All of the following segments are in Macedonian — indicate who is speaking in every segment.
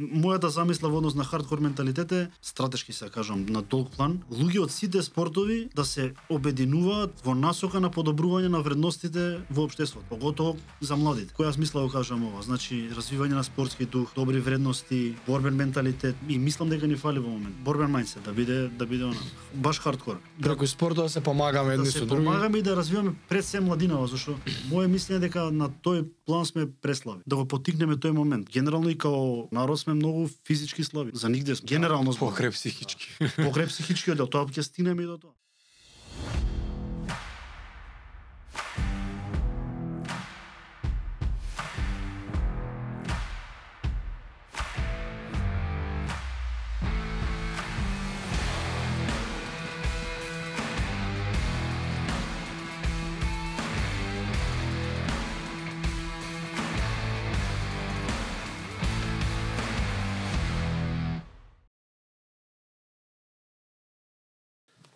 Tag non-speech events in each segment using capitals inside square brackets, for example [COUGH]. Speaker 1: Мојата замисла во однос на хардкор менталитет е стратешки се кажам на долг план, луѓе од сите спортови да се обединуваат во насока на подобрување на вредностите во општеството, поготово за младите. Која смисла го кажам ова? Значи развивање на спортски дух, добри вредности, борбен менталитет и мислам дека ни фали во момент. Борбен мајндсет да биде да биде она баш хардкор. Да,
Speaker 2: Преку спортот да се помагаме едни
Speaker 1: да
Speaker 2: со
Speaker 1: се
Speaker 2: други.
Speaker 1: помагаме и да развиваме пред се младинава, зашто моје мислење е дека на тој план сме преслаби. Да го потикнеме тој момент. Генерално и као народ сме многу физички слаби. За нигде сме. Генерално зборам.
Speaker 2: Покреп психички.
Speaker 1: Покреп психичкиот дел, тоа ќе стигнеме и до тоа.
Speaker 3: [LAUGHS]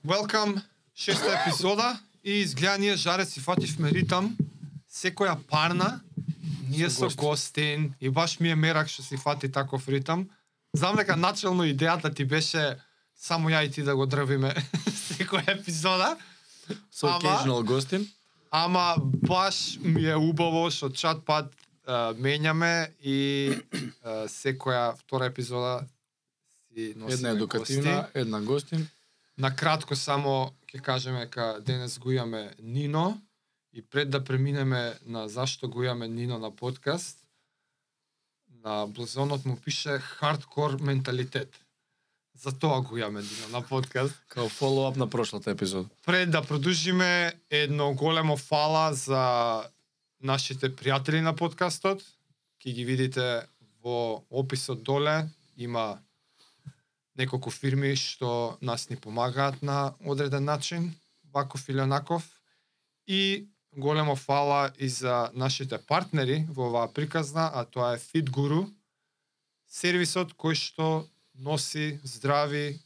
Speaker 3: Welcome, шеста епизода и изгледа ние жаре си фативме ритам. Секоја парна, ние со гостин и баш ми е мерак што си фати таков ритам. Знам дека начелно идејата ти беше само ја и ти да го дрвиме [LAUGHS] секоја епизода.
Speaker 2: Со
Speaker 3: Ама-
Speaker 2: occasional гостин.
Speaker 3: Ама баш ми е убаво што чат пат е, менјаме и е, секоја втора епизода си носиме
Speaker 2: Една едукативна,
Speaker 3: гости.
Speaker 2: една гостин.
Speaker 3: На кратко само ќе кажеме дека денес го имаме Нино и пред да преминеме на зашто го имаме Нино на подкаст, на блозонот му пише хардкор менталитет. Затоа го имаме Нино на подкаст.
Speaker 2: Као фоллоуап на прошлата епизода.
Speaker 3: Пред да продолжиме едно големо фала за нашите пријатели на подкастот. Ки ги видите во описот доле, има неколку фирми што нас ни помагаат на одреден начин, ваков или онаков. И големо фала и за нашите партнери во оваа приказна, а тоа е FitGuru, сервисот кој што носи здрави,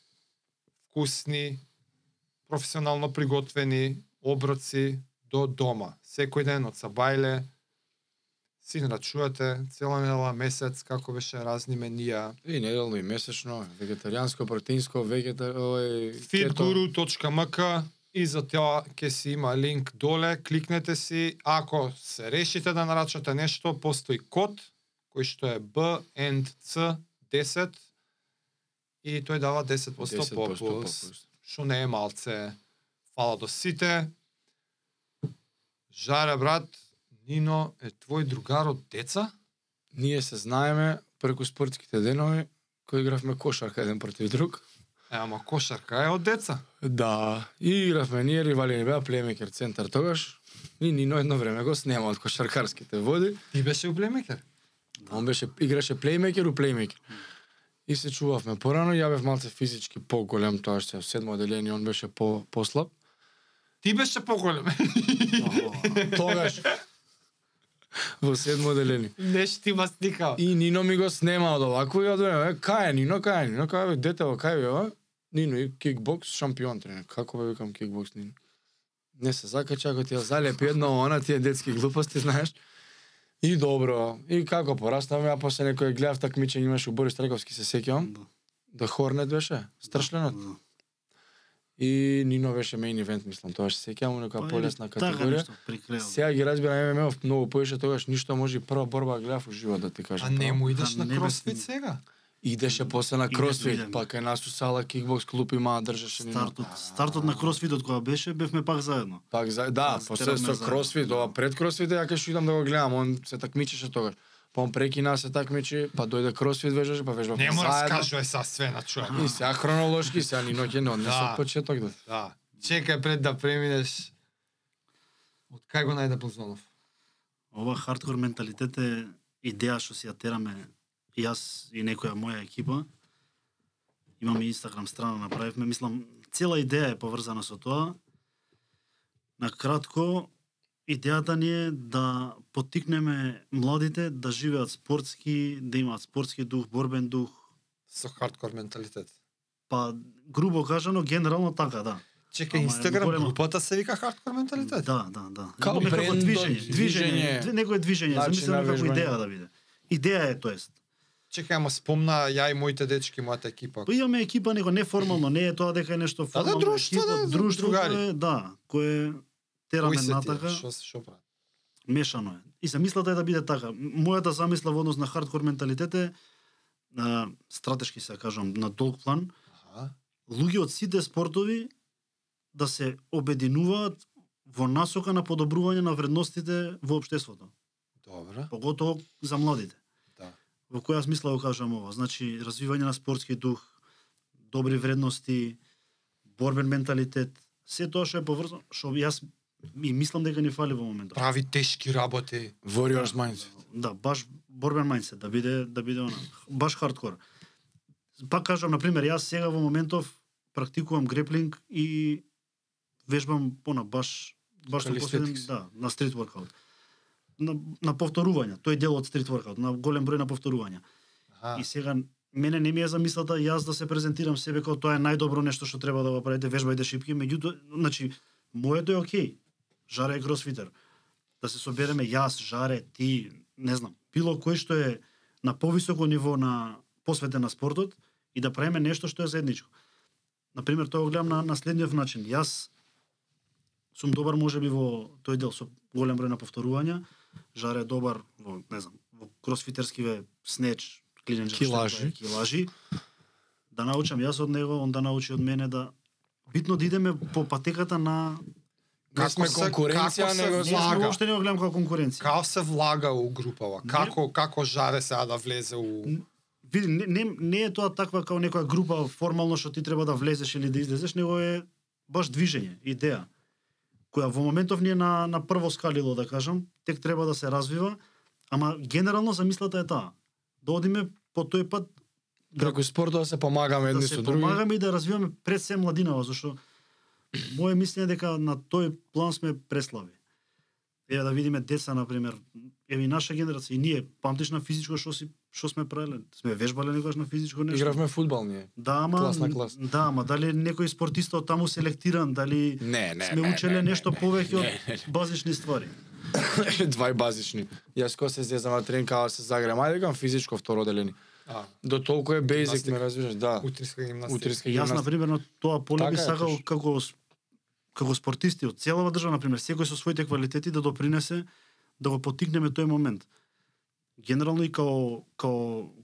Speaker 3: вкусни, професионално приготвени оброци до дома. Секој ден од Сабајле, си нарачувате цела недела, месец, како беше разни менија.
Speaker 2: И неделно и месечно, вегетаријанско, протеинско, вегетар, овој
Speaker 3: fitguru.mk и за тоа ќе си има линк доле, кликнете си. Ако се решите да нарачате нешто, постои код кој што е BNC10 и тој дава 10%, 10 попуст. што не е малце. Фала до сите. Жаре, брат, Нино е твој другар од деца?
Speaker 2: Ние се знаеме преку спортските денови кои игравме кошарка еден против друг.
Speaker 3: Е, ама кошарка е од деца.
Speaker 2: Да, и игравме ние ривали не беа племекер центар тогаш. И Нино едно време го снема од кошаркарските води.
Speaker 3: Ти беше у племекер.
Speaker 2: Он беше играше плеймейкер у плеймейкер. И се чувавме порано, ја бев малце физички поголем, тоа што е седмо одделение, он беше по послаб.
Speaker 3: Ти беше поголем. [LAUGHS]
Speaker 2: Тогаш во седмо одделение.
Speaker 3: Нешто ти ма сликава.
Speaker 2: И Нино ми го снема од овако и од време, кај е Нино, кај е Нино, кај бе, дете, во, кај бе, ова? Нину и кикбокс шампион тренер. Како бе викам кикбокс Нину? Не се закача, ако ти ја залепи едно она тие детски глупости, знаеш. И добро. И како пораснавме, а после некој гледав такмичење имаше у Борис Трековски се сеќавам.
Speaker 1: Да.
Speaker 2: Да Хорнет беше, стршленот.
Speaker 1: Да.
Speaker 2: И Нино беше мейн ивент, мислам, тоа се сеќавам у
Speaker 1: Па,
Speaker 2: некоја
Speaker 1: или
Speaker 2: полесна
Speaker 1: така
Speaker 2: категорија.
Speaker 1: нешто, при крајот.
Speaker 2: Сега ги разбирам ММФ многу поише, тогаш ништо може и прва борба ја гледав у живот да ти кажам.
Speaker 3: А не
Speaker 2: право.
Speaker 3: му идеш
Speaker 1: А, не
Speaker 3: на
Speaker 1: бе,
Speaker 3: кросфит
Speaker 1: си.
Speaker 3: сега?
Speaker 2: Идеше после на
Speaker 1: Иде
Speaker 2: кросфит,
Speaker 1: видам.
Speaker 2: па кај нас у сала кикбокс клуб има, држеше ни на...
Speaker 1: Стартот, стартот на кросфитот кога беше, бевме пак заедно.
Speaker 2: Пак за... Да,
Speaker 1: Аз
Speaker 2: после
Speaker 1: тераме
Speaker 2: со
Speaker 1: за-
Speaker 2: кросфит, ова пред кросфит, ја кај што идам да го гледам, он се такмичеше тогаш. Па он прекина се такмичи, па дојде кросфит вежеше, па вежбавме
Speaker 3: Не му
Speaker 2: заедно.
Speaker 3: раскажувај са све на човек.
Speaker 2: И сега хронолошки, сега ни ноќе не однесе
Speaker 3: Да.
Speaker 2: од почеток да.
Speaker 3: Да. Чекај пред да преминеш. Од кај го најде Бозонов?
Speaker 1: Ова хардкор менталитет е идеја што си ја тераме јас и некоја моја екипа. Имаме Инстаграм страна направивме, мислам цела идеја е поврзана со тоа. На кратко, идејата ни е да поттикнеме младите да живеат спортски, да имаат спортски дух, борбен дух,
Speaker 3: Со хардкор менталитет.
Speaker 1: па грубо кажано генерално така, да.
Speaker 3: Чекај,
Speaker 1: Ама е
Speaker 3: Инстаграм
Speaker 1: голема-
Speaker 3: групата се вика хардкор менталитет.
Speaker 1: Да, да, да.
Speaker 2: Као
Speaker 1: Некакво
Speaker 2: брендот,
Speaker 1: движење,
Speaker 2: движење,
Speaker 1: движење, некое движење,
Speaker 2: начин на
Speaker 1: замислено како
Speaker 2: вежбање.
Speaker 1: идеја да биде. Идеја е, тоест.
Speaker 3: Чекај, ама спомна ја и моите дечки, мојата екипа.
Speaker 1: Па имаме екипа, него неформално, не е тоа дека е нешто
Speaker 3: да,
Speaker 1: формално.
Speaker 3: друштво, да, за
Speaker 1: друштво,
Speaker 3: другари.
Speaker 1: кое, да, кое
Speaker 3: Кои
Speaker 1: тераме
Speaker 3: се
Speaker 1: натака,
Speaker 3: тие? Што се што прават?
Speaker 1: мешано е. И замислата е да биде така. Мојата замисла во однос на хардкор менталитет е на стратешки се кажам, на долг план,
Speaker 3: Аха.
Speaker 1: луѓе од сите спортови да се обединуваат во насока на подобрување на вредностите во општеството,
Speaker 3: Добро.
Speaker 1: поготово за младите.
Speaker 3: Да.
Speaker 1: Во која смисла го кажам ова? Значи, развивање на спортски дух, добри вредности, борбен менталитет, се тоа што е поврзано, што јас и мислам дека ни фали во моментот.
Speaker 3: Прави тешки работи.
Speaker 2: Warriors mindset.
Speaker 1: Да, баш борбен мајндсет, да биде да биде она, баш хардкор. Пак кажам на пример, јас сега во моментов практикувам греплинг и вежбам пона баш баш на последен,
Speaker 3: Calisthenics.
Speaker 1: да, на стрит воркаут. На, на повторувања, тој е дел од стрит воркаут, на голем број на повторувања.
Speaker 3: Аха.
Speaker 1: И сега мене не ми е замислата јас да се презентирам себе како тоа е најдобро нешто што треба да го правите, вежбајте шипки, меѓутоа, значи, моето е окей. Жаре е кросфитер. Да се собереме јас, Жаре, ти, не знам, било кој што е на повисоко ниво на посветен на спортот и да правиме нешто што е заедничко. Например, тоа го гледам на, на следниот начин. Јас сум добар можеби во тој дел со голем број на повторувања, Жаре е добар во, не знам, во кросфитерскиве снеч, клинен
Speaker 2: Килажи.
Speaker 1: килажи. Да научам јас од него, он да научи од мене да битно да идеме по патеката на
Speaker 2: Како
Speaker 3: Сме кон-
Speaker 2: конкуренција,
Speaker 3: како се
Speaker 2: него
Speaker 1: Не, јас
Speaker 3: влага?
Speaker 1: го воопште не го гледам како конкуренција.
Speaker 3: Како се влага у групава? Како како жаре сега да влезе у
Speaker 1: Види, не, не, не е тоа таква како некоја група формално што ти треба да влезеш или да излезеш, него е баш движење, идеја, која во моментов ни е на, на прво скалило, да кажам, тек треба да се развива, ама генерално замислата е таа. Да одиме по тој пат
Speaker 2: Преку спортот да се помагаме едни
Speaker 1: да
Speaker 2: со
Speaker 1: се
Speaker 2: други.
Speaker 1: помагаме и да развиваме пред се младинава, зашто мое мислење е дека на тој план сме преслаби. Еве да видиме деца на пример, еве и наша генерација и ние памтиш на физичко што си што сме правеле, сме вежбале некогаш на физичко нешто.
Speaker 2: Игравме фудбал ние.
Speaker 1: Да, ама
Speaker 2: клас на клас.
Speaker 1: да, ама дали некој спортиста од таму селектиран, дали
Speaker 2: Не, не,
Speaker 1: сме
Speaker 2: не,
Speaker 1: учеле
Speaker 2: не, не,
Speaker 1: нешто
Speaker 2: не,
Speaker 1: повеќе
Speaker 2: не, не,
Speaker 1: од базични ствари.
Speaker 2: [LAUGHS] Двај базични. Јас ко се зезам на тренинг, као се загрем, ајде кам физичко второ одделение.
Speaker 3: а,
Speaker 2: До толку е basic,
Speaker 3: Гимнастика.
Speaker 2: ме разбираш, да.
Speaker 3: утринска
Speaker 1: Па
Speaker 3: гимнастика?
Speaker 2: Утринска
Speaker 1: Јас на
Speaker 2: гимнастика.
Speaker 1: пример на тоа поле
Speaker 2: Така
Speaker 1: би
Speaker 2: е,
Speaker 1: сакал
Speaker 2: точно.
Speaker 1: како с- како спортисти од целава држава на пример, секој со своите квалитети да допринесе да го потикнеме тој момент. Генерално и како како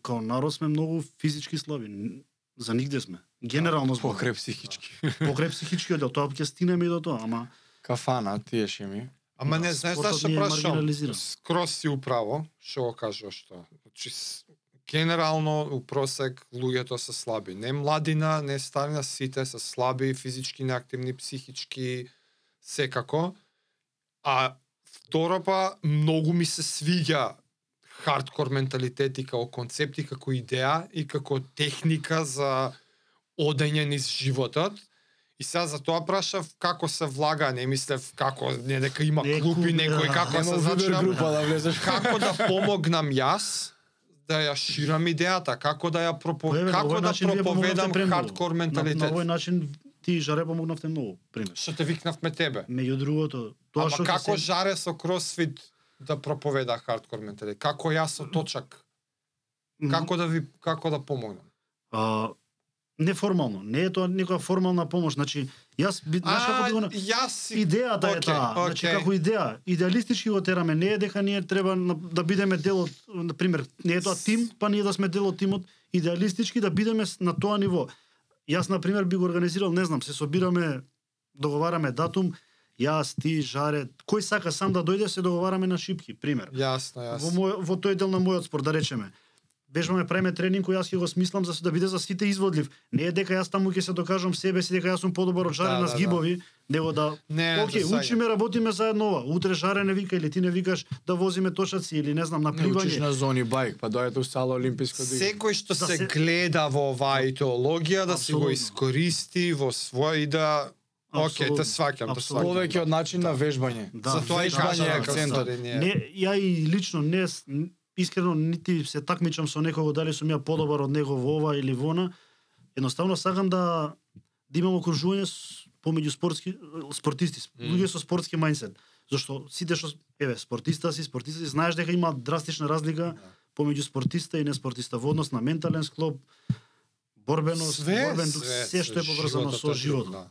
Speaker 1: како народ сме многу физички слаби. Н- За нигде сме.
Speaker 2: Да,
Speaker 1: Генерално збор.
Speaker 2: Покреп психички.
Speaker 1: Покреп психичкиот дел, тоа ќе стинеме и до тоа, ама
Speaker 2: Кафана, тие шеми.
Speaker 3: Ама
Speaker 1: Да,
Speaker 3: не, знаеш
Speaker 1: спортот
Speaker 3: што
Speaker 1: ни е
Speaker 3: прашам?
Speaker 1: маргинализиран.
Speaker 3: Скрос си управо, што го кажуваш тоа. Значи, с- генерално у просек луѓето се слаби. Не младина, не старина, сите се слаби, физички неактивни, психички, секако. А второ па, многу ми се свиѓа хардкор менталитет и како концепт и како идеја и како техника за одење низ животот. И сега за тоа прашав како се влага, не мислев како не дека има
Speaker 1: Не,
Speaker 3: клуб и
Speaker 1: клуб,
Speaker 3: некој
Speaker 1: да.
Speaker 3: како
Speaker 2: Нема
Speaker 3: се
Speaker 2: вибер
Speaker 3: зачинам,
Speaker 2: група да
Speaker 1: [LAUGHS]
Speaker 2: влезеш.
Speaker 3: како да помогнам јас да ја ширам идејата, како да ја пропо...
Speaker 1: Еве, на
Speaker 3: како
Speaker 1: овој
Speaker 3: да
Speaker 1: начин вие
Speaker 3: проповедам
Speaker 1: помогнавте премногу.
Speaker 3: хардкор
Speaker 1: На- На,
Speaker 3: менталитет.
Speaker 1: овој начин ти и Жаре помогнавте многу, пример.
Speaker 3: Што те викнавме тебе.
Speaker 1: Меѓу другото, тоа
Speaker 3: Ама
Speaker 1: што ќе
Speaker 3: како
Speaker 1: се...
Speaker 3: жаре со кросфит да проповеда хардкор менталитет? Како јас со точак? Како да ви како да помогнам?
Speaker 1: А, неформално, не е тоа некоја формална помош, значи јас би знаеш како
Speaker 3: А,
Speaker 1: ти го на-
Speaker 3: јас си...
Speaker 1: идејата е
Speaker 3: Океј,
Speaker 1: таа, значи
Speaker 3: океј.
Speaker 1: како идеја, идеалистички го тераме, не е дека ние треба на- да бидеме дел од на пример, не е тоа тим, па ние да сме дел од тимот, идеалистички да бидеме с- на тоа ниво. Јас на пример би го организирал, не знам, се собираме, договараме датум, јас, ти, Жаре, кој сака сам да дојде, се договараме на шипки, пример
Speaker 3: Јасно, јасно.
Speaker 1: во, мој, во тој дел на мојот спорт, да речеме. Вежбаме, правиме тренинг кој јас ќе го смислам за да биде за сите изводлив. Не е дека јас таму ќе се докажам себе си дека јас сум подобар од жаре
Speaker 3: Да,
Speaker 1: на
Speaker 3: да,
Speaker 1: згибови, него да
Speaker 3: Не,
Speaker 1: Океј,
Speaker 3: да саѓам.
Speaker 1: учиме, работиме заедно ова. Утре жаре не вика или ти не викаш да возиме точаци или не знам на
Speaker 2: Не учиш
Speaker 1: пливање.
Speaker 2: на зони байк, па дојдете у сала Олимписко да играте.
Speaker 3: Секој што
Speaker 1: Да
Speaker 3: се
Speaker 1: се-
Speaker 3: гледа во оваа идеологија да си го
Speaker 1: Апсолутно.
Speaker 3: искористи во своја и да Океј,
Speaker 1: Апсолутно.
Speaker 3: те сваќам, те
Speaker 1: Апсолутно.
Speaker 3: сваќам.
Speaker 2: Повеќе од начин на вежбање.
Speaker 1: Да,
Speaker 3: За тоа и
Speaker 1: вежбање
Speaker 3: кажа
Speaker 1: е
Speaker 2: кажам,
Speaker 1: акцентот.
Speaker 3: акцентот.
Speaker 1: Не, ја и лично не с- н- искрено нити се такмичам со некого дали сум ја подобар од него во ова или во она. Едноставно сакам да да имам окружување с- помеѓу спортски спортисти,
Speaker 3: Мм.
Speaker 1: луѓе со спортски мајндсет. Зашто сите што еве спортиста си, спортиста си, знаеш дека има драстична разлика помеѓу спортиста и неспортиста во однос на ментален склоп, борбеност, борбен дух, се, што е поврзано со животот.
Speaker 3: Да, да.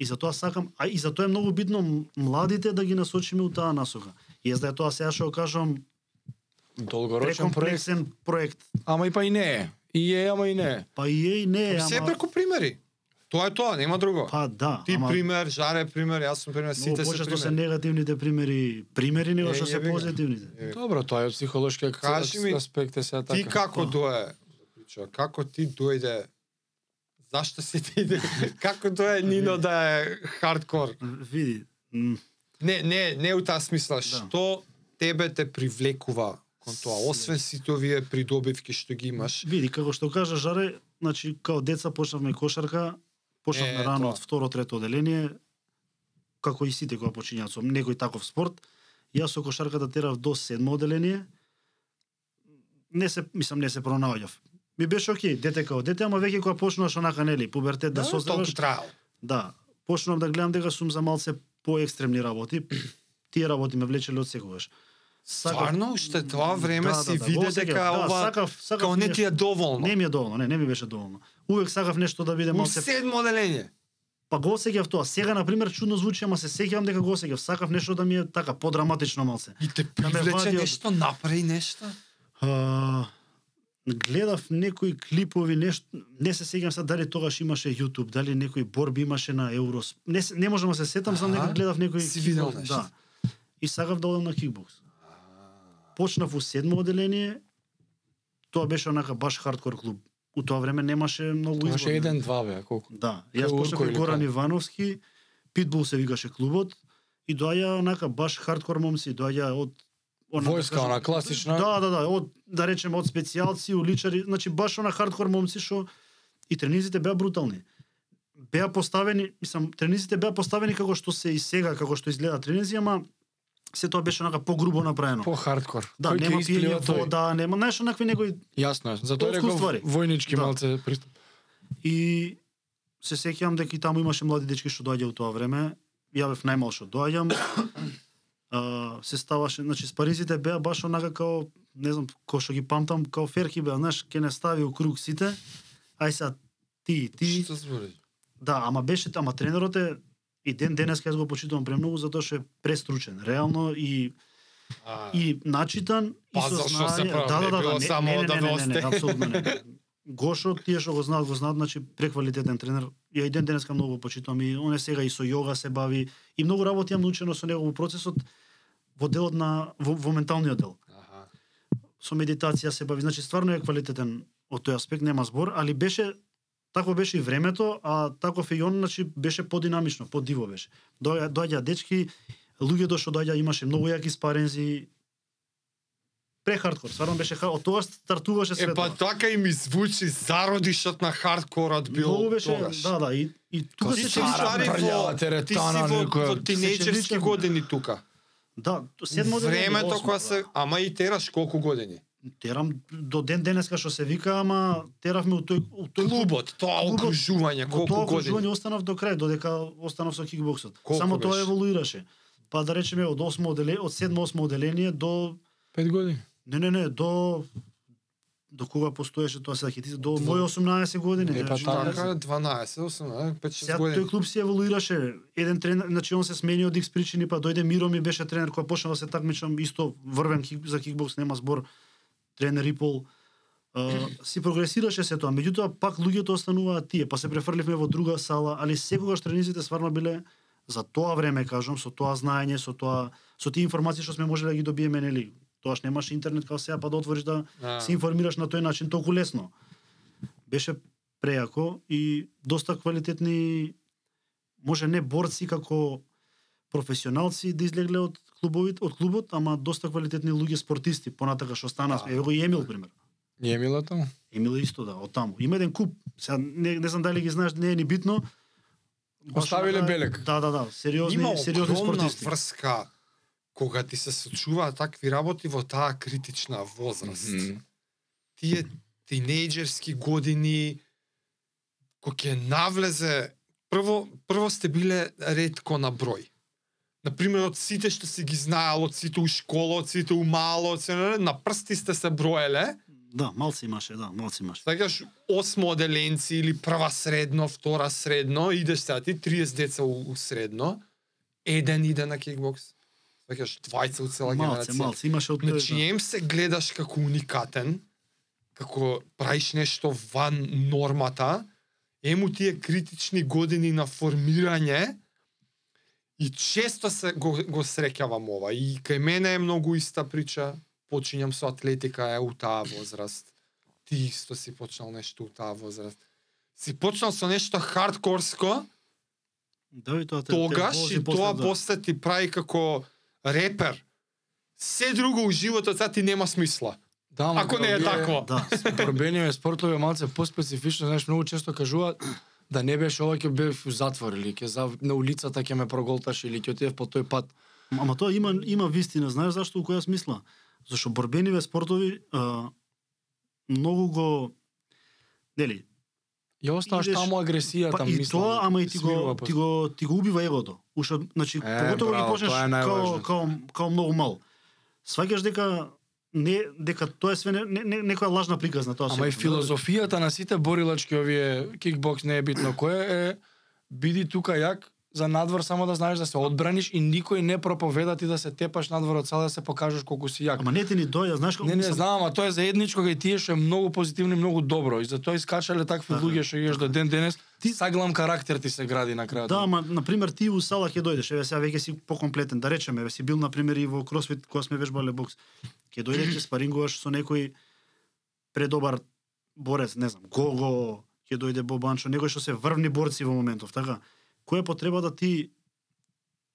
Speaker 1: И за тоа сакам, а и за тоа е многу битно м- младите да ги насочиме у таа насока. Јас да е тоа сега што го кажам
Speaker 2: Долгорочен проект.
Speaker 1: прекомплексен проект,
Speaker 2: Ама и па и не е. И е, ама и не е.
Speaker 1: па и е и не е,
Speaker 3: Се
Speaker 1: ама
Speaker 3: преку примери. Тоа е тоа, нема друго.
Speaker 1: па да,
Speaker 3: Ти
Speaker 1: ама
Speaker 3: пример, Жаре пример, јас сум пример,
Speaker 1: многу
Speaker 3: сите се
Speaker 1: почесто се
Speaker 3: примери.
Speaker 1: негативните примери, примери него
Speaker 3: Е,
Speaker 1: што се
Speaker 3: јеби га.
Speaker 1: позитивните.
Speaker 3: Е,
Speaker 2: Добро, тоа е од психолошки ак-
Speaker 3: Кажи ми,
Speaker 2: аспект е сега така.
Speaker 3: Ти како
Speaker 1: Тоа.
Speaker 3: дое? Причува, како ти дојде? Зашто си
Speaker 1: [LAUGHS]
Speaker 3: ти иде? Како дое Нино да е хардкор?
Speaker 1: Види, м,
Speaker 3: Не, не, не у таа смисла.
Speaker 1: Да.
Speaker 3: Што тебе те привлекува кон тоа? Освен сите овие придобивки што ги имаш.
Speaker 1: види како што кажа Жаре, значи као деца почнавме кошарка, почнавме
Speaker 3: Е,
Speaker 1: рано
Speaker 3: тоа.
Speaker 1: од второ, трето оделение, како и сите кои почињаат со некој таков спорт. Јас со кошарката терав до седмо оделение. Не се, мислам, не се пронаоѓав. Ми беше окей, дете као дете, ама веќе кога почнуваш онака, нели, пубертет да, да создаваш,
Speaker 3: толку трајал.
Speaker 1: Да, почнав да гледам дека сум за малце поекстремни работи. [CLEARS THROAT] Тие работи ме влечеле од секогаш.
Speaker 3: Стварно, уште тоа време си виде
Speaker 1: го
Speaker 3: дека
Speaker 1: осеќав, да,
Speaker 3: ова
Speaker 1: сакав, сакав
Speaker 3: Као не
Speaker 1: нешто.
Speaker 3: ти е доволно.
Speaker 1: Не ми е доволно, не, не ми беше доволно. Увек сакав нешто да биде
Speaker 3: У
Speaker 1: малце.
Speaker 3: седмо оделение.
Speaker 1: Па го осеќав тоа. Сега на пример чудно звучи, ама се сеќавам дека го осеќав. Сакав нешто да ми е така подраматично малце.
Speaker 3: И те
Speaker 1: Да ме
Speaker 3: привлече
Speaker 1: вади од-
Speaker 3: нешто, направи нешто.
Speaker 1: А, гледав некои клипови, нешто, не се сеќавам сега дали тогаш имаше YouTube, дали некои борби имаше на Еврос. Не, се- не можам да се сетам, знам дека
Speaker 3: Аха.
Speaker 1: гледав некои
Speaker 3: Си видел
Speaker 1: кикбокс,
Speaker 3: нешто.
Speaker 1: Да. И сакав да одам на кикбокс. Почнав у седмо оделение. Тоа беше онака баш хардкор клуб. У тоа време немаше многу избор.
Speaker 2: Имаше еден, два бе, а колку?
Speaker 1: Да,
Speaker 2: Кај
Speaker 1: јас
Speaker 2: Урко
Speaker 1: почнав кај
Speaker 2: или
Speaker 1: Горан
Speaker 2: кај?
Speaker 1: Ивановски, Питбул се викаше клубот, и доаѓа онака баш хардкор момци, доаѓа од она,
Speaker 2: Војска, она класична.
Speaker 1: Да, да, да, од да речеме од специјалци, уличари, значи баш она хардкор момци што и тренизите беа брутални. Беа поставени, мислам, тренизите беа поставени како што се и сега, како што изгледа тренизи, ама се тоа беше онака погрубо направено.
Speaker 2: По хардкор.
Speaker 1: Да,
Speaker 2: Кој ќе
Speaker 1: нема пиење
Speaker 2: исплива тој?
Speaker 1: вода, нема, знаеш, онакви некои
Speaker 2: Јасно е. Затоа
Speaker 1: Толку
Speaker 2: реков
Speaker 1: ствари.
Speaker 2: војнички
Speaker 1: Да.
Speaker 2: малце пристап.
Speaker 1: И се сеќавам дека и таму имаше млади дечки што доаѓа у тоа време. Ја бев најмал што доаѓам. а, се ставаше, значи спаризите беа баш онака како, не знам, кој што ги памтам, како ферки беа, знаеш, ќе не стави у круг сите. Ај са ти, ти.
Speaker 3: Што збориш?
Speaker 1: Да, ама беше, ама тренерот е и ден денес јас го почитувам премногу затоа што е престручен, реално и
Speaker 3: А,
Speaker 1: и начитан и
Speaker 3: Па,
Speaker 1: со
Speaker 3: зашо се
Speaker 1: знаење.
Speaker 3: прави?
Speaker 1: Да, да,
Speaker 3: Не
Speaker 1: да,
Speaker 3: било
Speaker 1: да, не,
Speaker 3: само
Speaker 1: не, не,
Speaker 3: да
Speaker 1: не, не, не,
Speaker 3: досте.
Speaker 1: не, апсолутно не.
Speaker 3: [LAUGHS]
Speaker 1: Гошо, тие што го знаат, го знаат, значи преквалитетен тренер. Ја и ден денеска многу го почитам и он е сега и со йога се бави и многу работи јам научено со него во процесот во делот на во, во менталниот дел.
Speaker 3: аха.
Speaker 1: Со медитација се бави, значи стварно е квалитетен од тој аспект, нема збор, али беше такво беше и времето, а таков е и он, значи беше подинамично, подиво беше. Доаѓа, доаѓа дечки, луѓето што доаѓа имаше многу јаки спарензи, прехардкор, стварно беше хар- од тоа стартуваше
Speaker 3: Е
Speaker 1: свето.
Speaker 3: па така и ми звучи зародишот на хардкорот бил
Speaker 1: Многу беше,
Speaker 3: тогаш.
Speaker 1: да, да, и, и тука
Speaker 3: Ти
Speaker 1: се
Speaker 3: си
Speaker 1: чини
Speaker 2: Сара,
Speaker 3: стари
Speaker 1: стари.
Speaker 3: во,
Speaker 2: брљава
Speaker 3: ти си
Speaker 2: теретана,
Speaker 3: во,
Speaker 2: некоја.
Speaker 3: во тинејџерски
Speaker 1: Сечевичен.
Speaker 3: години тука.
Speaker 1: Да, седмо
Speaker 3: Времето кога се, ама и тераш колку години?
Speaker 1: терам до ден денеска што се вика, ама теравме у тој у тој
Speaker 3: Клубот, тоа
Speaker 1: Клубот,
Speaker 3: окружување,
Speaker 1: Во
Speaker 3: колку
Speaker 1: тоа
Speaker 3: години?
Speaker 1: окружување останав до крај, додека останав со кикбоксот.
Speaker 3: Колку
Speaker 1: Само тоа
Speaker 3: беше?
Speaker 1: еволуираше. Па да речеме од 8 оделе, од 7-8 оделение до
Speaker 2: Пет години.
Speaker 1: не не не, до до кога постоеше тоа сега ќе ти до
Speaker 2: Во-
Speaker 1: мои 18 години.
Speaker 2: Е, па
Speaker 1: значи,
Speaker 2: така,
Speaker 1: така,
Speaker 3: Така 12, 18, 5-6
Speaker 1: Сега тој
Speaker 3: години.
Speaker 1: клуб си еволуираше. Еден тренер, значи он се смени од X причини, па дојде Миро ми беше тренер кој почна да се такмичам исто врвен кик, за кикбокс нема збор. Тренер Рипол а, си прогресираше се тоа, меѓутоа пак луѓето остануваат тие, па се префрлевме во друга сала, али секогаш тренизите сварно биле за тоа време, кажам, со тоа знаење, со тоа со тие информации што сме можеле да ги добиеме, нели? Тогаш немаше интернет како сега, па да отвориш да
Speaker 3: А,
Speaker 1: се информираш на тој начин толку лесно. Беше прејако и доста квалитетни може не борци како професионалци да излегле од клубовите, од клубот, ама доста квалитетни луѓе спортисти понатака што стана.
Speaker 3: Да.
Speaker 1: Еве го и Емил пример.
Speaker 2: Е мила таму.
Speaker 1: Емил е исто да, од таму. Има еден куп. Сега не, не знам дали ги знаеш, не е ни битно. Баш
Speaker 2: Оставиле
Speaker 1: онака-
Speaker 2: белек.
Speaker 1: Да, да, да, сериозни,
Speaker 3: Има
Speaker 1: сериозни
Speaker 3: огромна
Speaker 1: спортисти.
Speaker 3: врска кога ти се случуваат такви работи во таа критична возраст.
Speaker 2: Мгм.
Speaker 3: тие тинејџерски години кој ќе навлезе прво прво сте биле ретко на број. Например, од сите што си ги знаел, од сите у школа, од сите у мало, од се, на прсти сте се броеле,
Speaker 1: Да, малци имаше, да, малци имаше.
Speaker 3: Сакаш осмо оделенци или прва средно, втора средно, идеш сега ти 30 деца у, у средно, еден иде на кикбокс. Сакаш двајца од цела
Speaker 1: Малце,
Speaker 3: генерација.
Speaker 1: малце, имаше од тој,
Speaker 3: Значи,
Speaker 1: да.
Speaker 3: ем се гледаш како уникатен, како правиш нешто ван нормата, ему тие критични години на формирање, и често се го, го среќавам ова. И кај мене е многу иста прича, почињам со атлетика е у таа возраст. Ти исто си почнал нешто у таа возраст. Си почнал со нешто хардкорско,
Speaker 1: Да, и тоа те- те
Speaker 3: тогаш
Speaker 1: вози
Speaker 3: и тоа
Speaker 1: да.
Speaker 3: после ти прави како репер. Се друго у животот сега ти нема смисла.
Speaker 2: Да, ама
Speaker 3: Ако не е
Speaker 2: овие
Speaker 3: тако.
Speaker 1: Да,
Speaker 2: Пробениве спортове малце поспецифично, знаеш, многу често кажуваат да не беше ова ќе бев у затвор или ќе за на улицата ќе ме проголташ или ќе отидев по тој пат.
Speaker 1: Ама тоа има има вистина, знаеш зашто у која смисла? Зашто борбениве спортови а, многу го нели,
Speaker 2: Ја оставаш
Speaker 1: Идеш-
Speaker 2: таму агресијата,
Speaker 1: па и
Speaker 2: мислам.
Speaker 1: тоа, ама и ти
Speaker 2: свирува
Speaker 1: го
Speaker 2: после.
Speaker 1: ти го ти го убива егото. Уште значи
Speaker 2: Е,
Speaker 1: поготово ги
Speaker 2: браво,
Speaker 1: почнеш
Speaker 2: тоа е
Speaker 1: као
Speaker 2: најважното.
Speaker 1: као као многу мал. Сваќаш дека не дека тоа е све не, не, не некоја лажна приказна тоа
Speaker 2: Ама и
Speaker 1: сето, да.
Speaker 2: филозофијата на сите борилачки овие кикбокс не е битно кое е биди тука јак за надвор само да знаеш да се одбраниш и никој не проповеда ти да се тепаш надвор од сала да се покажеш колку си јак.
Speaker 1: Ама не ти ни доја, знаеш како
Speaker 2: Не, не
Speaker 1: мислам,
Speaker 2: знам, а тоа е заедничко кај тие што е многу позитивно и многу добро. И затоа искачале такви
Speaker 1: Така,
Speaker 2: луѓе што јеш до ден денес, ти саглам карактер Па ти се гради на крајот.
Speaker 1: Да, ама на пример ти у сала ќе дојдеш, еве сега веќе си покомплетен, да речеме, еве си бил на пример и во кросфит кога сме вежбале бокс. Ќе дојдеш ќе спарингуваш со некој предобар борец, не знам, Гого, ќе дојде Бобанчо, некој што се врвни борци во моментов, така. Која е потреба да ти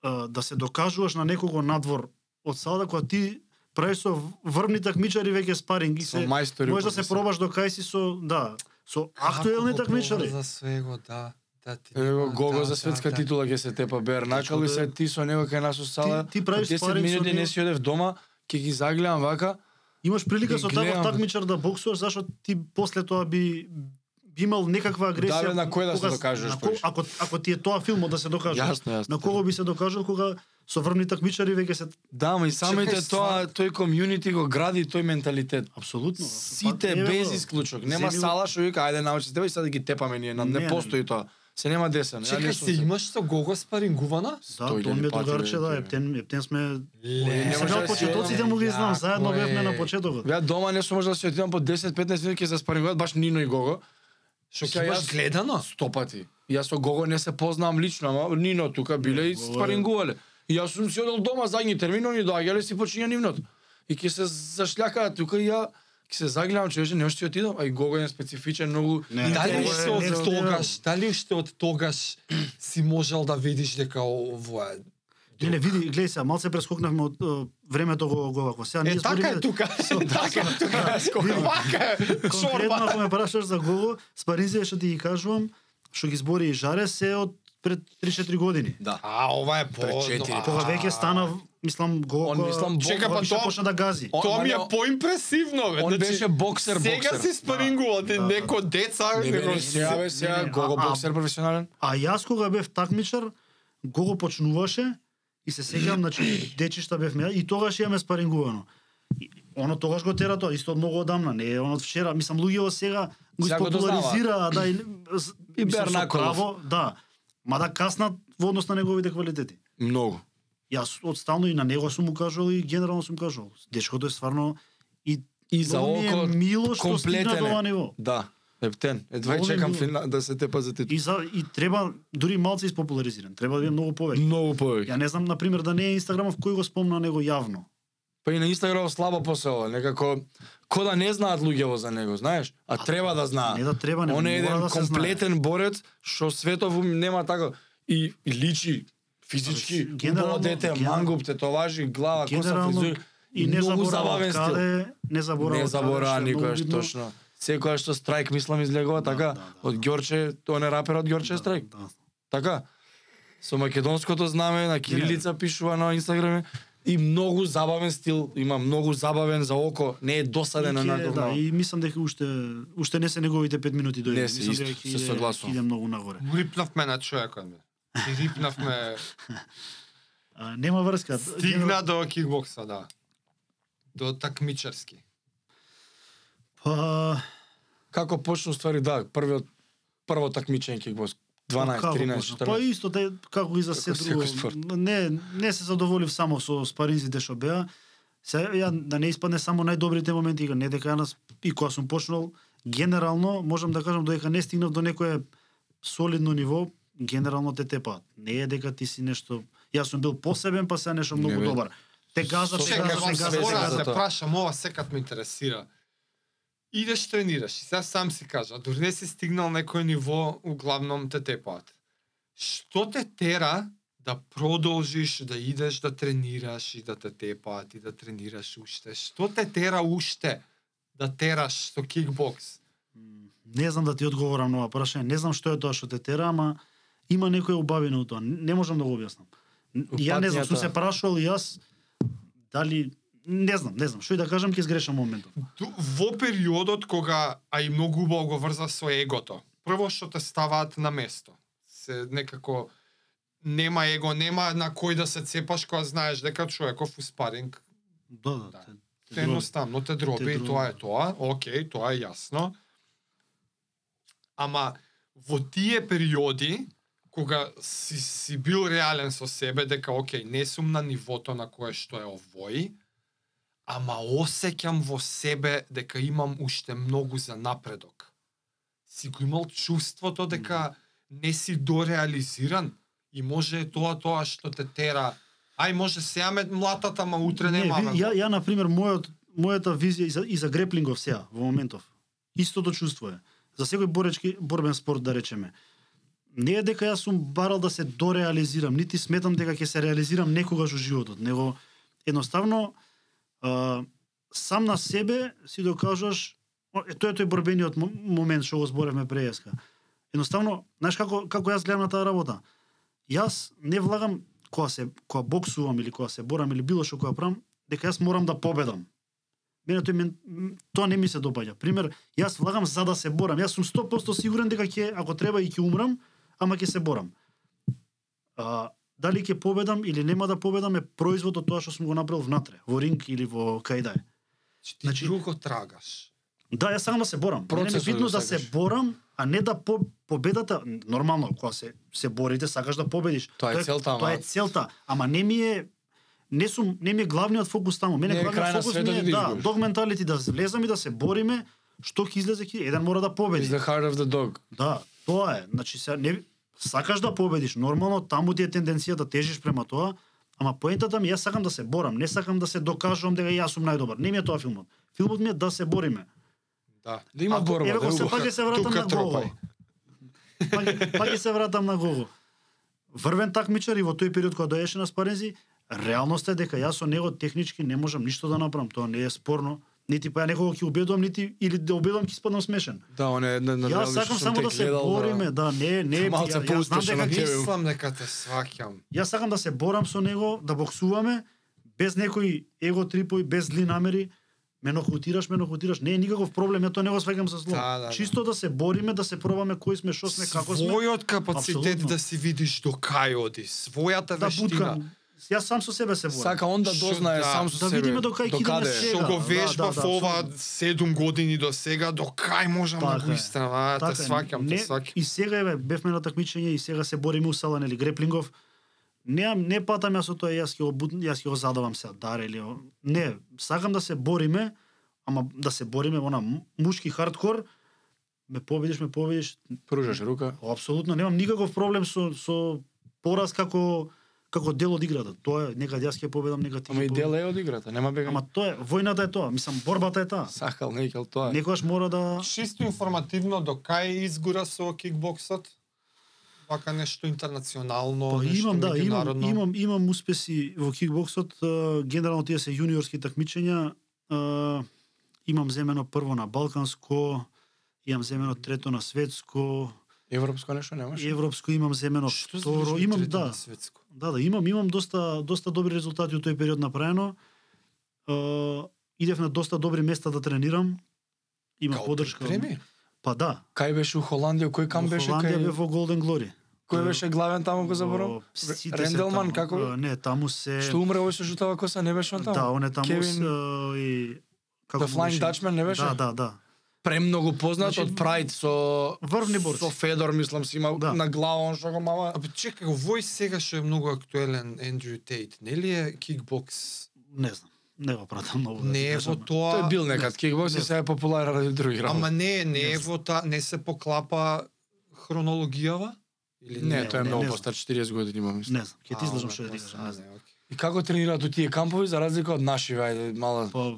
Speaker 1: а, да се докажуваш на некого надвор од салата кога ти правиш со врвни такмичари веќе спаринг и
Speaker 2: Со
Speaker 1: се
Speaker 2: мајстори.
Speaker 1: можеш да се пробаш
Speaker 2: пробаш.
Speaker 1: до кај си со, да, со актуелни
Speaker 3: така,
Speaker 1: такмичари.
Speaker 3: За свего, да. Да ти.
Speaker 2: Его Гого
Speaker 1: да,
Speaker 2: за светска
Speaker 1: така
Speaker 2: титула ќе се тепа Бернак,
Speaker 1: Точно,
Speaker 2: али
Speaker 1: да.
Speaker 2: се ти со него кај нас у сала.
Speaker 1: Ти- ти правиш
Speaker 2: 10
Speaker 1: спаринг со
Speaker 2: минути
Speaker 1: него.
Speaker 2: не си одев дома, ќе ги загледам вака,
Speaker 1: Имаш прилика
Speaker 2: Ги
Speaker 1: со таков
Speaker 2: гледам.
Speaker 1: такмичар да боксуваш, зашто ти после тоа би би имал некаква агресија.
Speaker 2: Да, бе, на кој да се
Speaker 1: кога-
Speaker 2: докажеш,
Speaker 1: на кој-
Speaker 2: првиш?
Speaker 1: ако, ако ти е тоа филмот да се докажеш.
Speaker 2: Јасно, јасно.
Speaker 1: На кого би се докажал кога со врвни такмичари веќе се...
Speaker 2: Да, ма и самите
Speaker 3: Чекај,
Speaker 2: тоа, тој комјунити го гради тој
Speaker 1: Па,
Speaker 2: менталитет.
Speaker 1: Апсолутно.
Speaker 2: Сите
Speaker 1: Па, не, бе,
Speaker 2: без
Speaker 1: бе.
Speaker 2: исклучок. Нема
Speaker 1: Земи го-
Speaker 2: сала што вика, ајде научи тебе и сега да ги тепаме ние, нам
Speaker 1: Не,
Speaker 2: не
Speaker 1: не.
Speaker 2: постои тоа. Се нема десен. ја
Speaker 3: Чекај
Speaker 2: не
Speaker 3: се,
Speaker 2: сум
Speaker 3: имаш со Гого спарингувана?
Speaker 1: Да,
Speaker 2: Сто илјади
Speaker 1: тоа ми е
Speaker 2: пати,
Speaker 1: другарче,
Speaker 2: бе,
Speaker 1: да,
Speaker 2: тоа е.
Speaker 1: ептен, ептен сме...
Speaker 2: Не
Speaker 1: Сега
Speaker 2: може да
Speaker 1: од
Speaker 2: си
Speaker 1: почетоците му ги знам, заедно бевме на почетокот.
Speaker 2: Ја дома не сум може да се отидам по 10-15 минути ќе заспарингуват баш Нино и Гого.
Speaker 3: Што
Speaker 2: Сега
Speaker 3: ќе имаш
Speaker 2: јас-
Speaker 3: гледано?
Speaker 2: Сто пати. Јас со Гого не се познавам лично, ама Нино тука биле и
Speaker 1: Гого е-
Speaker 2: спарингувале. И јас сум си одел дома задни термин, они доаѓале си почиња нивното. И ќе се зашлјакаат тука и ја ќе се загледам човече, не што ќе отидам, а и Гого е специфичен многу.
Speaker 1: Не,
Speaker 3: Дали
Speaker 1: Гого е
Speaker 3: уште
Speaker 1: не
Speaker 3: од
Speaker 1: разбирам.
Speaker 3: тогаш, дали уште од тогаш си можел да видиш дека ова е
Speaker 1: Леле, види, гледај сега, малце прескокнавме од е, времето го го вако. Сега
Speaker 3: Е, така е
Speaker 1: збориме- [LAUGHS]
Speaker 3: тука. Е, така е тука. Вака е.
Speaker 1: Конкретно
Speaker 3: Шорба.
Speaker 1: ако ме прашаш за Гого, спаринзија што ти ги кажувам, што ги збори и Жаре се од пред 3-4 години.
Speaker 2: Да.
Speaker 3: А, ова е по...
Speaker 2: Пред четири.
Speaker 3: а,
Speaker 1: Кога веќе стана, мислам, го...
Speaker 2: Он, мислам,
Speaker 1: чека,
Speaker 3: бомба
Speaker 1: па
Speaker 3: беше
Speaker 1: тоа
Speaker 3: почна
Speaker 1: почна да гази.
Speaker 2: О,
Speaker 3: Тоа ми е
Speaker 2: Марио,
Speaker 3: поимпресивно, бе.
Speaker 2: Он
Speaker 3: Значи,
Speaker 2: беше боксер,
Speaker 3: Сега
Speaker 2: боксер.
Speaker 3: си спарингувал, ти
Speaker 1: Да, да,
Speaker 3: неко деца,
Speaker 2: Не, не,
Speaker 3: неко...
Speaker 2: не, сега, бе,
Speaker 1: Не,
Speaker 2: сега,
Speaker 1: не, не,
Speaker 2: Гого
Speaker 1: а- а-
Speaker 2: боксер професионален.
Speaker 1: А јас кога бев такмичар, Гого почнуваше и се сеќавам, значи, дечишта бев ја, и тогаш имаме спарингувано. И Оно тогаш го тера тоа, исто од многу одамна, не е он од вчера. Мислам, луѓето сега го
Speaker 2: Сега го
Speaker 1: испопуларизираа, да, и, с-
Speaker 2: И
Speaker 1: мислам, со
Speaker 2: Бернаколов.
Speaker 1: право, Да, мада каснат во однос на неговите квалитети.
Speaker 2: Многу.
Speaker 1: Јас одстално и на него сум му кажувал и генерално сум кажувал. Дечкото е стварно и
Speaker 2: И за
Speaker 1: многу ми е
Speaker 2: око
Speaker 1: мило што
Speaker 2: комплетен
Speaker 1: стигна
Speaker 2: е.
Speaker 1: до ова ниво.
Speaker 2: Да, Ептен, едва
Speaker 1: Многу ми
Speaker 2: чекам
Speaker 1: било.
Speaker 2: фина, да се тепа за титул.
Speaker 1: И за и треба дури малце испопуларизиран, треба да биде многу повеќе.
Speaker 2: Многу повеќе.
Speaker 1: Ја не знам на пример да не е инстаграмов кој го спомна него јавно.
Speaker 2: Па и на Инстаграм слабо после ова, некако ко да не знаат луѓево за него, знаеш? А, треба да знаат.
Speaker 1: Не да треба, не
Speaker 2: Он е
Speaker 1: мора
Speaker 2: еден
Speaker 1: да се
Speaker 2: комплетен борец што светов нема така и, и личи физички,
Speaker 1: Абе, генерално-
Speaker 2: убаво дете,
Speaker 1: ген-
Speaker 2: мангуп, тетоважи, глава, коса,
Speaker 1: Генерално,
Speaker 2: фризур.
Speaker 1: знае. И не
Speaker 2: многу
Speaker 1: заборава
Speaker 2: забавен стил.
Speaker 1: каде, не заборава.
Speaker 2: не забора
Speaker 1: каде, што е
Speaker 2: никој
Speaker 1: многу
Speaker 2: што
Speaker 1: битно.
Speaker 2: точно. Секоја што страйк мислам излегува
Speaker 1: Да,
Speaker 2: така
Speaker 1: да, да,
Speaker 2: од Ѓорче, он е рапер од Ѓорче
Speaker 1: Да,
Speaker 2: страйк.
Speaker 1: да.
Speaker 2: Така. Со македонското знаме на кирилица пишува на Инстаграме и многу забавен стил, има многу забавен за око, не е досаден на
Speaker 1: И ќе-
Speaker 2: наков.
Speaker 1: да, и мислам дека уште уште не се неговите 5 минути дојде.
Speaker 2: Не се,
Speaker 1: мислам
Speaker 2: исто,
Speaker 1: дека ќе
Speaker 2: се
Speaker 1: иде- ќе
Speaker 2: согласувам.
Speaker 1: Иде многу нагоре.
Speaker 3: Рипнавме на човекот, бе. Ти рипнавме...
Speaker 1: А, нема врска.
Speaker 3: Стигна до кикбокса, да. До такмичарски.
Speaker 1: Па,
Speaker 2: Како почна ствари, да, првиот прво такмичење кикбокс 12,
Speaker 1: како
Speaker 2: 13,
Speaker 1: можно? Па
Speaker 2: 14.
Speaker 1: исто те како и за се
Speaker 2: Како секој
Speaker 1: друго.
Speaker 2: спорт.
Speaker 1: Не не се задоволив само со спаринзите што беа. Се ја да не испадне само најдобрите моменти, не дека јас и кога сум почнал, генерално можам да кажам додека не стигнав до некое солидно ниво, генерално те тепаат. Не е дека ти си нешто Јас сум бил посебен, па сега нешто
Speaker 2: Не,
Speaker 1: многу
Speaker 2: бе.
Speaker 1: добар. Те газа, те
Speaker 2: Чекай,
Speaker 3: Чека,
Speaker 1: газа,
Speaker 2: вам
Speaker 1: те
Speaker 3: сам
Speaker 2: се
Speaker 1: газа, те
Speaker 3: се
Speaker 2: сега
Speaker 3: мора
Speaker 1: газа.
Speaker 2: за
Speaker 3: да те
Speaker 2: тоа.
Speaker 3: прашам, ова секад ме интересира. Идеш тренираш и сега сам си кажа, а дори не си стигнал некој ниво, углавном те тепаат. Што те тера да продолжиш, да идеш да тренираш и да те тепаат и да тренираш уште? Што те тера уште да тераш со кикбокс?
Speaker 1: Не знам да ти одговорам на ова прашање. Не знам што е тоа што те тера, ама има некоја убавина у тоа. Не можам да го објаснам. Н- Ја не знам, сум се
Speaker 2: Упатњата.
Speaker 1: прашувал и јас дали не знам, не знам, што и да кажам ќе сгрешам моментот.
Speaker 3: Ду- во периодот кога, а и многу убаво го врза со егото, прво што те ставаат на место, се некако нема его, нема на кој да се цепаш кога знаеш дека човеков успаринг
Speaker 1: Да, да.
Speaker 3: Да.
Speaker 1: те- те
Speaker 3: те
Speaker 1: дроби.
Speaker 3: едноставно те дроби,
Speaker 1: Те
Speaker 3: и
Speaker 1: дроби.
Speaker 3: тоа е тоа, океј, тоа е јасно. Ама во тие периоди, кога си, си бил реален со себе дека океј, не сум на нивото на кое што е овој, ама осеќам во себе дека имам уште многу за напредок. Си го имал чувството дека не си дореализиран и може е тоа тоа што те тера. Ај може сега ме млатат, ама утре
Speaker 1: Не,
Speaker 3: нема. да
Speaker 1: ви-
Speaker 3: ме
Speaker 1: ја, ја, на пример, мојот, мојата визија и за, и за греплингов сега, во моментов, истото чувство е. За секој боречки, борбен спорт, да речеме. Не е дека јас сум барал да се дореализирам, нити сметам дека ќе се реализирам некогаш во животот, него едноставно а, сам на себе си докажуваш о, е, тоа е тој борбениот мо- момент што го зборевме преска. Едноставно, знаеш како како јас гледам на таа работа? Јас не влагам кога се кога боксувам или кога се борам или било што кога правам, дека јас морам да победам. Мене тој мен, м, тоа не ми се допаѓа. Пример, јас влагам за да се борам. Јас сум 100% сигурен дека ќе ако треба и ќе умрам, ама ќе се борам. А, дали ќе победам или нема да победам е производ од тоа што сум го направил внатре, во ринг или во кај да е.
Speaker 3: Ти
Speaker 1: Значи-
Speaker 3: значи, друго трагаш.
Speaker 1: Да, јас сакам да се борам. Мене ми е
Speaker 2: Процесот
Speaker 1: битно
Speaker 2: го
Speaker 1: да се
Speaker 2: сакаш.
Speaker 1: борам, а не да по, победата, нормално, кога се се борите, сакаш да победиш.
Speaker 2: Тоа е целта, ама-
Speaker 1: Тоа е целта, ама не ми е не сум не ми е главниот фокус таму. Мене
Speaker 2: Не е крај на
Speaker 1: главниот фокус
Speaker 2: светот
Speaker 1: ми е
Speaker 2: и да
Speaker 1: да,
Speaker 2: изгубиш.
Speaker 1: дог менталити да влезам и да се бориме, што ќе излезе ќе еден мора да победи.
Speaker 2: Is the heart of the dog.
Speaker 1: Да, тоа е. Значи се не сакаш да победиш, нормално таму ти е тенденцијата да тежиш према тоа, ама поентата ми е, јас сакам да се борам, не сакам да се докажувам дека јас сум најдобар. Не ми е тоа филмот. Филмот ми е да се бориме.
Speaker 3: Да.
Speaker 2: Да има
Speaker 1: Ако-
Speaker 2: борба,
Speaker 1: еве
Speaker 2: да
Speaker 1: го се
Speaker 2: има.
Speaker 1: пак ќе се вратам
Speaker 3: Тука
Speaker 1: на Гого.
Speaker 3: тропај.
Speaker 1: Пак ќе- Пак ќе се вратам на Гого. Врвен такмичар и во тој период кога дојдеше на спарензи, реалноста е дека јас со него технички не можам ништо да направам, тоа не е спорно. Нити па ја некого ќе убедувам, нити или да убедувам ќе испадам смешен.
Speaker 2: Да, он е една на
Speaker 1: Јас сакам само да се бориме, да, не, не,
Speaker 2: Малце
Speaker 1: ја, ја знам
Speaker 2: поуспешен
Speaker 1: дека
Speaker 2: од
Speaker 1: ќе
Speaker 2: тебе.
Speaker 3: Мислам дека те сваќам.
Speaker 1: Јас сакам да се борам со него, да боксуваме, без некои его трипови, без зли намери, ме нокаутираш, ме нокаутираш, не е никаков проблем, ја тоа не го сваќам со зло.
Speaker 3: Да, да, да.
Speaker 1: Чисто да се бориме, да се пробаме кои сме, што сме, како сме,
Speaker 3: Својот капацитет
Speaker 1: Апсолутно.
Speaker 3: да си видиш до кај оди, својата
Speaker 1: да
Speaker 3: вештина.
Speaker 1: буткам. Јас сам со себе се борам.
Speaker 2: Сака он да
Speaker 3: Шо-
Speaker 2: дознае
Speaker 3: да.
Speaker 2: сам со
Speaker 1: Да
Speaker 2: себе.
Speaker 1: видиме до кај кидаме
Speaker 2: каде е.
Speaker 1: се.
Speaker 3: Што го
Speaker 1: Да, да,
Speaker 3: вежбав
Speaker 1: да, да,
Speaker 3: ова 7 години до сега, до кај можам да
Speaker 1: Така
Speaker 3: го
Speaker 1: е.
Speaker 3: истрам, а,
Speaker 1: Така е,
Speaker 3: те сваќам,
Speaker 1: не-
Speaker 3: те сваќам.
Speaker 1: И сега еве бевме на такмичење и сега се бориме у салан или греплингов. Не, не патам јас со тоа, јас ќе го буд, јас ќе го задавам се дар или о- не, сакам да се бориме, ама да се бориме она му- мушки хардкор. Ме победиш, ме победиш.
Speaker 2: Пружаш рука.
Speaker 1: Апсолутно немам никаков проблем со со пораз како како дел од играта. Тоа е некад јас ќе победам, некад ти
Speaker 2: Ама
Speaker 1: ќе
Speaker 2: и дел
Speaker 1: победам.
Speaker 2: е од играта, нема бегање.
Speaker 1: Ама тоа е, војната е тоа, мислам борбата е таа.
Speaker 2: Сакал некел тоа. е.
Speaker 1: Некогаш мора да
Speaker 3: Чисто информативно до кај изгора со кикбоксот? Вака нешто интернационално,
Speaker 1: Па
Speaker 3: нешто
Speaker 1: имам, да, имам,
Speaker 3: меѓународно.
Speaker 1: имам, имам успеси во кикбоксот, а, генерално тие се јуниорски такмичења, а, имам земено прво на Балканско, имам земено трето на светско,
Speaker 2: Европско нешто немаш.
Speaker 1: европско имам земено
Speaker 3: Што
Speaker 1: второ,
Speaker 3: значи
Speaker 1: имам
Speaker 3: трето
Speaker 1: да,
Speaker 3: на светско?
Speaker 1: да, да, имам, имам доста, доста добри резултати у тој период направено. А, идев на доста добри места да тренирам. Има
Speaker 3: Као
Speaker 1: поддршка.
Speaker 3: припреми?
Speaker 1: Па да,
Speaker 2: Кај беше у Холандија, кој кам
Speaker 1: во
Speaker 2: беше
Speaker 1: Холандија бев
Speaker 2: кај
Speaker 1: во Golden Glory.
Speaker 2: Кој беше главен таму го заборав?
Speaker 1: Во- сите се
Speaker 2: Ренделман
Speaker 1: таму.
Speaker 2: како?
Speaker 1: Е, Не, таму се...
Speaker 2: Што умре овој со жутава коса, не беше он таму?
Speaker 1: Да, он е таму
Speaker 2: Кевин-
Speaker 1: с, е, и...
Speaker 2: The
Speaker 1: му
Speaker 2: Flying Dutchman не беше?
Speaker 1: Да, да, да.
Speaker 2: премногу познат
Speaker 1: Значи,
Speaker 2: од Pride со
Speaker 1: врвни борци.
Speaker 2: Со Федор мислам си има
Speaker 1: Да.
Speaker 2: на глава он што го мама.
Speaker 3: Абе чекај, овој сега што е многу актуелен Ендрю Тейт, нели е кикбокс?
Speaker 1: Не знам. Не го пратам многу. да ти
Speaker 3: Не е
Speaker 1: кажам.
Speaker 3: во тоа.
Speaker 2: Тој бил некад кикбокс и
Speaker 1: не.
Speaker 2: сега е популарен ради други
Speaker 3: Ама
Speaker 2: работи.
Speaker 3: не, не е
Speaker 1: Не
Speaker 3: во та, не се поклапа хронологијава? Или
Speaker 2: Не,
Speaker 1: не,
Speaker 2: тој е
Speaker 1: не,
Speaker 2: многу
Speaker 1: не
Speaker 2: постар 40 години има мислам.
Speaker 1: Не знам. Ке ти излажам што да ти кажам. не знам.
Speaker 2: И како тренираат у тие кампови за разлика од наши, ајде мала
Speaker 1: Па,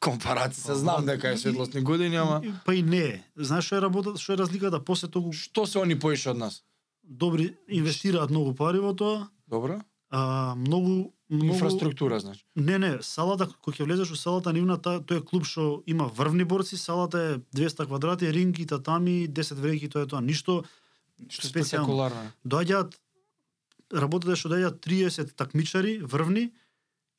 Speaker 2: компарација,
Speaker 1: Па,
Speaker 2: знам
Speaker 1: ма,
Speaker 2: дека е
Speaker 1: и-
Speaker 2: светлосни години, ама
Speaker 1: и- па и не е. Знаеш што е работа, што е разликата? После тоа
Speaker 2: што се они поише од нас?
Speaker 1: добри инвестираат многу пари во тоа,
Speaker 2: Добро?
Speaker 1: а, многу многу
Speaker 2: Инфраструктура, значи.
Speaker 1: Не, не, салата кога ќе влезеш во салата нивна та, тој е клуб што има врвни борци, салата е 200 квадрати, ринг и татами, 10 вреќи, тоа е тоа. Ништо
Speaker 2: Што е
Speaker 1: специјално.
Speaker 2: спектакуларно. е.
Speaker 1: доаѓаат работата е што доаѓаат 30 такмичари врвни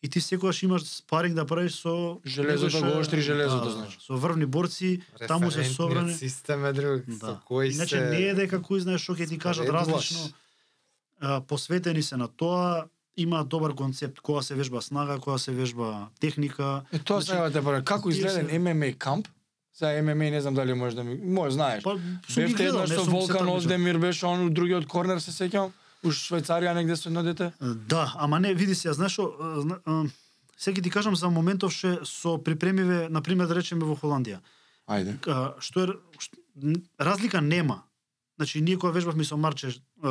Speaker 1: и ти секогаш имаш спаринг да правиш со
Speaker 2: Железото
Speaker 1: некој што-
Speaker 2: да го оштри железото, значи.
Speaker 1: Со врвни борци, таму се собрани.
Speaker 3: Систем е друг, со
Speaker 1: Да.
Speaker 3: кој
Speaker 1: Иначе
Speaker 3: се...
Speaker 1: не е дека кој знаеш што ќе ти кажат
Speaker 3: споредуваш.
Speaker 1: различно. А, посветени се на тоа, има добар концепт која се вежба снага, која се вежба техника.
Speaker 2: Е тоа
Speaker 1: Значи,
Speaker 2: сега те прашам, како
Speaker 1: тие
Speaker 2: изгледен
Speaker 1: се-
Speaker 2: ММА камп? За ММА не знам дали можеш да ми, може знаеш.
Speaker 1: Па сум ги
Speaker 2: Бевте
Speaker 1: гледал,
Speaker 2: еднаш
Speaker 1: не
Speaker 2: со
Speaker 1: сум се
Speaker 2: Волкан
Speaker 1: такмичил.
Speaker 2: Оздемир беше он другиот корнер се сеќавам. Уж Швајцарија негде со едно дете.
Speaker 1: Да, ама не, види се, знаеш што, а, зна- а, сега ќе ти кажам за моментов ше со припремиве, на пример да речеме во Холандија.
Speaker 2: Ајде.
Speaker 1: а, што е што, н- разлика нема. Значи ние кога вежбавме со Марче а,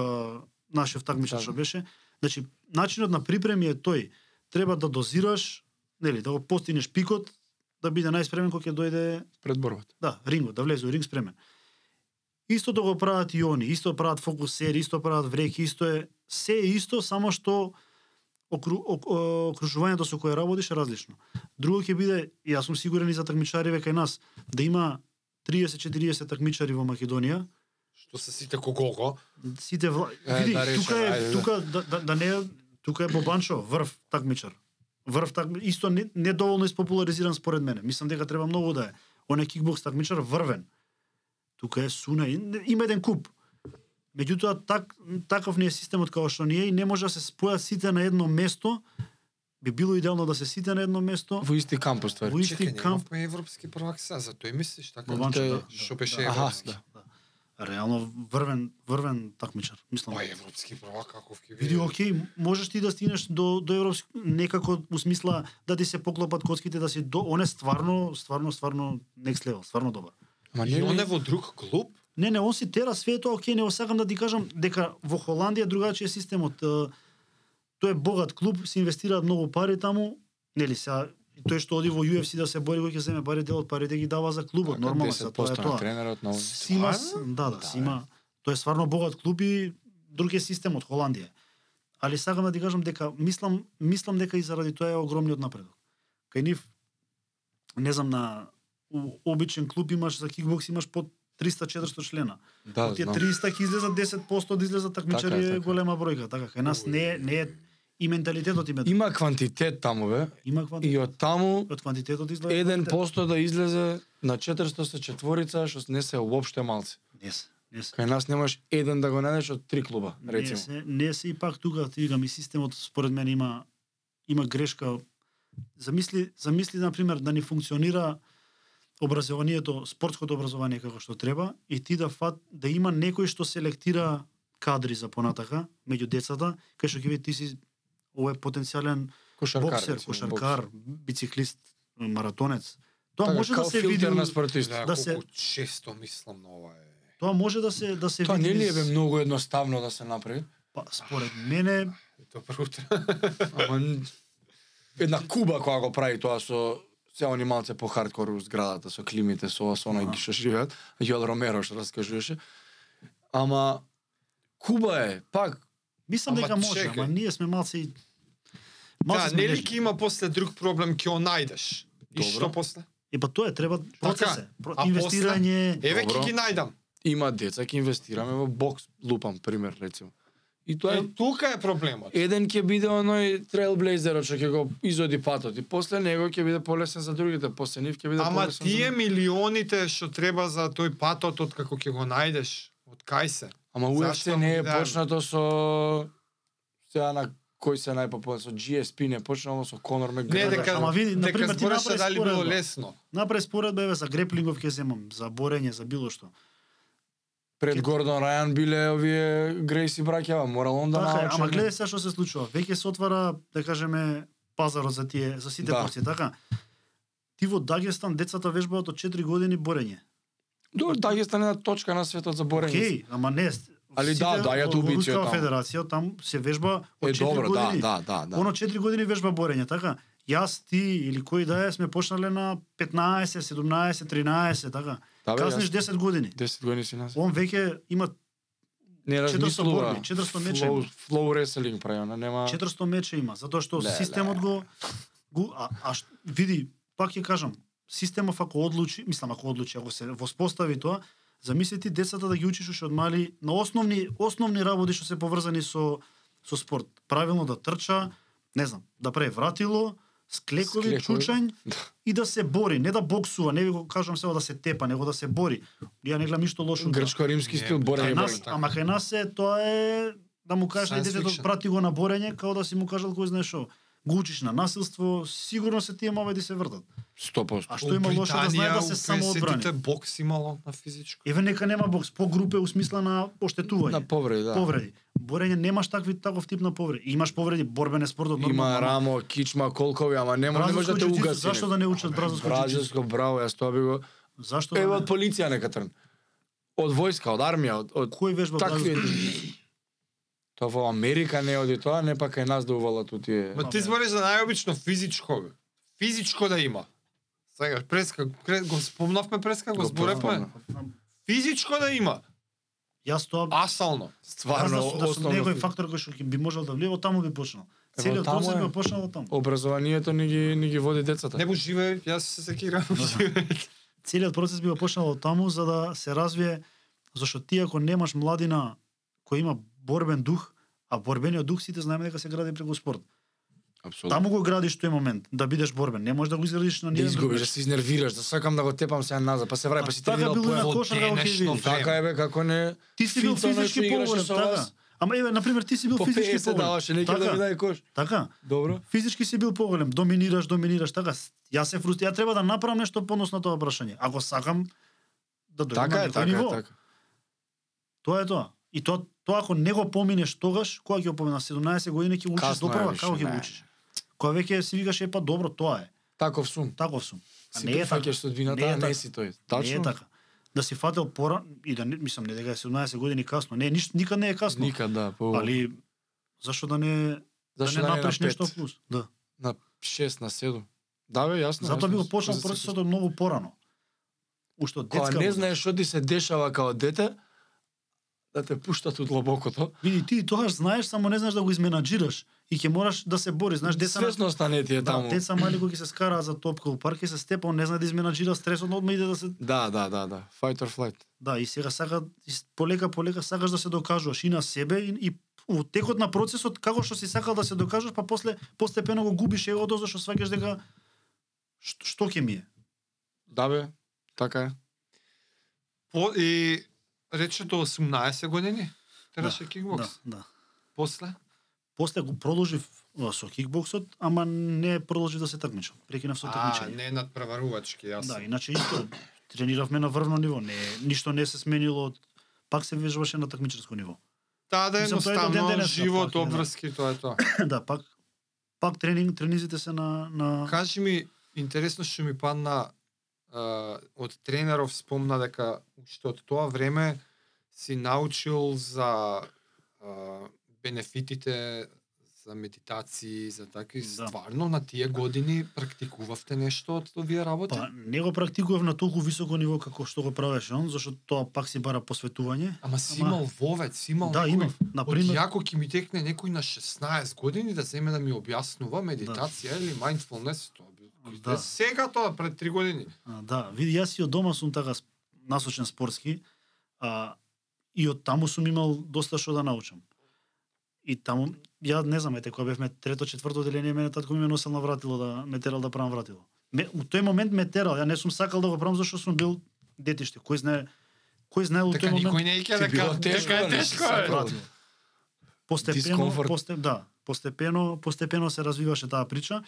Speaker 1: нашиот такмичар што беше, значи начинот на припреми е тој треба да дозираш, нели, да го постигнеш пикот да биде најспремен кога ќе дојде,
Speaker 2: Пред борбата.
Speaker 1: да, рингот, да влезе у ринг спремен. Истото да го прават и они, исто да прават фокусери, исто да прават вреки, исто е се е исто, само што окру, ок, о- окружувањето со кое работиш е различно. Друго ќе биде, и јас сум сигурен и за такмичариве кај нас, да има 30-40 такмичари во Македонија,
Speaker 3: Што се сите коколко.
Speaker 1: сите вла...
Speaker 2: Е,
Speaker 1: види,
Speaker 2: да речем,
Speaker 1: тука е
Speaker 2: ајде, да.
Speaker 1: тука да, да, да не е- тука е Бобанчо, врв такмичар. Врв так исто не, не доволно испопуларизиран според мене. Мислам дека треба многу да е. Он е кикбокс такмичар врвен. Тука е Суна и не- има еден куп. Меѓутоа так таков не е системот како што ние и не може да се спојат сите на едно место. Би било идеално да се сите на едно место.
Speaker 2: Во исти камп уствари.
Speaker 1: Во исти
Speaker 3: Чекај,
Speaker 1: камп
Speaker 3: немавме европски првак сега, за тој мислиш така?
Speaker 1: Бобанчо,
Speaker 2: тој-
Speaker 1: да.
Speaker 3: Што
Speaker 1: да,
Speaker 3: беше
Speaker 1: да.
Speaker 2: Аха,
Speaker 3: европски?
Speaker 2: да.
Speaker 1: Реално врвен врвен такмичар, мислам.
Speaker 3: Па европски првак каков ќе биде?
Speaker 1: Види, окей, можеш ти да стигнеш до до европски некако у смисла да ти се поклопат коцките да си до он е стварно, стварно, стварно next level, стварно добар.
Speaker 2: Ма
Speaker 3: И
Speaker 2: не
Speaker 3: он е
Speaker 2: ли?
Speaker 3: во друг клуб?
Speaker 1: Не, не, он си тера све е тоа, окей, не осакам да ти кажам дека во Холандија другачи е системот. Е, Тој е богат клуб, се инвестираат многу пари таму, нели сега тој што оди во UFC да се бори, кој ќе земе пари дел од парите ги дава за клубот, нормално се тоа е
Speaker 2: 10% така на
Speaker 1: тоа.
Speaker 2: тренерот на
Speaker 1: Си има, с- да, да,
Speaker 2: Да,
Speaker 1: си има. Тоа е стварно богат клуб и друг е систем од Холандија. Али сакам да ти кажам дека мислам мислам дека и заради тоа е огромниот напредок. Кај нив не знам на у- обичен клуб имаш за кикбокс имаш под 300-400 члена.
Speaker 2: Да,
Speaker 1: Од тие
Speaker 2: знам.
Speaker 1: 300 ќе излезат 10% од излезат такмичари
Speaker 2: Така е, така
Speaker 1: е
Speaker 2: е.
Speaker 1: голема бројка, така кај нас не е не е и менталитетот им е. таков.
Speaker 2: Има квантитет таму бе
Speaker 1: Има
Speaker 2: и
Speaker 1: квантитет.
Speaker 2: од таму
Speaker 1: Од квантитетот излезат.
Speaker 2: 1% да излезе на 400 се четворица што не се воопште малци.
Speaker 1: Не се, не се.
Speaker 2: Кај нас немаш еден да го најдеш од три клуба,
Speaker 1: Не
Speaker 2: рецимо.
Speaker 1: се, не се и пак тука ти викам и системот според мене има има грешка. Замисли, замисли на пример да не функционира образованието, спортското образование како што треба и ти да фат да има некој што селектира кадри за понатака меѓу децата, кај што ќе види ти си овој потенцијален
Speaker 2: Кошаркар.
Speaker 1: боксер,
Speaker 2: рецимо,
Speaker 1: кошаркар, бициклист, маратонец. Тоа
Speaker 2: Така,
Speaker 1: може да
Speaker 2: као
Speaker 1: се
Speaker 2: филтер
Speaker 1: види. у-
Speaker 2: на спортист.
Speaker 3: Да,
Speaker 1: да се-
Speaker 3: колку често мислам на ова е.
Speaker 1: Тоа може да се да се
Speaker 2: Тоа не
Speaker 1: види.
Speaker 2: ли е
Speaker 1: из-
Speaker 2: бе многу едноставно да се направи?
Speaker 1: Па, според мене
Speaker 3: Добро утро.
Speaker 2: Ама н- една Куба која го прави тоа со се они малце по хардкор у зградата со климите, со ова, со оној
Speaker 1: Аха.
Speaker 2: што живеат, Јол Ромеро што раскажуваше. Ама Куба е пак
Speaker 1: Мислам
Speaker 3: Ама
Speaker 1: дека може,
Speaker 3: чекај.
Speaker 1: ама ние сме малци и- малци
Speaker 2: Така,
Speaker 3: Да,
Speaker 1: сме
Speaker 3: не ли
Speaker 1: нежни.
Speaker 3: ќе има после друг проблем ќе го најдеш? И
Speaker 2: Добро.
Speaker 3: што после?
Speaker 1: Е па тоа е треба
Speaker 2: Така,
Speaker 1: процес, е. Про-
Speaker 3: а после?
Speaker 1: инвестирање.
Speaker 3: Еве
Speaker 2: Добро.
Speaker 3: ќе ги најдам.
Speaker 2: има деца ќе инвестираме во бокс, лупам пример рецимо. И тоа
Speaker 3: Е,
Speaker 2: е
Speaker 3: тука е проблемот.
Speaker 2: еден ќе биде оној трейлблейзерот што ќе го изоди патот и после него ќе биде полесен за другите, после нив
Speaker 1: да,
Speaker 2: ќе биде
Speaker 3: Ама
Speaker 2: полесен. за
Speaker 3: тие
Speaker 2: нив.
Speaker 3: милионите што треба за тој патот од како ќе го најдеш, од кај се?
Speaker 2: Ама UFC
Speaker 3: Зашто
Speaker 2: не
Speaker 1: Да.
Speaker 2: е
Speaker 3: му ги дадам?
Speaker 2: почнато со... Сега на кој се најпопуларен? Со GSP не е почнало, со Конор
Speaker 3: Не,
Speaker 2: Мегрегор.
Speaker 3: дека,
Speaker 1: Ама види,
Speaker 3: дека
Speaker 1: например, ти
Speaker 3: збореше
Speaker 1: направи
Speaker 3: дали било
Speaker 1: споредба.
Speaker 3: лесно.
Speaker 1: Напред споредба еве за греплингов ќе земам, за борење, за било што.
Speaker 2: Пред Гордон Рајан биле овие Грейси браќава, морало он да
Speaker 1: Така е,
Speaker 2: научи.
Speaker 1: ама гледај сега што се случува. Веќе се отвара, да кажеме, пазарот за тие, за сите
Speaker 2: Да.
Speaker 1: борци, така? Ти во Дагестан децата вежбаат од 4 години борење.
Speaker 2: До Дагестан е на точка на светот за борење.
Speaker 1: Океј, ама не.
Speaker 2: Али
Speaker 1: сите
Speaker 2: да, да, ја
Speaker 1: во
Speaker 2: ту бици е
Speaker 1: Рускава
Speaker 2: таму.
Speaker 1: федерација там се вежба од
Speaker 2: Е
Speaker 1: 4
Speaker 2: добро, да,
Speaker 1: години.
Speaker 2: да, да, да.
Speaker 1: Оно 4 години вежба борење, така? Јас, ти или кој да е, сме почнале на 15, 17, 13, така?
Speaker 2: да, бе,
Speaker 1: Каснеш 10 години.
Speaker 2: 10 години си нас.
Speaker 1: Он веќе има
Speaker 2: Не
Speaker 1: 400
Speaker 2: размислува.
Speaker 1: борби, 400 меча
Speaker 2: Флоу-
Speaker 1: има.
Speaker 2: Флоу реселинг прави, она нема...
Speaker 1: 400 меча има, затоа што
Speaker 2: Леле.
Speaker 1: системот го го а, а ш- види, пак ќе кажам, системов ако одлучи, мислам ако одлучи, ако се воспостави тоа, замисли ти децата да ги учиш уште од мали на основни основни работи што се поврзани со со спорт. Правилно да трча, не знам, да прави вратило, склекови,
Speaker 2: Склекови.
Speaker 1: чучањ и да се бори, не да боксува, не ви го кажам сега да се тепа, него да се бори. Ја не гледам ништо лошо. у тоа.
Speaker 2: Грчко-римски
Speaker 3: Не,
Speaker 2: стил
Speaker 3: бе,
Speaker 1: Кај
Speaker 2: борење.
Speaker 3: Така,
Speaker 1: нас,
Speaker 2: борење.
Speaker 3: така.
Speaker 1: ама кај нас е тоа е да му кажеш на
Speaker 3: Science
Speaker 1: детето
Speaker 3: fiction.
Speaker 1: прати го на борење како да си му кажал кој знае што. Го учиш на насилство, сигурно се тие маведи се вртат.
Speaker 2: 100%.
Speaker 1: А што има лошо да знае да се
Speaker 3: Британија
Speaker 1: самоодбрани?
Speaker 3: у 50-тите бокс имало на физичко.
Speaker 1: Еве нека нема бокс по групе у смисла на
Speaker 2: На
Speaker 1: оштетување.
Speaker 2: повреди, да.
Speaker 1: Повреди. Борење немаш такви таков тип на повреди. Имаш повреди борбен е спортот нормално.
Speaker 2: Има рамо, кичма, колкови, ама не може не може да те
Speaker 1: Бразилско джиу-джитсу,
Speaker 2: угаси.
Speaker 1: Зашто да не учат бразилско джиу-джитсу?
Speaker 2: Бразилско, браво, јас тоа би го...
Speaker 1: Зашто? да
Speaker 2: Еве
Speaker 1: не?
Speaker 2: од полиција нека трн. Од војска, од армија, од, од...
Speaker 1: Кој вежба
Speaker 2: такви...
Speaker 1: бразилско?
Speaker 2: Тоа во Америка не оди тоа, не па кај нас да увалат у тие...
Speaker 3: Ма
Speaker 1: Ма,
Speaker 3: ти
Speaker 1: бе.
Speaker 3: збориш за најобично физичко. бе. Физичко да има. Сега, преска, кре- го спомнавме преска, го
Speaker 2: Го
Speaker 3: зборевме.
Speaker 2: спомнавме.
Speaker 3: Физичко да има.
Speaker 1: Јас тоа
Speaker 3: Асално.
Speaker 1: Аз
Speaker 2: Стварно,
Speaker 1: да, сум- да сум
Speaker 2: основно...
Speaker 1: некој фактор кој што ќе би можел да влива, таму би почнал.
Speaker 2: Ево,
Speaker 1: Целиот
Speaker 2: таму
Speaker 1: процес
Speaker 2: е.
Speaker 1: би почнал од таму.
Speaker 2: Образованието ни ги, ни ги води децата.
Speaker 3: Не го живе, јас се
Speaker 1: [LAUGHS]
Speaker 3: секирам.
Speaker 1: целиот процес би го почнал од таму за да се развие зашто ти ако немаш младина која има борбен дух, а борбениот дух сите знаеме дека се гради преку спорт.
Speaker 2: Апсолутно.
Speaker 1: Таму го градиш тој момент да бидеш борбен, не можеш да го изградиш на
Speaker 2: Да
Speaker 1: низ.
Speaker 2: изгубиш, да се изнервираш, да сакам да го тепам сега назад, па се врај, па си
Speaker 1: така
Speaker 2: тренирал
Speaker 1: било и на
Speaker 2: појавот.
Speaker 1: кошарка како ќе
Speaker 3: денешно
Speaker 1: видиш.
Speaker 3: време.
Speaker 2: Така е бе, како не...
Speaker 1: Ти си бил
Speaker 2: Финцо ноќе
Speaker 1: физички
Speaker 2: играше
Speaker 1: поволен,
Speaker 2: со
Speaker 1: така.
Speaker 2: вас.
Speaker 1: Ама еве на пример ти си бил
Speaker 2: По
Speaker 1: физички
Speaker 2: 50
Speaker 1: поволен.
Speaker 2: даваше, некој да
Speaker 1: Така,
Speaker 2: ми даде кош.
Speaker 1: Така.
Speaker 2: Добро.
Speaker 1: Физички си бил поголем, доминираш, доминираш, така. Јас се фрустрирам, ја треба да направам нешто поднос на тоа прашање. Ако сакам да дојдам
Speaker 2: Така
Speaker 1: на
Speaker 2: е,
Speaker 1: некој
Speaker 2: така е,
Speaker 1: ниво.
Speaker 2: така.
Speaker 1: Тоа е тоа. И тоа, тоа ако не го поминеш тогаш, кога ќе го поминеш 17 години ќе учиш
Speaker 2: Касно е
Speaker 1: доправа,
Speaker 2: више,
Speaker 1: како ќе
Speaker 2: не.
Speaker 1: го учиш. Кога веќе си викаш е па добро, тоа е.
Speaker 2: Таков сум.
Speaker 1: Таков сум. А
Speaker 2: Си
Speaker 1: не е така.
Speaker 2: прифаќаш судбината,
Speaker 1: Не е
Speaker 2: а не
Speaker 1: така.
Speaker 2: си тој.
Speaker 1: Не е
Speaker 2: Тачно?
Speaker 1: така. Да си фател пора и да не, мислам не дека е 17 години касно. Не, ниш, никад не е касно.
Speaker 2: Никад, да. По...
Speaker 1: Али зашо да не
Speaker 2: Зашто
Speaker 1: да не
Speaker 2: не на
Speaker 1: направиш нешто
Speaker 2: 5?
Speaker 1: плюс? Да.
Speaker 2: На 6, на 7. Да бе, јасно.
Speaker 1: Затоа
Speaker 2: јасно.
Speaker 1: би го почнал
Speaker 2: За секој
Speaker 1: процесот од многу порано. Ушто
Speaker 2: Кога
Speaker 1: детска.
Speaker 2: не
Speaker 1: возраст.
Speaker 2: знаеш што ти се дешава као дете, да те пуштат у длабокото.
Speaker 1: Види ти тогаш знаеш, само не знаеш да го изменаџираш и ќе мораш да се бориш, знаеш, деца на
Speaker 2: Свесноста не ти е
Speaker 1: Да,
Speaker 2: таму.
Speaker 1: деца мали кои ќе се скараат за топка у парк и се степа, он не знае да изменаџира стресот, одма иде да се
Speaker 2: Да, да, да, да. Fight or flight.
Speaker 1: Да, и сега сака и с- полека полека сакаш да се докажуваш и на себе и, и у текот на процесот како што си сакал да се докажеш, па после постепено го губиш егото зашто сваќаш дека што, што ќе ми е.
Speaker 2: Да бе, така е.
Speaker 3: По, и рече до 18 години тренираше кикбокс.
Speaker 1: Да, да.
Speaker 3: После
Speaker 1: После го продолжив а, со кикбоксот, ама не продолжив да се такмичам. Прекинав со
Speaker 3: А,
Speaker 1: такмичење.
Speaker 3: не надпреварувачки, јас.
Speaker 1: Да, иначе исто трениравме на врвно ниво, не ништо не се сменило од пак се вежбаше на такмичарско ниво.
Speaker 3: Таа да е
Speaker 1: Мислам, тоа е до ден
Speaker 3: едноставно
Speaker 1: денес
Speaker 3: живот,
Speaker 1: направено, да.
Speaker 3: обврски, тоа е тоа.
Speaker 1: да, пак пак тренинг, тренизите се на на
Speaker 3: Кажи ми, интересно што ми падна а, од тренеров спомна дека уште од тоа време си научил за а, бенефитите за медитации, за такви
Speaker 1: Да.
Speaker 3: стварно на тие години практикувавте нешто од овие работи?
Speaker 1: Па не го практикував на толку високо ниво како што го правеше он, зашто тоа пак си бара посветување.
Speaker 3: Ама си
Speaker 1: ама-
Speaker 3: имал вовет, си имал
Speaker 1: да,
Speaker 3: некој-
Speaker 1: имав. На
Speaker 3: Од
Speaker 1: пример,
Speaker 3: јако ќе ми текне некој на 16 години да земе да ми објаснува медитација или mindfulness тоа би.
Speaker 1: Да.
Speaker 3: Да. Сега тоа пред 3 години.
Speaker 1: а, да, види јас и од дома сум така сп- насочен спортски, а и од таму сум имал доста што да научам. И таму ја не знам ете кога бевме трето четврто деление мене татко ми ме носел на вратило да ме терал да правам вратило. Ме, у тој момент ме терал, ја не сум сакал да го правам зашто сум бил детиште, кој знае Кој знаел
Speaker 3: Така
Speaker 1: тој момент
Speaker 3: никој не ќе
Speaker 2: Ти било
Speaker 3: дека
Speaker 2: тешко,
Speaker 3: дека е
Speaker 2: да не
Speaker 3: тешко.
Speaker 2: се
Speaker 3: е.
Speaker 2: вратил.
Speaker 1: постепено,
Speaker 2: дискомфорт.
Speaker 1: постеп, да, постепено, постепено се развиваше таа прича.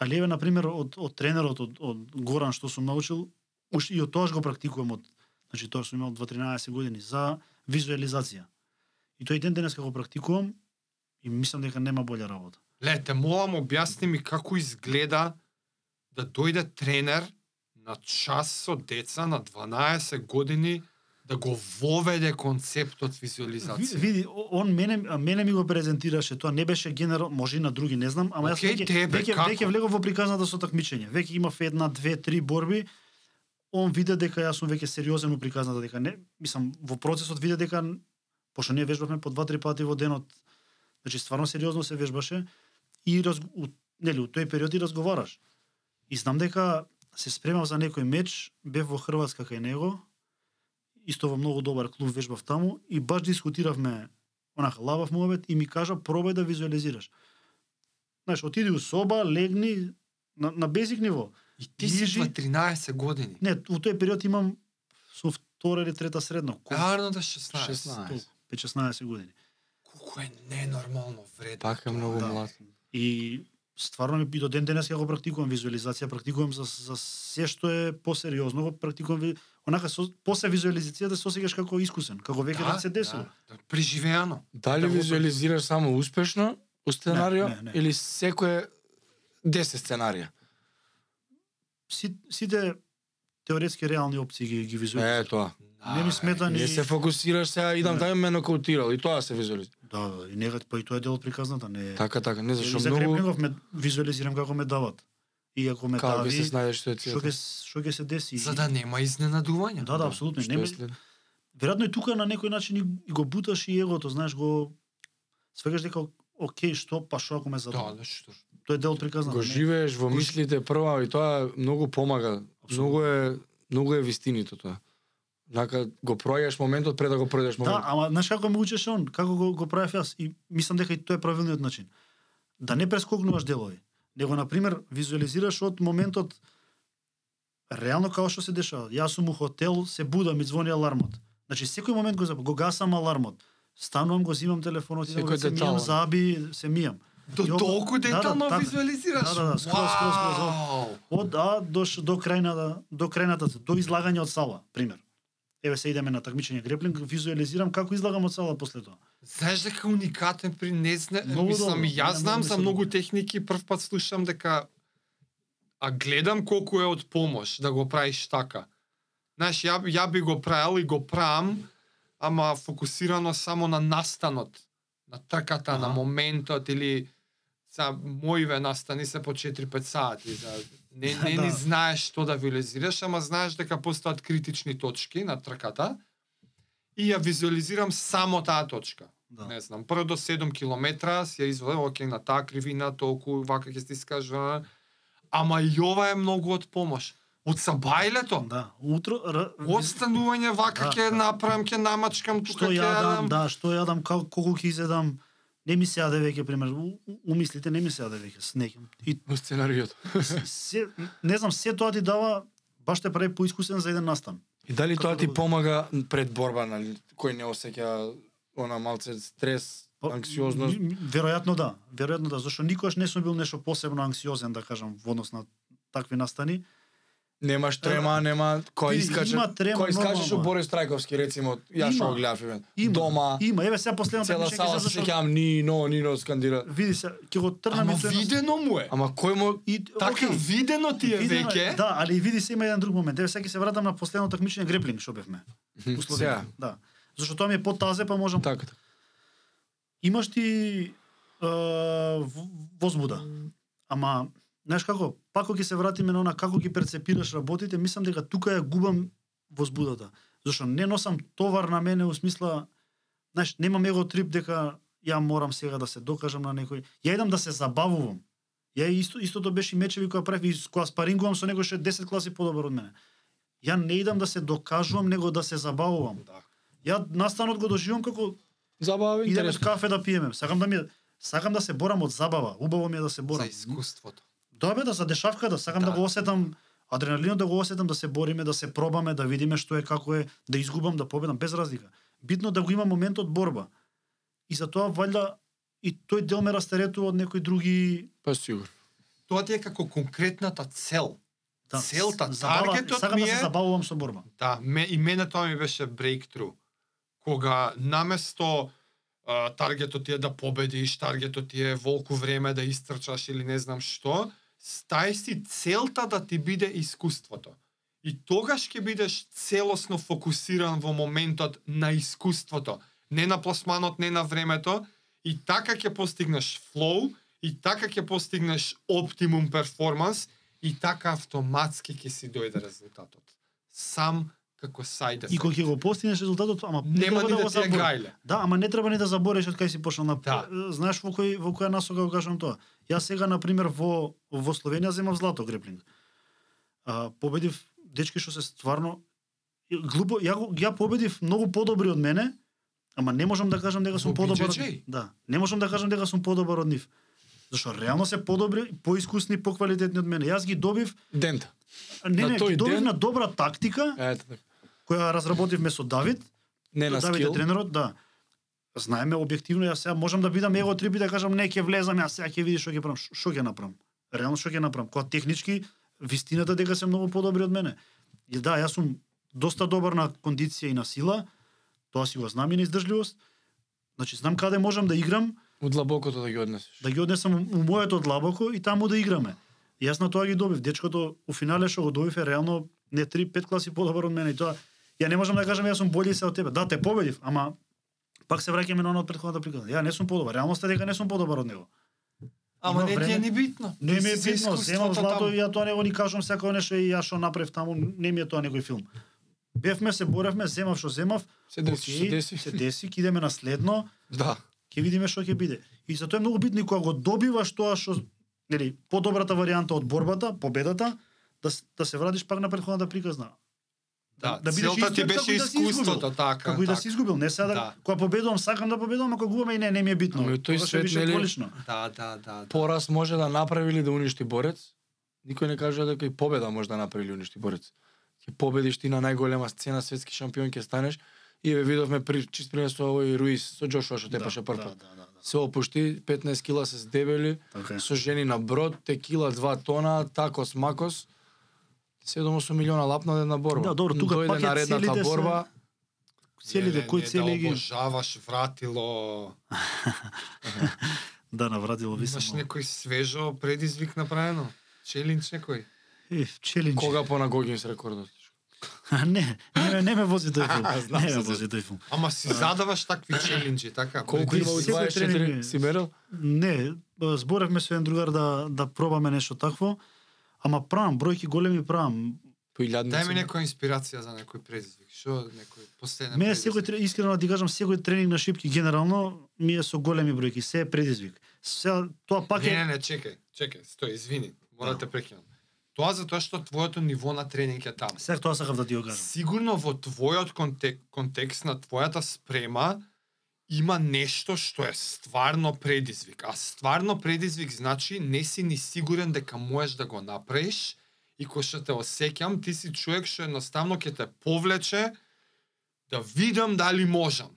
Speaker 1: А леве на пример од од тренерот од, од Горан што сум научил, уш и од тогаш го практикувам од значи тоа сум имал 2-13 години за визуализација. И тој ден денес го практикувам и мислам дека нема болја работа.
Speaker 3: Ле, те молам објасни ми како изгледа да дојде тренер на час со деца на 12 години да го воведе концептот
Speaker 1: Ви-
Speaker 3: визуализација.
Speaker 1: Види, о- он мене а мене ми го презентираше, тоа не беше генерал, може и на други, не знам, ама
Speaker 3: Океј,
Speaker 1: јас веќе
Speaker 3: тебе,
Speaker 1: веќе,
Speaker 3: како?
Speaker 1: веќе влегов во приказната со такмичење. Веќе имав една, две, три борби. Он виде дека јас сум веќе сериозен у приказната дека не, мислам, во процесот виде дека н- пошто ние вежбавме по два-три пати во денот. Значи стварно сериозно се вежбаше и раз, у, нели, у тој период и разговараш. И знам дека се спремав за некој меч, бев во Хрватска кај него, исто во многу добар клуб вежбав таму и баш дискутиравме онака лавав муабет и ми кажа пробај да визуализираш. Знаеш, отиди у соба, легни на, на базик ниво.
Speaker 3: И ти си
Speaker 1: Нижи-
Speaker 3: на 13 години.
Speaker 1: Не, во тој период имам сум втора или трета средно. Кол-
Speaker 3: Арно да 16.
Speaker 2: 16.
Speaker 1: толку, 15 години.
Speaker 3: Колку е ненормално вредно.
Speaker 2: Пак е многу
Speaker 1: Да.
Speaker 2: млад.
Speaker 1: И стварно ми и до ден денес ја го практикувам визуализација, практикувам за, за се што е посериозно, го практикувам ви- онака со, после визуализацијата се осеќаш како искусен, како веќе да, се десило.
Speaker 3: Да, преживеано.
Speaker 2: Дали
Speaker 1: Да го
Speaker 2: визуализираш само успешно у сценарио
Speaker 1: не, не.
Speaker 2: или секое 10 сценарија?
Speaker 1: Си, сите теоретски реални опции ги, ги
Speaker 2: Е,
Speaker 1: визуализирам.
Speaker 2: тоа.
Speaker 1: Не ми смета Па ни-
Speaker 2: Не се фокусираш сега, идам
Speaker 1: Не.
Speaker 2: тај ме нокаутирал и тоа се визуализира.
Speaker 1: Да, да, и нега, па и тоа е дел од приказната, не е.
Speaker 2: Така, така, не
Speaker 1: Или
Speaker 2: зашо
Speaker 1: за
Speaker 2: многу
Speaker 1: Креплингов ме визуализирам како ме дават. И ако ме
Speaker 2: како ќе се
Speaker 1: дави,
Speaker 2: снајдеш што е
Speaker 1: што ќе
Speaker 2: цијата.
Speaker 1: што ќе се деси.
Speaker 3: За да нема изненадување.
Speaker 1: Да, да, апсолутно.
Speaker 2: Што
Speaker 1: Не,
Speaker 2: е след?
Speaker 1: веројатно и тука на некој начин и, и го буташ и егото, знаеш, го свегаш дека окей, што, па што ако ме
Speaker 3: Да,
Speaker 1: задава.
Speaker 3: да, што. ж.
Speaker 1: Тоа е дел од приказната.
Speaker 2: Го
Speaker 1: не.
Speaker 2: живееш во
Speaker 1: Го ж-
Speaker 2: мислите прва и тоа многу помага. Многу е многу е вистинито тоа. Знака го проаѓаш моментот пред да го пројдеш
Speaker 1: Да,
Speaker 2: моментот.
Speaker 1: ама знаеш како ме учеше он, како го, го правев јас и мислам дека и тоа е правилниот начин. Да не прескокнуваш делови, него на пример визуализираш од моментот реално како што се дешава. Јас сум у хотел, се будам, ми звони алармот. Значи секој момент го заб... го гасам алармот. Станувам, го земам телефонот, идам,
Speaker 2: Секој
Speaker 1: го се мијам,
Speaker 2: детал.
Speaker 1: заби, се мијам. И
Speaker 3: До
Speaker 1: ова-
Speaker 3: толку
Speaker 1: да, да, да,
Speaker 3: детално
Speaker 1: да.
Speaker 3: визуализираш.
Speaker 1: Да, да, да, скроз, скроз, скроз, да.
Speaker 3: Вау!
Speaker 1: Од А до, ш- до крајната, до крајната, до излагање од сала, пример. Еве се идеме на такмичење греплинг, визуализирам како излагам од сала после тоа.
Speaker 3: Знаеш дека уникатен при не зна...
Speaker 1: Многу
Speaker 3: мислам,
Speaker 1: добро,
Speaker 3: и јас
Speaker 1: не,
Speaker 3: знам
Speaker 1: многу
Speaker 3: за
Speaker 1: се
Speaker 3: многу
Speaker 1: добро.
Speaker 3: техники, прв пат слушам дека а гледам колку е од помош да го правиш така. Знаеш, ја, ја би го правил и го правам, ама фокусирано само на настанот, на трката, на
Speaker 1: Аха.
Speaker 3: моментот или за моиве настани се по 4-5 сати. За... Не, не ни
Speaker 1: [LAUGHS] Да.
Speaker 3: знаеш што да визуализираш, ама знаеш дека постојат критични точки на трката и ја визуализирам само таа точка
Speaker 1: Да.
Speaker 3: не знам, прво до 7 километра си ја извадам, оке, на таа кривина, толку, вака ќе стискаш, а, ама и ова е многу од помош. Од сабајлето,
Speaker 1: Да, утро р...
Speaker 3: останување вака
Speaker 1: Да,
Speaker 3: ќе
Speaker 1: да.
Speaker 3: направам, ќе намачкам,
Speaker 1: што
Speaker 2: Така
Speaker 3: тука ќе
Speaker 1: јадам,
Speaker 3: јадам.
Speaker 1: да, што јадам, како колку ќе изедам. Не ми се јаде веќе пример, у- у- умислите не ми се јаде веќе с неким. И
Speaker 2: Во сценариото.
Speaker 1: се не знам, се тоа ти дава баш те прави поискусен за еден настан.
Speaker 2: И дали
Speaker 1: Како
Speaker 2: тоа
Speaker 1: да
Speaker 2: ти
Speaker 1: го-
Speaker 2: помага пред борба, нали, кој не осеќа она малце стрес,
Speaker 1: Па,
Speaker 2: анксиозност,
Speaker 1: м- м- Веројатно да, веројатно да, зашто никогаш не сум бил нешто посебно анксиозен, да кажам, во однос на такви настани.
Speaker 2: немаш трема, нема кој
Speaker 1: Види,
Speaker 2: искаче.
Speaker 1: има трема,
Speaker 2: Кој искачеш у
Speaker 1: нормално.
Speaker 2: Борис Трајковски рецимо, ја
Speaker 1: Има.
Speaker 2: што го гледав еве.
Speaker 1: Има,
Speaker 2: Дома,
Speaker 1: Има, еве сега последното
Speaker 2: цела
Speaker 1: такмичење
Speaker 2: сала
Speaker 1: се
Speaker 2: се
Speaker 1: зашо-
Speaker 2: сеќавам ни но ни но скандира.
Speaker 1: Види се, ќе го трнам
Speaker 3: Ама
Speaker 1: и тој на-
Speaker 3: видено му е.
Speaker 2: Ама кој му
Speaker 1: и
Speaker 3: Така
Speaker 1: да окей.
Speaker 3: видено ти е
Speaker 1: Видено е,
Speaker 3: веќе.
Speaker 1: Да, али и види се има еден друг момент. Еве сега ќе се вратам на последното такмичење греплинг што бевме. у Словенија.
Speaker 2: Сега.
Speaker 1: Да. Зашто тоа ми е потазе, па можам...
Speaker 2: Така. така.
Speaker 1: Имаш ти е, в- возбуда. Ама, знаеш како, пак ќе се вратиме на она како ги перцепираш работите, мислам дека тука ја губам возбудата. Зашто не носам товар на мене, у смисла, знаеш, немам его трип дека ја морам сега да се докажам на некој. Ја идам да се забавувам. Ја исто, истото беше и мечеви која правев и с која спарингувам со некој што е 10 класи подобар од мене. Ја не идам да се докажувам, него да се забавувам.
Speaker 3: Да.
Speaker 1: Ја настанот го доживам како
Speaker 2: Забава
Speaker 1: идеме
Speaker 2: интересно.
Speaker 1: кафе да пиеме. Сакам да ми е- сакам да се борам од забава. Убаво ми е да се
Speaker 3: За
Speaker 1: борам.
Speaker 3: искуството.
Speaker 1: Добе да за дешавката, сакам да,
Speaker 3: Да.
Speaker 1: го осетам адреналинот да го осетам, да се бориме, да се пробаме, да видиме што е, како е, да изгубам, да победам, без разлика. Битно да го има моментот борба. И за тоа валја и тој дел ме растеретува од некои други
Speaker 2: Па сигурно.
Speaker 3: Тоа ти е како конкретната цел.
Speaker 1: да,
Speaker 3: Целта,
Speaker 1: забава-
Speaker 3: таргетот
Speaker 1: сакам
Speaker 3: ми
Speaker 1: да
Speaker 3: е-
Speaker 1: се забавувам со борба.
Speaker 3: Да, ме, и мене тоа ми беше breakthrough. Кога наместо а, таргетот ти е да победиш, таргетот ти е волку време да истрчаш или не знам што, стај си целта да ти биде искуството. И тогаш ќе бидеш целосно фокусиран во моментот на искуството, не на пласманот, не на времето, и така ќе постигнеш флоу, и така ќе постигнеш оптимум перформанс, и така автоматски ќе си дојде резултатот. Сам како сајде.
Speaker 1: И кога ќе го постигнеш резултатот, ама
Speaker 3: Нема
Speaker 1: никога
Speaker 3: ни да
Speaker 1: го
Speaker 3: ти е
Speaker 1: заборавиш.
Speaker 3: гајле.
Speaker 1: Да, ама не треба ни да забореш од кај си почнал на
Speaker 3: Да.
Speaker 1: знаеш во кој во која насока го кажам тоа. Јас сега на пример во во Словенија земав злато греплинг. А, победив дечки што се стварно глупо ја го- ја победив многу подобри од мене, ама не можам да кажам дека сум
Speaker 3: Во
Speaker 1: подобар. од-
Speaker 3: BJJ?
Speaker 1: Да, не можам да кажам дека сум подобар од нив. Зашто реално се подобри, поискусни, поквалитетни од мене. Јас ги добив,
Speaker 2: Дента.
Speaker 1: не,
Speaker 2: На
Speaker 1: не,
Speaker 2: тој
Speaker 1: ги добив
Speaker 2: ден?
Speaker 1: на добра тактика
Speaker 2: Ето така.
Speaker 1: која разработивме со Давид,
Speaker 2: Не на
Speaker 1: да, Давид е
Speaker 2: скил.
Speaker 1: тренерот, да. Знаеме објективно јас сега можам да бидам его трипи да кажам не ќе влезам, јас сега ќе види што ќе правам, Ш- што ќе направам. Реално што ќе направам? Кога технички вистината дека се многу подобри од мене. И да, јас сум доста добар на кондиција и на сила. Тоа си го знам и на издржливост. Значи знам каде можам да играм,
Speaker 2: Од длабокото да ги однесеш.
Speaker 1: да ги однесам у моето длабоко и таму да играме. И Јас на тоа ги добив. Дечкото у финале што го добив е реално не 3-5 класи подобар од мене и тоа ја не можам да кажам јас сум бољи се од тебе. Да, те победив, ама пак се враќаме на она од претходната приказна. Ја не сум подобар. Реалноста е дека не сум подобар од него.
Speaker 3: Ама
Speaker 1: Има
Speaker 3: не ти е
Speaker 1: време.
Speaker 3: ни битно.
Speaker 1: Не ми е
Speaker 3: Си
Speaker 1: битно, земам
Speaker 3: искуството
Speaker 1: злато
Speaker 3: таму.
Speaker 1: и ја тоа него ни кажам секој нешто и ја што направив таму, не ми е тоа некој филм. Бевме се боревме, земав што земав,
Speaker 2: Се деси,
Speaker 1: окей,
Speaker 2: се деси.
Speaker 1: се деси, ќе идеме на следно,
Speaker 2: [LAUGHS] Да.
Speaker 1: ќе видиме што ќе биде. И за тоа е многу битно и кога го добиваш тоа што нели подобрата варијанта од борбата, победата, да с- да се вратиш пак на претходната приказна.
Speaker 3: Да,
Speaker 1: да бидеш
Speaker 3: целта ти
Speaker 1: истиот како
Speaker 3: беше
Speaker 1: и да си изгубил.
Speaker 3: искуството, така.
Speaker 1: Како и да
Speaker 3: така.
Speaker 1: си изгубил, не сега
Speaker 3: Да.
Speaker 1: да. кога победувам, сакам да победувам, а кога губам и не, не ми е битно.
Speaker 2: Ами, тој
Speaker 1: Тогаш е
Speaker 2: свет,
Speaker 1: више
Speaker 2: нели,
Speaker 1: дволично.
Speaker 3: Да, да, да. да.
Speaker 2: Пораз може да направи или да уништи борец. Никој не кажува дека и победа може да направи или уништи борец. Ќе победиш ти на најголема сцена, светски шампион ќе станеш. И ве видовме при чист пример со овој Руис, со Джошуа што тепаше прв
Speaker 1: да,
Speaker 2: пат.
Speaker 1: да, да, да.
Speaker 2: Се опушти, 15 кила се здебели,
Speaker 1: Така е.
Speaker 2: со жени на брод, текила 2 тона, такос макос. 7-8 милиона лапна од една борба.
Speaker 1: Да, добро, тука
Speaker 2: Дојде
Speaker 1: пак е
Speaker 2: наредната
Speaker 1: целите се-
Speaker 2: борба,
Speaker 1: Целите
Speaker 3: Леле,
Speaker 1: кои
Speaker 3: не
Speaker 1: цели
Speaker 3: Да
Speaker 1: ги
Speaker 3: обожаваш вратило.
Speaker 1: да навратило ви
Speaker 3: Имаш
Speaker 1: само.
Speaker 3: некој свежо предизвик направено. Челиндж некој.
Speaker 1: Е, челендж. [LAUGHS]
Speaker 2: кога по на Гогинс рекордот.
Speaker 1: не, не, ме- не ме вози
Speaker 3: [LAUGHS]
Speaker 1: тој филм.
Speaker 3: Знам
Speaker 1: не ме
Speaker 3: се,
Speaker 1: вози тој филм.
Speaker 3: Ама си задаваш такви челенџи, така?
Speaker 2: Колку
Speaker 1: Ти
Speaker 2: има у
Speaker 1: секој
Speaker 2: 24
Speaker 1: тренинг е-
Speaker 2: си мерил?
Speaker 1: Не, зборевме со еден другар да да пробаме нешто такво, ама правам бројки големи правам.
Speaker 2: По илјадници.
Speaker 3: Дај ми некоја инспирација за некој предизвик. Што некој последен
Speaker 1: Мене
Speaker 3: предизвик?
Speaker 1: секој тре- искрено да ти кажам секој тренинг на шипки генерално ми е со големи бројки, се е предизвик. Се тоа пак
Speaker 3: Не, не,
Speaker 1: е
Speaker 3: не, чекај, чекај, стој, извини, мора да те прекинам. Тоа затоа што твоето ниво на тренинг е таму.
Speaker 1: сега тоа сакав да ти го кажам.
Speaker 3: Сигурно во твојот контек, контекст на твојата спрема има нешто што е стварно предизвик. А стварно предизвик значи не си ни сигурен дека можеш да го направиш и кој што те осеќам, ти си човек што едноставно ќе те повлече да видам дали можам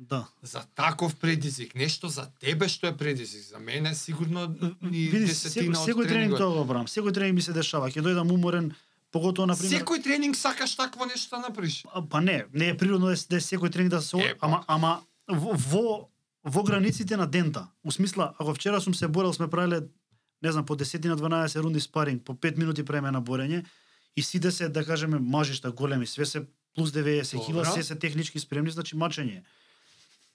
Speaker 1: Да.
Speaker 3: за таков предизвик, нешто за тебе што е предизвик, за мене сигурно ни
Speaker 1: Види, секој,
Speaker 3: десетина од
Speaker 1: секој тренинг
Speaker 3: тренингот.
Speaker 1: тоа го правам. Секој тренинг ми се дешава, ќе дојдам уморен, поготово на пример.
Speaker 3: Секој тренинг сакаш такво нешто да направиш.
Speaker 1: А, Па не, не е природно да е, да е секој тренинг да се
Speaker 3: Е,
Speaker 1: е,
Speaker 3: па.
Speaker 1: ама ама во, во во границите на дента. У смисла, ако вчера сум се борел, сме правеле не знам, по 10 на 12 рунди спаринг, по 5 минути преме на борење и сите се да кажеме мажишта големи, све се плюс 90 кила,
Speaker 3: Добро.
Speaker 1: се се технички спремни, значи мачење. е.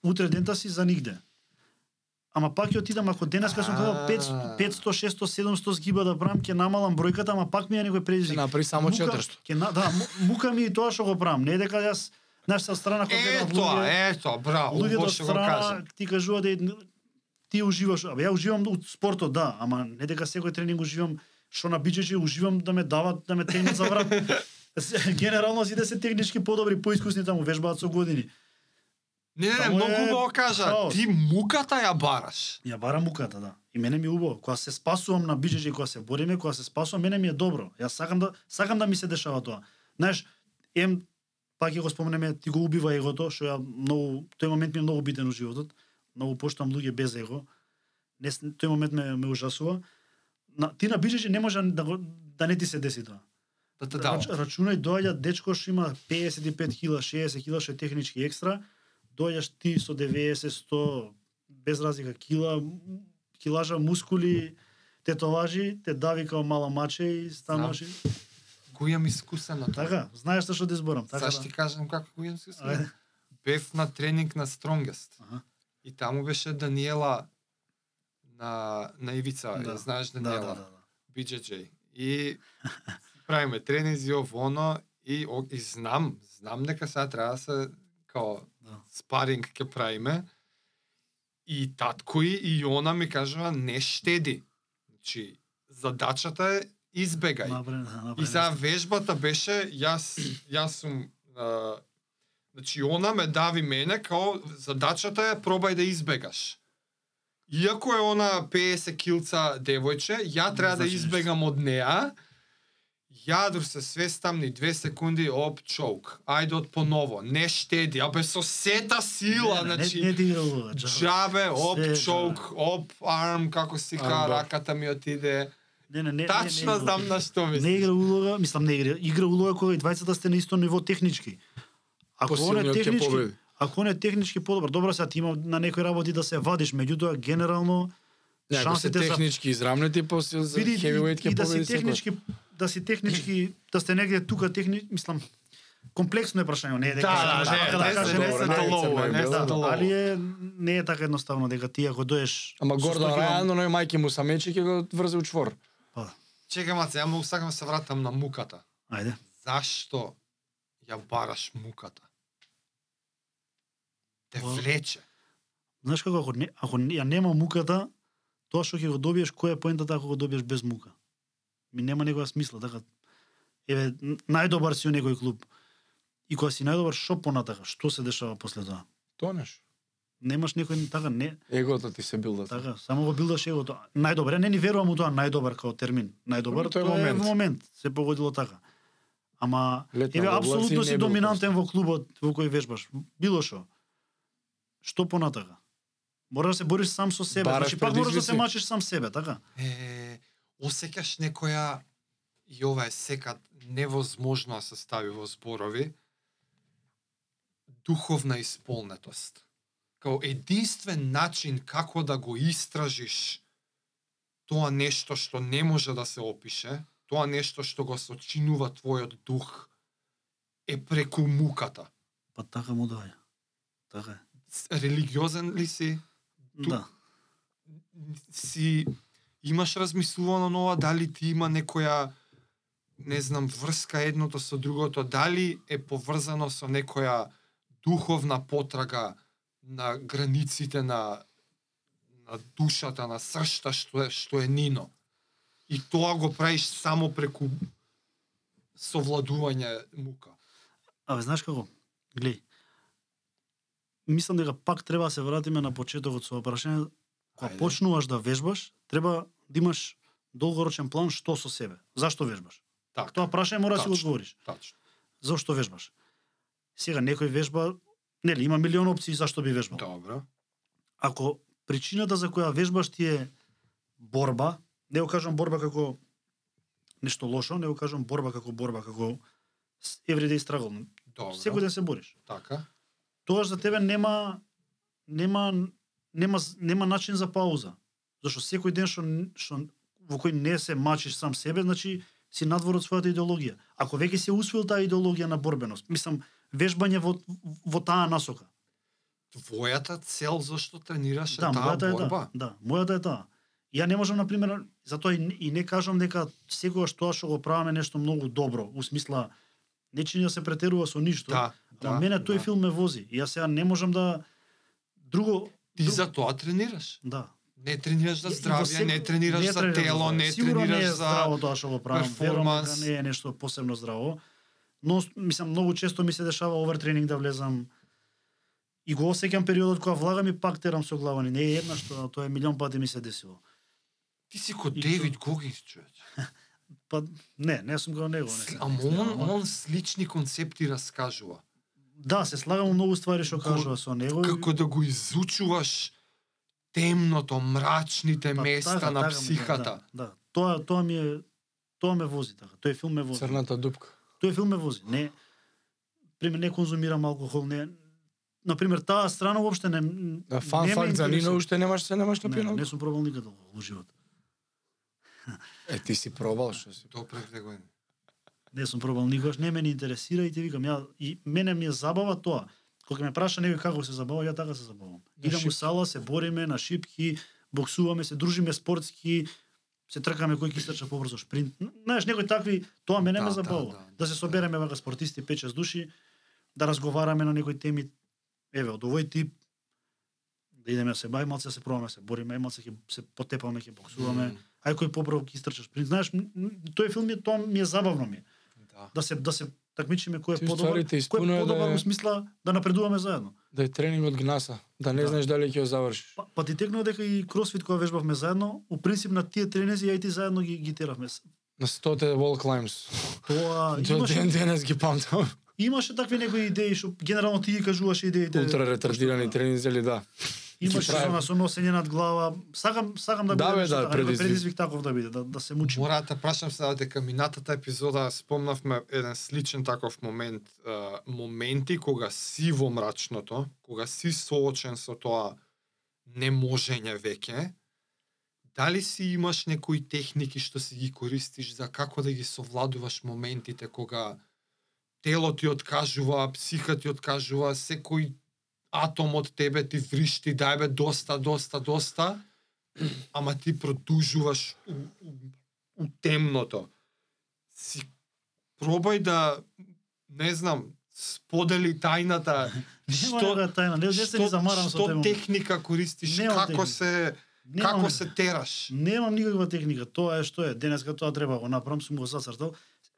Speaker 1: Утре дента си за нигде. Ама пак ќе отидам ако денеска сум
Speaker 3: А.
Speaker 1: гледал 500, 500, 600, 700 згиба да правам, ќе намалам бројката, ама пак ми е некој предизвик.
Speaker 2: Направи само
Speaker 1: Мука-
Speaker 2: 400.
Speaker 1: Ќе на, да, му- мука ми и тоа што го правам, не е дека јас знаеш со страна кога
Speaker 3: Е тоа, е тоа, браво,
Speaker 1: луѓето
Speaker 3: убаво
Speaker 1: од
Speaker 3: што го кажа.
Speaker 1: страна ти кажува да е- ти уживаш, абе ја уживам од спортот, да, ама не дека секој тренинг уживам што на биџеџи уживам да ме дават, да ме тегнат за
Speaker 3: [LAUGHS]
Speaker 1: врат. да С- Генерално сите се технички подобри, поискусни таму, вежбаат со години.
Speaker 3: Не, не, не,
Speaker 1: Само
Speaker 3: многу
Speaker 1: е
Speaker 3: убаво кажа.
Speaker 1: хаос.
Speaker 3: Ти муката ја бараш.
Speaker 1: Ја бара муката, да. И мене ми е убаво. Кога се спасувам на биџеџи, кога се бориме, кога се спасувам, мене ми е добро. Јас сакам да сакам да ми се дешава тоа. Знаеш, ем пак ќе го спомнеме, ти го убива егото, што ја многу тој момент ми е многу битен во животот. Многу поштам луѓе без его. Не, с- тој момент ме, ме ужасува. На, ти на биџеџи не може да, го, да не ти се деси тоа.
Speaker 3: Да, да, да.
Speaker 1: Рач, рачунај доаѓа дечко што има 55 кила, 60 кила што е технички екстра, доаѓаш ти со 90, 100, без разлика кила, м- килажа, мускули, тетоважи, те дави као мала маче и стануваш. и-
Speaker 3: Да. Го имам искуса на тоа.
Speaker 1: Така, знаеш што да изборам, така
Speaker 3: Сега
Speaker 1: да.
Speaker 3: ще ти кажам како го имам
Speaker 1: Ајде.
Speaker 3: искуса. Бев на тренинг на Strongest.
Speaker 1: Аха.
Speaker 3: И таму беше Даниела на, на Ивица.
Speaker 1: Да.
Speaker 3: Да. Знаеш
Speaker 1: Да, да,
Speaker 3: Даниела?
Speaker 1: да, да.
Speaker 3: BJJ. И правиме тренинзи, ово, оно, и, о, и знам, знам дека сега треба да се, као,
Speaker 1: Да.
Speaker 3: спаринг ќе правиме. И татко и, и она ми кажува, не штеди. Значи, задачата е избегај.
Speaker 1: Напред, да, напред.
Speaker 3: И сега вежбата беше, јас, јас сум, а, значи она ме дави мене, као задачата е пробај да избегаш. Иако е она 50 килца девојче, ја
Speaker 1: Не
Speaker 3: треба да
Speaker 1: значи ништо.
Speaker 3: избегам од неа, јадур се свестам ни две секунди, оп, чоук. Ајде од поново, не штеди, абе со сета сила,
Speaker 1: Не, не,
Speaker 3: значи...
Speaker 1: не, ти игра луда, джабе.
Speaker 3: Джабе, оп,
Speaker 1: Се, да.
Speaker 3: чоук, оп, арм, како си ка,
Speaker 2: Армбар.
Speaker 3: раката ми отиде.
Speaker 1: Не, не, не, не, не,
Speaker 3: Тачно
Speaker 1: не,
Speaker 3: знам на што мислиш.
Speaker 1: Не игра улога, мислам не игра, игра улога кога и двајцата сте на исто ниво технички. Ако он е
Speaker 2: Посилниот ќе
Speaker 1: технички,
Speaker 2: победи.
Speaker 1: ако он е технички подобар, добро сега ти има на некои работи да се вадиш, меѓутоа генерално
Speaker 2: Не, ако се
Speaker 1: шансите за
Speaker 2: технички израмнети, после за
Speaker 1: види
Speaker 2: хевиуейт
Speaker 1: и, и
Speaker 2: ќе
Speaker 1: да си
Speaker 2: победи секој.
Speaker 1: технички да си технички да сте негде тука техни, мислам комплексно е прашање, не е дека
Speaker 3: Да, да,
Speaker 1: сака
Speaker 3: не, не,
Speaker 1: кажем,
Speaker 3: не,
Speaker 2: добро,
Speaker 3: се
Speaker 2: не,
Speaker 3: толово,
Speaker 2: не,
Speaker 3: не се
Speaker 2: да,
Speaker 1: да,
Speaker 3: толово.
Speaker 1: али е не е така едноставно дека ти ако доеш
Speaker 2: Ама
Speaker 1: со
Speaker 2: Гордон
Speaker 1: 100 кило-
Speaker 2: Рајан, но мајке му самечи ќе го врзе у чвор.
Speaker 1: Па,
Speaker 3: Чекај маце, ја многу сакам да се вратам на муката.
Speaker 1: ајде.
Speaker 3: Зашто ја бараш муката? Те
Speaker 1: Во-
Speaker 3: влече.
Speaker 1: Знаеш како ако не, ако не- ја нема муката, тоа што ќе го добиеш, која е поентата ако го добиеш без мука? Ми нема некоја смисла, така. Еве, н- најдобар си у некој клуб. И кога си најдобар, што понатака? Што се дешава после тоа?
Speaker 2: Тонеш.
Speaker 1: Немаш некој така, не,
Speaker 2: Егото ти се билда.
Speaker 1: така, само го билдаш егото. Најдобар, ја не ни верувам у тоа најдобар као термин. Најдобар
Speaker 2: Тоа е
Speaker 1: тоа е
Speaker 2: момент.
Speaker 1: во момент, се погодило така. Ама
Speaker 2: Летна
Speaker 1: Еве,
Speaker 2: во облаци
Speaker 1: апсолутно
Speaker 2: и
Speaker 1: си
Speaker 2: не било
Speaker 1: доминантен во клубот во кој вежбаш. Било што. Што понатака? Мораш да се бориш сам со себе.
Speaker 2: Бараш
Speaker 1: значи пак мораш да се
Speaker 2: предизвици.
Speaker 1: мачиш сам себе, така?
Speaker 3: Е, осеќаш некоја и ова е секад невозможно да се стави во зборови духовна исполнетост. Као единствен начин како да го истражиш тоа нешто што не може да се опише, тоа нешто што го сочинува твојот дух е преку муката.
Speaker 1: Па така му доаѓа. Така е.
Speaker 3: С- Религиозен ли си? Ту-
Speaker 1: Да.
Speaker 3: си имаш размислувано на ова дали ти има некоја не знам врска едното со другото, дали е поврзано со некоја духовна потрага на границите на на душата, на сршта што е што е нино. И тоа го правиш само преку совладување мука.
Speaker 1: Абе, знаеш како? Глеј. Мислам дека пак треба да се вратиме на почетокот со ова прашање. Кога
Speaker 3: Ајде.
Speaker 1: почнуваш да вежбаш, треба да имаш долгорочен план што со себе. Зашто вежбаш?
Speaker 3: Така,
Speaker 1: Тоа прашање мора да си го
Speaker 3: Тачно.
Speaker 1: одговориш.
Speaker 3: тачно.
Speaker 1: Зошто вежбаш? Сега некој вежба, нели, има милион опции зашто би вежбал.
Speaker 3: Добро.
Speaker 1: ако причината за која вежбаш ти е борба, не го кажам борба како нешто лошо, не го кажам борба како борба, како с- everyday struggle.
Speaker 3: Добро.
Speaker 1: Секој ден се бориш.
Speaker 3: Така.
Speaker 1: Тогаш за тебе нема нема нема нема начин за пауза. Зашто секој ден што што во кој не се мачиш сам себе, значи си надвор од својата идеологија. Ако веќе се усвоил таа идеологија на борбеност, мислам вежбање во во таа насока.
Speaker 3: Твојата цел зашто тренираш е
Speaker 1: Да,
Speaker 3: Значи, таа
Speaker 1: мојата е
Speaker 3: борба.
Speaker 1: таа. Да, мојата е таа. Ја не можам на пример, затоа и, не- и не кажам дека секогаш тоа што го правиме е нешто многу добро, у смисла не чини да се претерува со ништо.
Speaker 3: Да,
Speaker 1: ама
Speaker 3: да,
Speaker 1: мене тој
Speaker 3: да.
Speaker 1: филм ме вози. И Јас сега не можам да друго
Speaker 3: Ти
Speaker 1: друг-
Speaker 3: за тоа тренираш.
Speaker 1: да.
Speaker 3: Не тренираш за
Speaker 1: И- и во
Speaker 3: здравје,
Speaker 1: секој-
Speaker 3: не тренираш за
Speaker 1: тренирам
Speaker 3: тело,
Speaker 1: здравје.
Speaker 3: не
Speaker 1: Сигурно не е
Speaker 3: тренираш за
Speaker 1: здраво да тоа што го правам. Верувам дека
Speaker 3: перформанс.
Speaker 1: не е нешто посебно здраво. Но мислам многу често ми се дешава овертренинг да влезам И го осеќам периодот кога влагам и пак терам со глава. ни. Не е една што, а тоа е милион пати ми се десило.
Speaker 3: Ти си ко
Speaker 1: И
Speaker 3: Девид Гогинс, човече.
Speaker 1: Па не, не сум го него. Не.
Speaker 3: Сли- Ама он, он слични концепти раскажува.
Speaker 1: Да, се слагам во многу ствари што
Speaker 3: Го-
Speaker 1: кажува со него. и-
Speaker 3: Како да го изучуваш темното, мрачните
Speaker 1: Па,
Speaker 3: места
Speaker 1: така,
Speaker 3: на
Speaker 1: така,
Speaker 3: психата.
Speaker 1: Да, да. Тоа, тоа ми е тоа ме вози така. Тој филм ме вози.
Speaker 2: Црната дупка.
Speaker 1: Тој филм ме вози. Не пример не конзумирам алкохол, не на пример таа страна воопште не
Speaker 2: Да, фан
Speaker 1: не ме
Speaker 2: факт за Нино
Speaker 1: интересува.
Speaker 2: уште немаш се немаш
Speaker 1: Не,
Speaker 2: напиено.
Speaker 1: не сум пробал никад алкохол во живот.
Speaker 2: Е, ти си пробал што
Speaker 1: Да.
Speaker 2: си.
Speaker 3: Добре, две години.
Speaker 1: Не сум пробал никогаш, не ме ни интересира и ти викам, ја и мене ми е забава тоа. Кога ме праша некој како се забава, ја така се забавам.
Speaker 2: На
Speaker 1: Идам у
Speaker 2: шипки.
Speaker 1: сала, се бориме на шипки, боксуваме, се дружиме спортски, се тркаме кој ќе истрча побрзо шпринт. Н- Знаеш, некој такви, тоа мене
Speaker 3: Да,
Speaker 1: ме
Speaker 3: да,
Speaker 1: забава. Да,
Speaker 3: да, да.
Speaker 1: се собереме вака спортисти 5-6 души, да разговараме на некои теми. Еве, од овој тип да идеме да се бајме, малце да се пробаме, да се бориме, малце ќе се потепаме, да ќе боксуваме.
Speaker 3: М,
Speaker 1: Ај кој побрзо ќе истрчаш шпринт. Знаеш, м- м- тој филм ми е тоа ми е забавно ми е
Speaker 3: Да.
Speaker 1: да се да се такмичиме кој
Speaker 2: Ти
Speaker 1: е подобар,
Speaker 2: стварите
Speaker 1: кој
Speaker 2: испуна
Speaker 1: е
Speaker 2: е
Speaker 1: подобар
Speaker 2: да е-
Speaker 1: во смисла да напредуваме заедно.
Speaker 2: Да е тренинг од гнаса, да не
Speaker 1: Да.
Speaker 2: знаеш дали ќе ја завршиш.
Speaker 1: Па, па ти текна дека и кросфит која вежбавме заедно, у принцип на тие тренинзи ја и ти заедно ги ги теравме. С-
Speaker 2: На 100-те wall climbs. [LAUGHS]
Speaker 1: Тоа
Speaker 2: До ден
Speaker 1: имаше
Speaker 2: денес ги памтам.
Speaker 1: имаше такви некои идеи што генерално ти ги кажуваше идеите.
Speaker 2: Ултра ретардирани тренинзи или да.
Speaker 1: Имаше
Speaker 2: ги прави.
Speaker 1: она со носење над глава. Сакам сакам да
Speaker 2: Да,
Speaker 1: биде
Speaker 2: бе,
Speaker 1: нешто
Speaker 2: да,
Speaker 1: така, некој
Speaker 2: предизвик.
Speaker 1: предизвик таков да биде, да, да се мучим.
Speaker 3: Мора да прашам се дека минатата епизода спомнавме еден сличен таков момент, е, моменти кога си во мрачното, кога си соочен со тоа неможење веќе, дали си имаш некои техники што си ги користиш за како да ги совладуваш моментите кога тело ти откажува, психа ти откажува, секој атом од тебе ти вришти, дај бе доста, доста, доста, ама ти продужуваш у, у, у темното. Си пробај да, не знам, сподели
Speaker 1: [LAUGHS]
Speaker 3: тајната,
Speaker 1: Нема
Speaker 3: [LAUGHS] што,
Speaker 1: некоја тајна, не, не се ни замарам со
Speaker 3: што
Speaker 1: темата.
Speaker 3: техника користиш,
Speaker 1: Немам
Speaker 3: како
Speaker 1: техника.
Speaker 3: се
Speaker 1: Немам
Speaker 3: како
Speaker 1: некоја.
Speaker 3: се тераш.
Speaker 1: Немам никаква техника, тоа е што е. Денеска тоа треба го направам, сум го зацртал.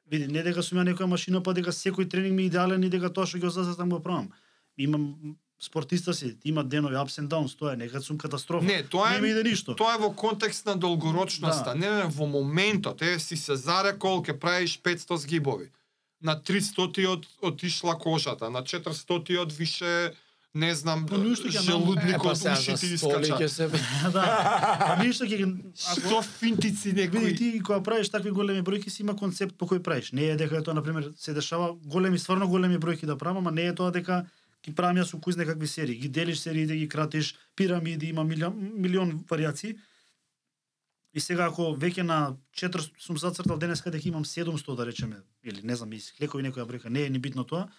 Speaker 1: Види, не дека сум ја некоја машина, па дека секој тренинг ми е идеален и дека тоа што го зацртам го правам. Имам спортиста си, има денови ups and downs, тоа е, некад сум катастрофа.
Speaker 3: Не, тоа
Speaker 1: не ми
Speaker 3: е
Speaker 1: иде ништо.
Speaker 3: тоа е во контекст на долгорочноста,
Speaker 1: Да.
Speaker 3: не, не во моментот. Е си се зарекол ќе правиш 500 згибови. На 300 од отишла кожата, на 400 од више не знам
Speaker 1: Па ништо ќе нам-
Speaker 2: па
Speaker 3: желудникот уши
Speaker 2: ќе
Speaker 3: ти искача.
Speaker 2: се...
Speaker 1: [LAUGHS] да. Па ништо ќе ги-
Speaker 3: Што финтици
Speaker 1: Види
Speaker 3: некои
Speaker 1: ти кога правиш такви големи бројки си има концепт по кој правиш. Не е дека е тоа на пример се дешава големи стварно големи бројки да правам, а не е тоа дека ги правам јас укуз некакви серии. Ги делиш сериите, ги кратиш, пирамиди, има милион, милион вариации. И сега ако веќе на 400 сум зацртал денеска дека имам 700 да речеме или не знам исклекови некоја бројка, не е ни битно тоа.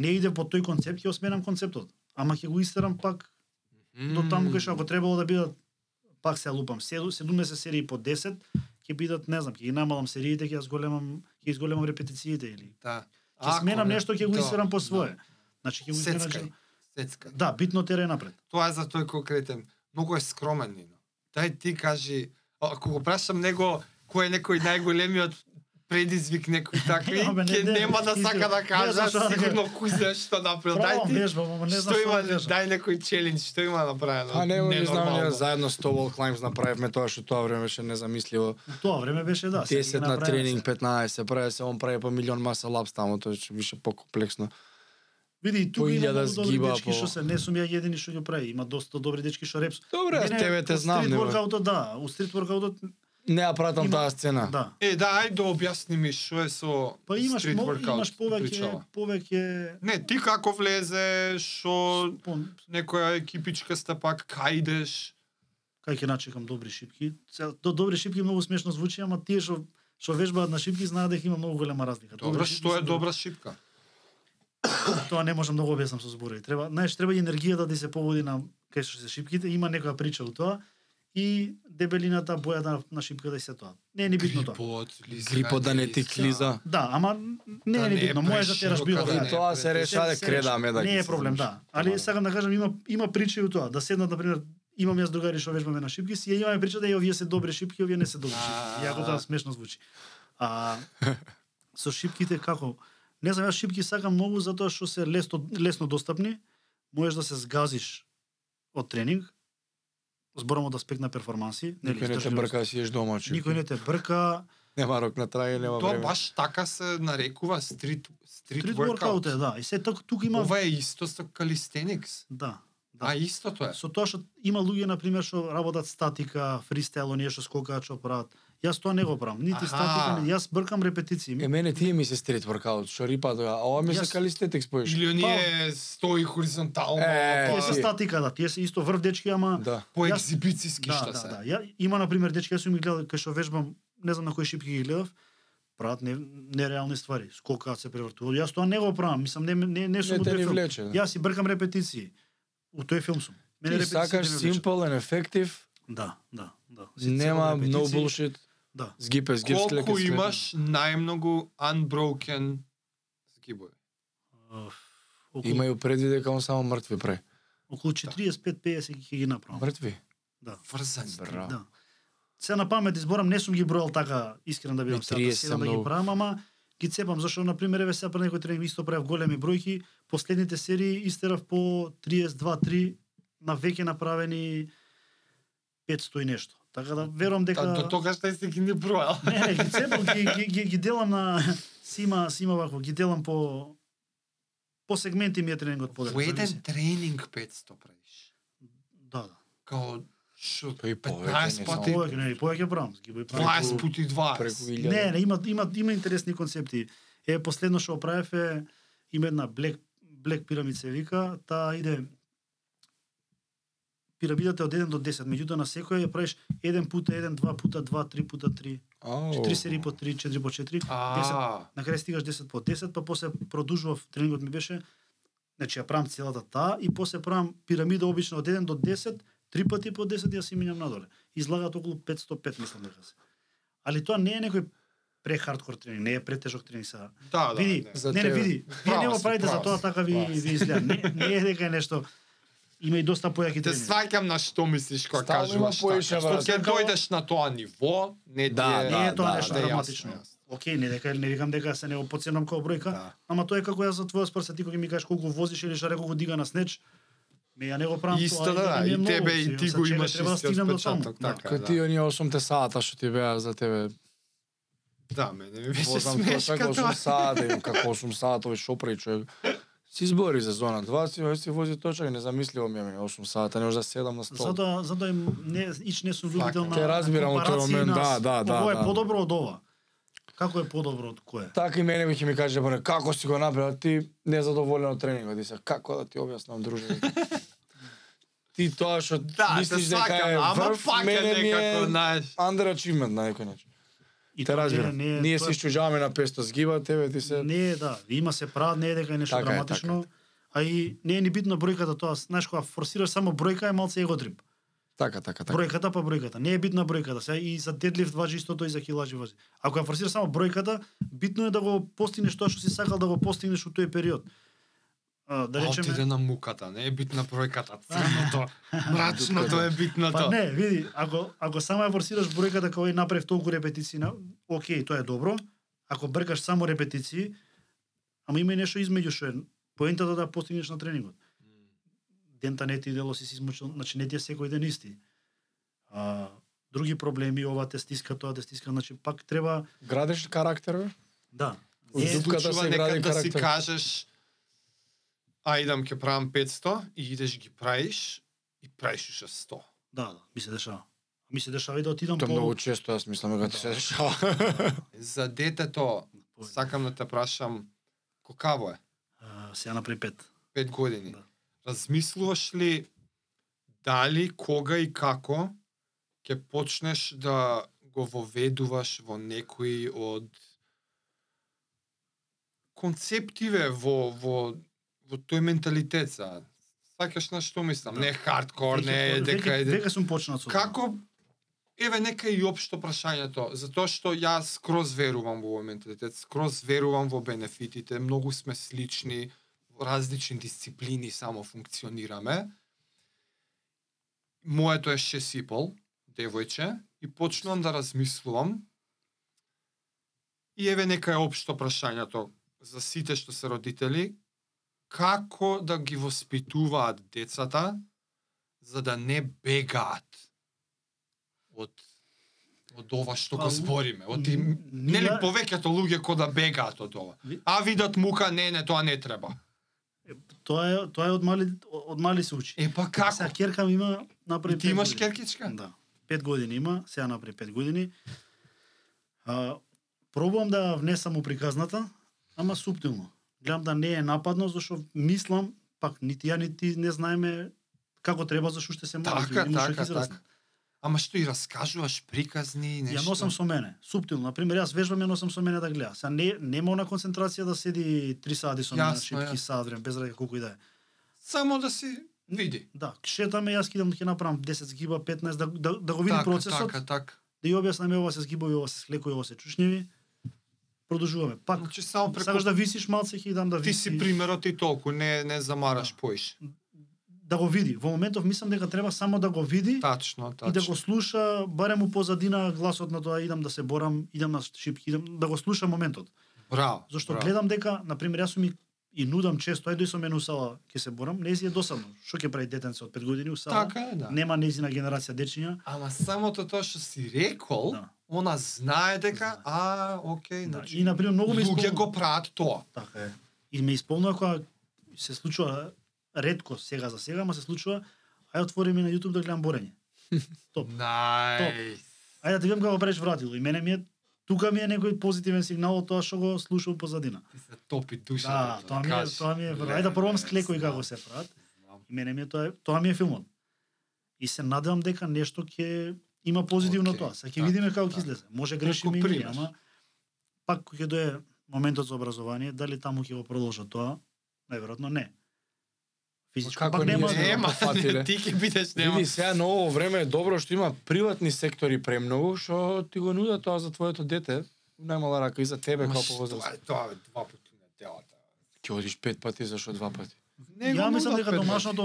Speaker 1: Не иде по тој концепт, ќе осменам концептот. Ама ќе го истерам пак до таму кај што ако требало да бидат пак се лупам седу- 70 серии по 10 ќе бидат не знам ќе ги намалам сериите ќе ја зголемам ќе изголемам репетициите или
Speaker 3: Да.
Speaker 1: ќе
Speaker 3: Ако
Speaker 1: сменам
Speaker 3: не-
Speaker 1: нешто ќе го
Speaker 3: да,
Speaker 1: исферам по
Speaker 3: да.
Speaker 1: свое значи ќе го
Speaker 3: Сецкај.
Speaker 1: исферам
Speaker 3: Сецкај.
Speaker 1: да битно терен напред
Speaker 3: тоа е за тој конкретен. Многу е скромен Нино. Дај ти кажи, а- ако го прашам него кој е некој најголемиот предизвик
Speaker 1: [LAUGHS]
Speaker 3: некој такви,
Speaker 1: Абе, не,
Speaker 3: ќе
Speaker 1: не,
Speaker 3: нема да
Speaker 1: искрено.
Speaker 3: сака да
Speaker 1: Не
Speaker 3: кажа
Speaker 1: знам што да
Speaker 3: сигурно кој знае што направил. Дај
Speaker 1: правам
Speaker 3: ти
Speaker 1: вежбам ама не знам
Speaker 3: што
Speaker 1: што
Speaker 3: има,
Speaker 1: да кажам
Speaker 3: дај некој челендж, што има направено.
Speaker 2: Па не, не знам, ние
Speaker 3: ненормално.
Speaker 2: заедно 100 wall climbs направивме тоа што тоа време беше незамисливо.
Speaker 1: У тоа време беше да сега
Speaker 2: 10
Speaker 1: ги
Speaker 2: на
Speaker 1: направиме
Speaker 2: тренинг,
Speaker 1: се.
Speaker 2: 15, прави се, он прави по милион маса лапс таму, тоа е више покомплексно.
Speaker 1: види и
Speaker 2: по
Speaker 1: тука има
Speaker 2: илјада
Speaker 1: многу добри
Speaker 2: сгиба,
Speaker 1: дечки
Speaker 2: по-
Speaker 1: што се не сум ја едини што ги прави има доста добри дечки што репс
Speaker 2: Добре, аз
Speaker 1: Мене
Speaker 2: тебе те
Speaker 1: у
Speaker 2: знам,
Speaker 1: стрит
Speaker 2: не бе.
Speaker 1: воркаутот да у стрит воркаутот
Speaker 2: Не ја пратам
Speaker 1: Има-
Speaker 2: таа сцена.
Speaker 1: да
Speaker 3: Е, да, ајде објасни ми што е со
Speaker 1: па имаш
Speaker 3: стрит
Speaker 1: мо-
Speaker 3: воркаут
Speaker 1: имаш повеќе
Speaker 3: причала.
Speaker 1: повеќе
Speaker 3: Не, ти како влезе, што
Speaker 1: спон-
Speaker 3: некоја екипичка сте пак, кај идеш?
Speaker 1: кај ќе начекам добри шипки. Сега, До добри шипки многу смешно звучи, ама тие што што вежбаат на шипки знаат дека има многу голема разлика.
Speaker 3: Добра,
Speaker 1: Добри шипки
Speaker 3: што е
Speaker 1: се
Speaker 3: добра шипка?
Speaker 1: Тоа не можам да го објаснам со зборови. Треба, знаеш, треба и енергијата да ти се поводи на кај што се шипките, има некоја прича у тоа и дебелината, бојата на- на шипката и се тоа. Не е ни битно тоа.
Speaker 3: Грипот, лиза,
Speaker 2: Грипот да не ти
Speaker 3: лиза.
Speaker 2: клиза.
Speaker 1: Да, ама не
Speaker 3: Да
Speaker 1: е
Speaker 3: не
Speaker 1: ни
Speaker 3: е
Speaker 1: битно. Можеш да тераш било
Speaker 3: преширока, да
Speaker 2: И
Speaker 3: не
Speaker 1: каде.
Speaker 3: е
Speaker 2: тоа се
Speaker 3: пред-
Speaker 1: Се-
Speaker 2: реша да
Speaker 1: се
Speaker 2: кредаме да
Speaker 1: Не
Speaker 2: ги
Speaker 1: е
Speaker 2: се
Speaker 1: проблем,
Speaker 2: замисли.
Speaker 1: да. Али сакам да кажам има има причи у тоа. Да седнат на пример имам јас другари што вежбаме на шипки, си ја имаме прича да и овие се добри шипки, овие не се добри шипки. Јако тоа смешно звучи. А со шипките како? Не знам, јас шипки сакам многу затоа што се лесно лесно достапни. можеш да се згазиш од тренинг, зборам од аспект на перформанси, нели,
Speaker 2: Никој не те
Speaker 1: издржливост.
Speaker 2: брка, си еш дома, че.
Speaker 1: Никој не те брка.
Speaker 2: Нема рок на траје, нема
Speaker 3: Тоа
Speaker 2: време.
Speaker 3: баш така се нарекува стрит стрит
Speaker 1: Стрит
Speaker 3: воркаут.
Speaker 1: воркаут е, да. И се тук, тук има...
Speaker 3: Ова е исто со калистеникс.
Speaker 1: Да.
Speaker 3: А истото е.
Speaker 1: Со тоа што има луѓе на пример што работат статика, фристайл, оние што скокаат, што прават. Јас тоа не го правам, нити
Speaker 3: Аха.
Speaker 1: статика, ни... јас бркам репетиции.
Speaker 2: Е, мене тие ми се стрит воркаут, шо рипа тоа, а ова ми се
Speaker 1: Јас-
Speaker 2: калистетикс поиш.
Speaker 3: Или
Speaker 1: Па.
Speaker 3: оние стои хоризонтално,
Speaker 2: Е,
Speaker 1: Тие
Speaker 3: па
Speaker 1: се
Speaker 2: тие.
Speaker 1: статика, да, тие се исто врв дечки, ама
Speaker 2: Да.
Speaker 3: по
Speaker 1: Јас-
Speaker 3: екзибициски
Speaker 1: да,
Speaker 3: што
Speaker 1: да,
Speaker 3: се.
Speaker 1: да. Ја има на пример дечки, јас сум ги гледал кај што вежбам, не знам на кои шипки ги гледав, прават не, нереални ствари, скокаат се превртуваат. Јас тоа не го правам, мислам не не не сум
Speaker 2: Не
Speaker 1: од
Speaker 2: те
Speaker 1: тој
Speaker 2: ни
Speaker 1: филм.
Speaker 2: влече. да.
Speaker 1: Јас си бркам репетиции. У тој филм сум.
Speaker 2: Ти
Speaker 1: репетициите
Speaker 2: сакаш
Speaker 1: ме влечат.
Speaker 2: simple and effective,
Speaker 1: Да, да, да. Си
Speaker 2: нема
Speaker 1: целам
Speaker 2: no
Speaker 1: репетиции.
Speaker 2: bullshit,
Speaker 1: Да.
Speaker 2: сгипе, сгип,
Speaker 3: Колку имаш најмногу unbroken скибови?
Speaker 1: Оф, Околу,
Speaker 2: Имају предвид дека он само мртви пре.
Speaker 1: околу
Speaker 3: Да.
Speaker 1: 45-50 ги ќе ги направам.
Speaker 2: Мртви.
Speaker 1: Да.
Speaker 3: Врзани.
Speaker 2: Браво.
Speaker 1: Да. Се на памет изборам, не сум ги бројал така, искрен да бидам
Speaker 2: Ми,
Speaker 1: сега,
Speaker 2: 30
Speaker 1: сега да
Speaker 2: сам
Speaker 1: ги
Speaker 2: многу.
Speaker 1: правам, ама ги цепам, зашто на пример еве сега пред некој тренинг исто правев големи бројки, последните серии истерав по 32-3 на веќе направени 500 и нешто. Така да верувам дека
Speaker 3: Та, до тогаш не си ги ни бројал.
Speaker 1: [LAUGHS] Не, не, ги цепам, ги, ги, ги, ги делам на си има, си има вако, ги делам по по сегменти ми е тренингот подел.
Speaker 3: Во еден
Speaker 1: зависи.
Speaker 3: тренинг 500 правиш.
Speaker 1: Да, да.
Speaker 3: Као што
Speaker 2: Па и повеќе,
Speaker 3: 15
Speaker 2: не
Speaker 3: пати,
Speaker 1: Повеќе, не, повеќе правам, ги
Speaker 3: 20 пути 20.
Speaker 2: Преку илјада.
Speaker 1: Не, не, има, има, има интересни концепти. Е, последно што го правев е, има една Black, Black Pyramid се вика, таа иде пирамидата од 1 до 10, меѓутоа на секоја ја правиш 1 пута 1, 2 пута 2, 3 пута 3, 4 серии по 3, 4 по 4, 10
Speaker 3: А,
Speaker 1: на крај стигаш 10 по 10, па после продужував, тренингот ми беше, значи ја правам целата таа и после правам пирамида обично од 1 до 10, три пати по 10 и ја си минам надоле. Излагаат околу 505, мислам дека се. Али тоа не е некој пре-хардкор тренинг, не е претежок тренинг сега.
Speaker 3: да, да.
Speaker 1: види,
Speaker 3: не.
Speaker 2: за
Speaker 1: не, не,
Speaker 2: тебе.
Speaker 1: види, вие
Speaker 3: Право
Speaker 1: не го
Speaker 3: си,
Speaker 1: правите за
Speaker 3: право
Speaker 1: тоа
Speaker 3: си,
Speaker 1: така ви,
Speaker 3: право си.
Speaker 1: ви изгледа. Не, не е дека е нешто, има и доста појаки
Speaker 3: Те
Speaker 1: тренинги.
Speaker 3: сваќам на што мислиш кога
Speaker 2: Стално има
Speaker 3: кажуваш така.
Speaker 2: поише,
Speaker 3: Што
Speaker 2: брат.
Speaker 3: ќе
Speaker 1: Како-
Speaker 3: дојдеш на тоа ниво, не ти
Speaker 2: Да,
Speaker 3: е...
Speaker 1: Не е тоа
Speaker 2: да,
Speaker 1: нешто
Speaker 2: да,
Speaker 1: драматично.
Speaker 3: јасно, јасно.
Speaker 1: Океј, не дека не викам дека се не го подценувам како бројка,
Speaker 3: Да.
Speaker 1: Ама тоа е како јас за твоја спрса ти кога ми кажеш колку возиш или шаре колку дига на снеч. Ме ја не го правам
Speaker 3: Исто
Speaker 1: тоа. ми
Speaker 3: да, да,
Speaker 1: е
Speaker 3: и
Speaker 1: многу,
Speaker 3: тебе и
Speaker 1: сега,
Speaker 3: ти
Speaker 1: сега
Speaker 3: го
Speaker 1: чека,
Speaker 3: имаш
Speaker 1: треба да
Speaker 3: истиот
Speaker 1: стигнем до таму.
Speaker 3: печаток,
Speaker 1: Да.
Speaker 3: така.
Speaker 2: Кај
Speaker 3: да.
Speaker 2: ти оние 8 сата што ти беа за тебе.
Speaker 3: Да, мене ми беше
Speaker 2: Возам тоа
Speaker 3: смешка
Speaker 2: како 8
Speaker 3: тоа.
Speaker 2: сата, им, како 8 сата, овој шо прави човек. Си избори за зона 2, си овој си вози точак, незамисливо ми е мене 8 сата, не може да седам на стол.
Speaker 1: Затоа затоа да им не ич не сум
Speaker 3: Факт.
Speaker 1: љубител на
Speaker 2: Те разбирам во тој
Speaker 1: компарации
Speaker 2: момент,
Speaker 1: на-
Speaker 2: да, да, да,
Speaker 1: Ова е
Speaker 2: да.
Speaker 1: подобро од ова. Како е подобро од кое?
Speaker 2: Така и мене ми ќе ми каже, бре, како си го направил, ти незадоволен од тренингот. И се, како да ти објаснам,
Speaker 3: [LAUGHS]
Speaker 2: друже? ти тоа што
Speaker 3: Да, се
Speaker 2: мислиш дека
Speaker 3: сваќам,
Speaker 2: е
Speaker 3: ама
Speaker 2: врв,
Speaker 3: фак е
Speaker 2: мене ми
Speaker 3: некако,
Speaker 2: е
Speaker 3: знаеш.
Speaker 1: Да,
Speaker 2: underachievement на некој начин.
Speaker 1: И
Speaker 2: Те
Speaker 1: тоа
Speaker 2: разбирам.
Speaker 1: не е-
Speaker 2: Ние
Speaker 1: тоа
Speaker 2: се
Speaker 1: е-
Speaker 2: исчужаваме на 500 згиба, тебе ти се...
Speaker 1: Не е, да, има се прават, не е дека е нешто
Speaker 2: Така е,
Speaker 1: драматично. А и не е ни битна бројката тоа, знаеш кога форсираш само бројка е малце его трип.
Speaker 2: Така, така, така.
Speaker 1: Бројката па бројката. Не е битна бројката. Сега и за дедлифт важи истото и за хилажи важи. Ако ја форсираш само бројката, битно е да го постигнеш тоа што си сакал да го постигнеш у тој период. А, да
Speaker 3: Да
Speaker 1: речеме,
Speaker 3: отиде на муката, не е битна
Speaker 1: [LAUGHS]
Speaker 3: бројката, црното, мрачното е
Speaker 1: па
Speaker 3: битното.
Speaker 1: не, види, ако ако само ја форсираш бројката како и направив толку репетиции на, окей, тоа е добро. Ако бркаш само репетиции, ама има и нешто измеѓу што е поентата да ја постигнеш на тренингот. дента не ти дело си се измучил, значи не ти е секој ден исти. А, други проблеми, ова те стиска, тоа те стиска, значи пак треба,
Speaker 2: Градиш карактер, бе?
Speaker 1: да.
Speaker 2: Од
Speaker 1: Е,
Speaker 2: дупката
Speaker 3: Случува
Speaker 2: се гради
Speaker 3: некад да си
Speaker 2: карактер.
Speaker 3: кажеш а идам ќе правам 500 и идеш ги правиш и правиш уште 100.
Speaker 1: да, да, ми се дешава. Ми се дешава и да отидам
Speaker 2: Тоа
Speaker 1: по...
Speaker 2: многу често, јас мислам, дека ти се дешава.
Speaker 3: За детето,
Speaker 1: по-
Speaker 3: сакам да те прашам, кокаво е?
Speaker 1: А, сега направи пет.
Speaker 3: пет години.
Speaker 1: Да.
Speaker 3: Размислуваш ли дали, кога и како ќе почнеш да го воведуваш во некои од концептиве во во во тој менталитет за сакаш на што мислам,
Speaker 1: Да.
Speaker 3: не хардкор, не е
Speaker 1: Веќе-
Speaker 3: дека
Speaker 1: веќе-
Speaker 3: е
Speaker 1: Веќе сум почнат со тоа.
Speaker 3: Како еве нека и општо прашањето, затоа што јас скроз верувам во овој менталитет, скроз верувам во бенефитите, многу сме слични, во различни дисциплини само функционираме. Моето е шесипол, девојче, и почнувам да размислувам. И еве нека е општо прашањето за сите што се родители, како да ги воспитуваат децата за да не бегаат од од ова што
Speaker 1: Па,
Speaker 3: го збориме. Од и,
Speaker 1: н-
Speaker 3: нели
Speaker 1: ние-
Speaker 3: повеќето луѓе кој да бегаат од ова.
Speaker 1: Ви-
Speaker 3: А видат мука, не, не, тоа не треба.
Speaker 1: Тоа е тоа е од мали од мали се учи.
Speaker 3: Е па
Speaker 1: Сега
Speaker 3: како?
Speaker 1: керкам има напред.
Speaker 3: И ти имаш керкичка?
Speaker 1: Да. Пет години има, сега напред пет години. А, пробувам да ја внесам у приказната, ама суптилно. Гледам да не е нападно, зашо мислам, пак нити ја, нити не знаеме како треба, зашо ще се мали.
Speaker 3: Така,
Speaker 1: ќе има шо ќе
Speaker 3: така,
Speaker 1: се разни.
Speaker 3: така. Ама што и раскажуваш приказни и нешто.
Speaker 1: Ја носам со мене, суптилно. На пример, јас вежбам ја носам со мене да гледа. Сега не нема она концентрација да седи 3 сати со мене на
Speaker 3: Јасно, јасно.
Speaker 1: шипки сад време, без разлика колку и да е.
Speaker 3: Само да си види.
Speaker 1: Да, шетаме, јас кидам ќе направам 10 сгиба, 15 да да, да го види
Speaker 3: така,
Speaker 1: процесот.
Speaker 3: така, така.
Speaker 1: да ја објаснаме ова се сгибови, ова се слекови, ова се чушневи. Продолжуваме. Пак,
Speaker 3: Значи само преку
Speaker 1: сакаш да висиш малце, ќе дам да
Speaker 3: ти
Speaker 1: висиш.
Speaker 3: си примерот и толку, не не замараш поиш.
Speaker 1: Да го види. Во моментов мислам дека треба само да го види и
Speaker 3: Тачно,
Speaker 1: да го
Speaker 3: тачно.
Speaker 1: слуша, барем у позадина гласот на тоа, идам да се борам, идам на шипки, идам да го слуша моментот.
Speaker 3: Браво.
Speaker 1: Зашто
Speaker 3: браво.
Speaker 1: гледам дека, на пример, јас сум и, и нудам често, ајде со мене у сала, ќе се борам, нези е досадно. Што ќе прави детенце од 5 години у сала?
Speaker 3: Така е, да.
Speaker 1: Нема незина генерација дечиња.
Speaker 3: Ама самото тоа што си рекол,
Speaker 1: Да.
Speaker 3: она знае дека а, окей,
Speaker 1: Да.
Speaker 3: значи.
Speaker 1: И на пример многу ме
Speaker 3: Луѓе
Speaker 1: исполнува.
Speaker 3: го прават тоа.
Speaker 1: Така е. И ме исполнува кога се случува ретко сега за сега, ама се случува ај отвориме на YouTube да гледам борење. Топ.
Speaker 3: Нај.
Speaker 1: Ај да те видам како преш вратило и мене ми е тука ми е некој позитивен сигнал од тоа што го слушам позадина.
Speaker 3: Ти се топи
Speaker 1: Да,
Speaker 3: душата.
Speaker 1: тоа ми е тоа ми е врв. Ај да пробам склеко и како се прават. И мене ми е тоа тоа ми е филмот. И се надевам дека нешто ќе има позитивно
Speaker 3: Океј,
Speaker 1: тоа. Сега ќе
Speaker 3: така,
Speaker 1: видиме како
Speaker 3: така.
Speaker 1: ќе излезе. Може
Speaker 3: Преку
Speaker 1: грешим и ние,
Speaker 3: пример.
Speaker 1: ама пак кога ќе дое моментот за образование, дали таму ќе го продолжат тоа? Најверојатно не. Физичко
Speaker 2: како
Speaker 1: пак
Speaker 2: ние
Speaker 1: нема.
Speaker 2: сме
Speaker 1: да-
Speaker 3: Нема,
Speaker 2: Фатиле.
Speaker 3: ти ќе бидеш [LAUGHS] нема.
Speaker 2: Па Види, сега на ово време е добро што има приватни сектори премногу, што ти го нуда тоа за твоето дете, најмала рака и за тебе
Speaker 3: Ма
Speaker 2: како
Speaker 3: што
Speaker 2: повозраст.
Speaker 3: е Тоа е два пати на делата.
Speaker 2: Ќе одиш пет пати зашо два пати.
Speaker 3: Не го
Speaker 1: Ја мислам
Speaker 3: нудат
Speaker 1: дека
Speaker 3: пет
Speaker 1: домашното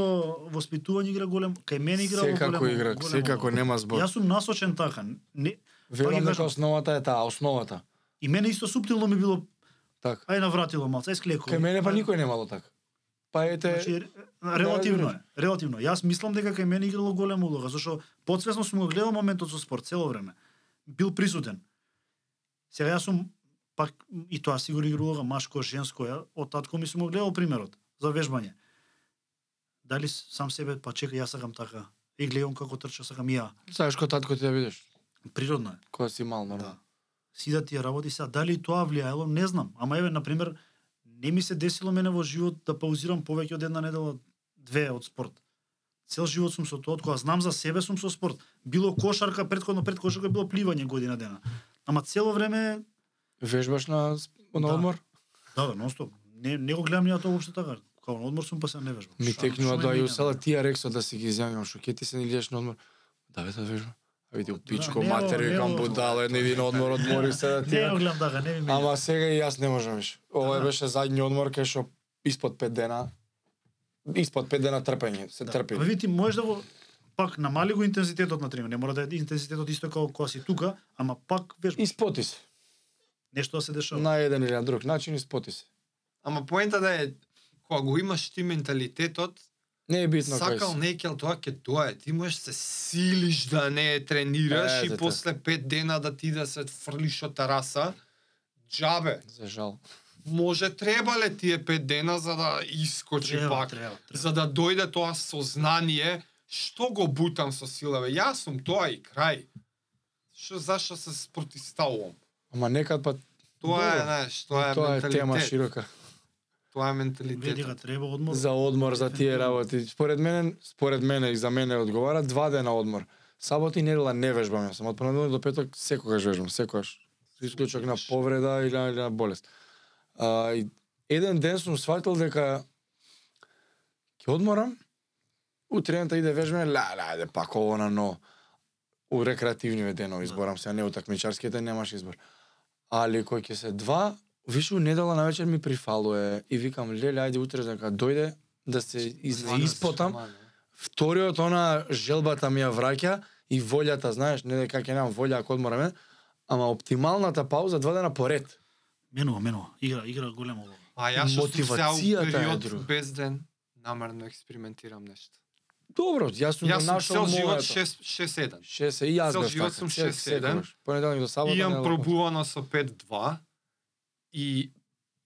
Speaker 1: воспитување игра голем, кај мене игра
Speaker 2: Секако игра, секако нема збор.
Speaker 1: Јас сум насочен така. Не, Па
Speaker 2: Верувам
Speaker 1: ги
Speaker 2: дека
Speaker 1: кажам.
Speaker 2: основата е таа, основата.
Speaker 1: и мене исто суптилно ми било,
Speaker 2: Така.
Speaker 1: ај навратило малце, ај склеко.
Speaker 2: Кај мене па никој немало така. Па ете,
Speaker 1: Значи, р- релативно е. Релативно. Јас мислам дека кај мене играло голема улога, зашто подсвесно сум го гледал моментот со спорт цело време. Бил присутен. Сега јас сум пак и тоа сигурно игра улога машко, женско, ја, од татко ми сум го гледал примерот за вежбање. Дали с- сам себе па чека јас сакам така. И гледам како трча сакам и ја.
Speaker 2: знаеш кој татко ти ја видиш,
Speaker 1: Природно е.
Speaker 2: кога си мал, нормално.
Speaker 1: си да ти ја работи сега. Дали тоа влијаело, не знам. Ама еве, например, не ми се десило мене во живот да паузирам повеќе од една недела, две од спорт. Цел живот сум со тоа, од кога знам за себе сум со спорт. Било кошарка, предходно пред кошарка било пливање година дена. Ама цело време,
Speaker 2: Вежбаш на сп- на
Speaker 1: Да.
Speaker 2: одмор?
Speaker 1: да, да, нонстоп. Не, не го гледам ни ја тоа уопште така. Као на одмор сум па се не вежбам.
Speaker 2: Ми
Speaker 1: Шо-
Speaker 2: текнува
Speaker 1: шо
Speaker 2: да
Speaker 1: ми
Speaker 2: ја
Speaker 1: мина,
Speaker 2: усела
Speaker 1: бе?
Speaker 2: тие рексо да си ги изјавам што ќе ти се не лиеш на одмор. Да бе, да вежба. А види, у пичко,
Speaker 1: не,
Speaker 2: матер,
Speaker 1: не,
Speaker 2: викам
Speaker 1: не,
Speaker 2: будала, не ви на одмор одмори се да ти.
Speaker 1: Не го гледам така, не ми мина.
Speaker 2: Ама сега и јас не можам виш. Ова
Speaker 1: Да.
Speaker 2: беше задни одмор кај што испод 5 дена испод 5 дена трпење, се трпи.
Speaker 1: Ама види, можеш да го пак намали го интензитетот на тренинг. Не мора да е интензитетот исто како кога си тука, ама пак вежбаш.
Speaker 2: Испоти се.
Speaker 1: нешто да се дешава.
Speaker 2: На еден или на друг начин испоти се.
Speaker 3: Ама поента да е кога го имаш ти менталитетот,
Speaker 2: Не е битно кај
Speaker 3: сакал
Speaker 2: си.
Speaker 3: некел тоа ќе дое. Ти можеш се силиш да не тренираш
Speaker 2: Е,
Speaker 3: и
Speaker 2: дете.
Speaker 3: после пет дена да ти да се фрлиш од тараса. Джабе,
Speaker 2: За жал.
Speaker 3: може требале тие пет дена за да искочи
Speaker 1: Треба,
Speaker 3: пак,
Speaker 1: треба, треба.
Speaker 3: за да дојде тоа сознание што го бутам со силаве. Јас сум тоа и крај. Што зашто се спротиставувам?
Speaker 2: Ама некад па
Speaker 3: Тоа е,
Speaker 2: Добро.
Speaker 3: знаеш, тоа е
Speaker 2: тоа е тема
Speaker 3: менталитет.
Speaker 2: широка.
Speaker 3: Тоа е
Speaker 1: Види
Speaker 3: менталитет.
Speaker 1: дека да треба одмор.
Speaker 2: За одмор, за тие работи. Според мене, според мене и за мене одговара два дена одмор. Сабот и недела не вежбам, јас сам од понеделник до петок секогаш вежбам, секогаш. Со исклучок на повреда или на, или на болест. А, и еден ден сум сватил дека ќе одморам, утрента иде вежбање, ла, ла, ајде пак ово на но. У рекреативниве денови изборам се, не утакмичарските, немаш избор. Али кој ќе се два, вишу недела навечер ми прифалуе и викам, леле, ајде утре дека дојде, да се из,
Speaker 3: Младост,
Speaker 2: испотам.
Speaker 3: младост.
Speaker 2: Вториот, она желбата ми ја враќа и волјата, знаеш, не дека ќе немам волја ако одмораме, ама оптималната пауза два дена поред.
Speaker 1: Менува, менува. Игра, игра голема улога.
Speaker 3: А јас што сум цел
Speaker 2: Мотивацијата е друга.
Speaker 3: период безден намерно експериментирам нешто.
Speaker 2: Добро, јас сум го
Speaker 3: Јас сум
Speaker 2: нашол
Speaker 3: цел живот
Speaker 2: моето.
Speaker 3: 6 6-1.
Speaker 2: 6 и јас
Speaker 3: цел
Speaker 2: бев
Speaker 3: живот
Speaker 2: така.
Speaker 3: сум
Speaker 2: Сек-
Speaker 3: 6-1.
Speaker 2: секогаш. Понеделник до сабота.
Speaker 3: Имам
Speaker 2: недела до
Speaker 3: пробувано со 5-2 и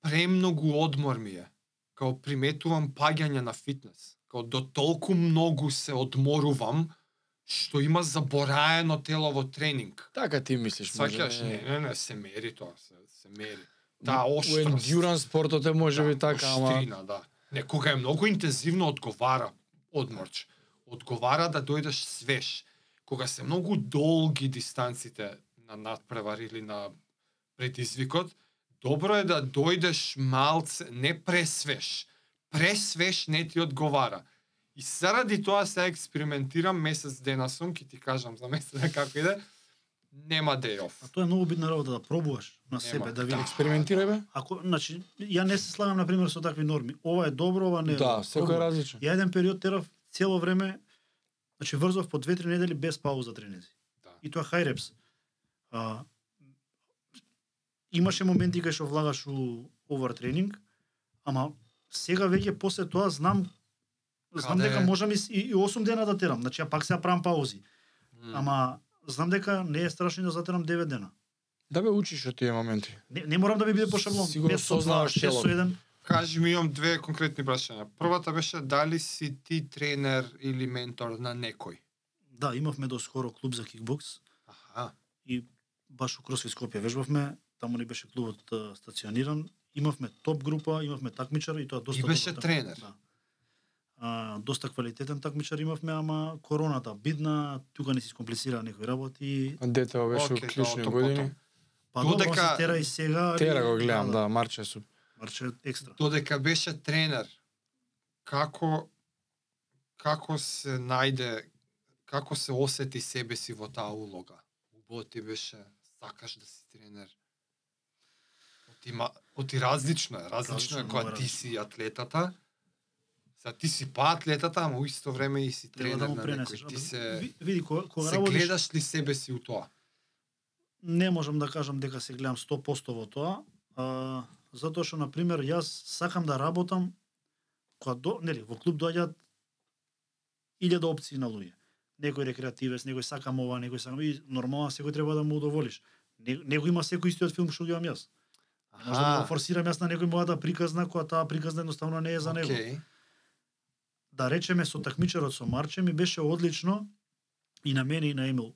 Speaker 3: премногу одмор ми е. Као приметувам паѓање на фитнес. Као до толку многу се одморувам што има забораено телово тренинг.
Speaker 2: поч- Така ти мислиш,
Speaker 3: Сваќаш? Не, не, не, се мери тоа, се, се мери. Та
Speaker 2: У
Speaker 3: оштрост.
Speaker 2: ендуран спортот е може би
Speaker 3: Да,
Speaker 2: така, ама
Speaker 3: Штрина, да. Не, кога е многу интензивно одговара одморч. Одговара да дојдеш свеж. Кога се многу долги дистанците на надпревар или на предизвикот, добро е да дојдеш малце, не пресвеж. Пресвеж не ти одговара. И заради тоа се експериментирам месец дена сум, ки ти кажам за месец дена како иде, нема day off.
Speaker 1: А тоа е многу битна работа да пробуваш на себе да видиш.
Speaker 2: експериментирај бе.
Speaker 1: Ако, значи, ја не се слагам на пример со такви норми. Ова е добро, ова не. е
Speaker 2: Да,
Speaker 1: добро.
Speaker 2: секој е
Speaker 1: Пробувам.
Speaker 2: различен.
Speaker 1: Ја еден период терав цело време, значи врзав по 2-3 недели без пауза тренинзи.
Speaker 3: Да.
Speaker 1: И тоа high reps. А, имаше моменти кај што влагаш у овар тренинг, ама сега веќе после тоа знам знам
Speaker 3: Каде
Speaker 1: дека
Speaker 3: е?
Speaker 1: можам и, с- и, и 8 дена да терам. Значи ја пак се ја правам паузи. Ама знам дека не е страшно и да затерам 9 дена.
Speaker 2: Да бе учиш од тие моменти.
Speaker 1: Не, не морам да ми биде по шаблон. 5
Speaker 2: Сигурно
Speaker 1: со
Speaker 2: сознаваш
Speaker 1: 2, 6 со
Speaker 2: телото.
Speaker 1: 1.
Speaker 3: Кажи ми, имам две конкретни прашања. Првата беше дали си ти тренер или ментор на некој?
Speaker 1: Да, имавме доскоро клуб за кикбокс.
Speaker 3: Аха.
Speaker 1: и баш у Кросфит Скопје вежбавме, таму ни беше клубот а, стациониран, имавме топ група, имавме такмичар и тоа доста
Speaker 3: И беше
Speaker 1: добро.
Speaker 3: тренер.
Speaker 1: Да. А, доста квалитетен такмичар имавме, ама короната бидна, тука не се искомплицира некои работи.
Speaker 2: А Детево беше okay,
Speaker 3: Океј, да,
Speaker 2: клучни
Speaker 3: ото
Speaker 2: години.
Speaker 3: потом.
Speaker 1: Па
Speaker 3: Додека-
Speaker 1: добро се тера и сега. али-
Speaker 2: Тера го гледам, да, Марче су.
Speaker 1: Марче екстра.
Speaker 3: Додека беше тренер, како како се најде, како се осети себе си во таа улога? Убо ти беше, сакаш да си тренер. Оти, ма, оти различно е, различно е
Speaker 1: Различно,
Speaker 3: кога
Speaker 1: многу
Speaker 3: ти си атлетата, Са ти си па атлетата, ама у исто време и си
Speaker 1: Треба
Speaker 3: тренер
Speaker 1: да му
Speaker 3: на
Speaker 1: пренесеш.
Speaker 3: некој. Ти
Speaker 1: Абе,
Speaker 3: се...
Speaker 1: ви- Види, кога, кога
Speaker 3: Се
Speaker 1: работиш,
Speaker 3: гледаш ли себе си у тоа?
Speaker 1: не можам да кажам дека се гледам 100% во тоа, а, затоа што, на пример, јас сакам да работам, кога до, нели, во клуб доаѓаат илјада опции на луѓе. Некој рекреативец, некој сакам ова, некој сакам... И нормално секој треба да му удоволиш. Не- Некој има секој истиот филм што го имам јас. Не Може да го форсирам јас на некој мојата приказна, која таа приказна едноставно не е за него
Speaker 3: окей.
Speaker 1: да речеме со такмичарот со Марче ми беше одлично и на мене и на Емил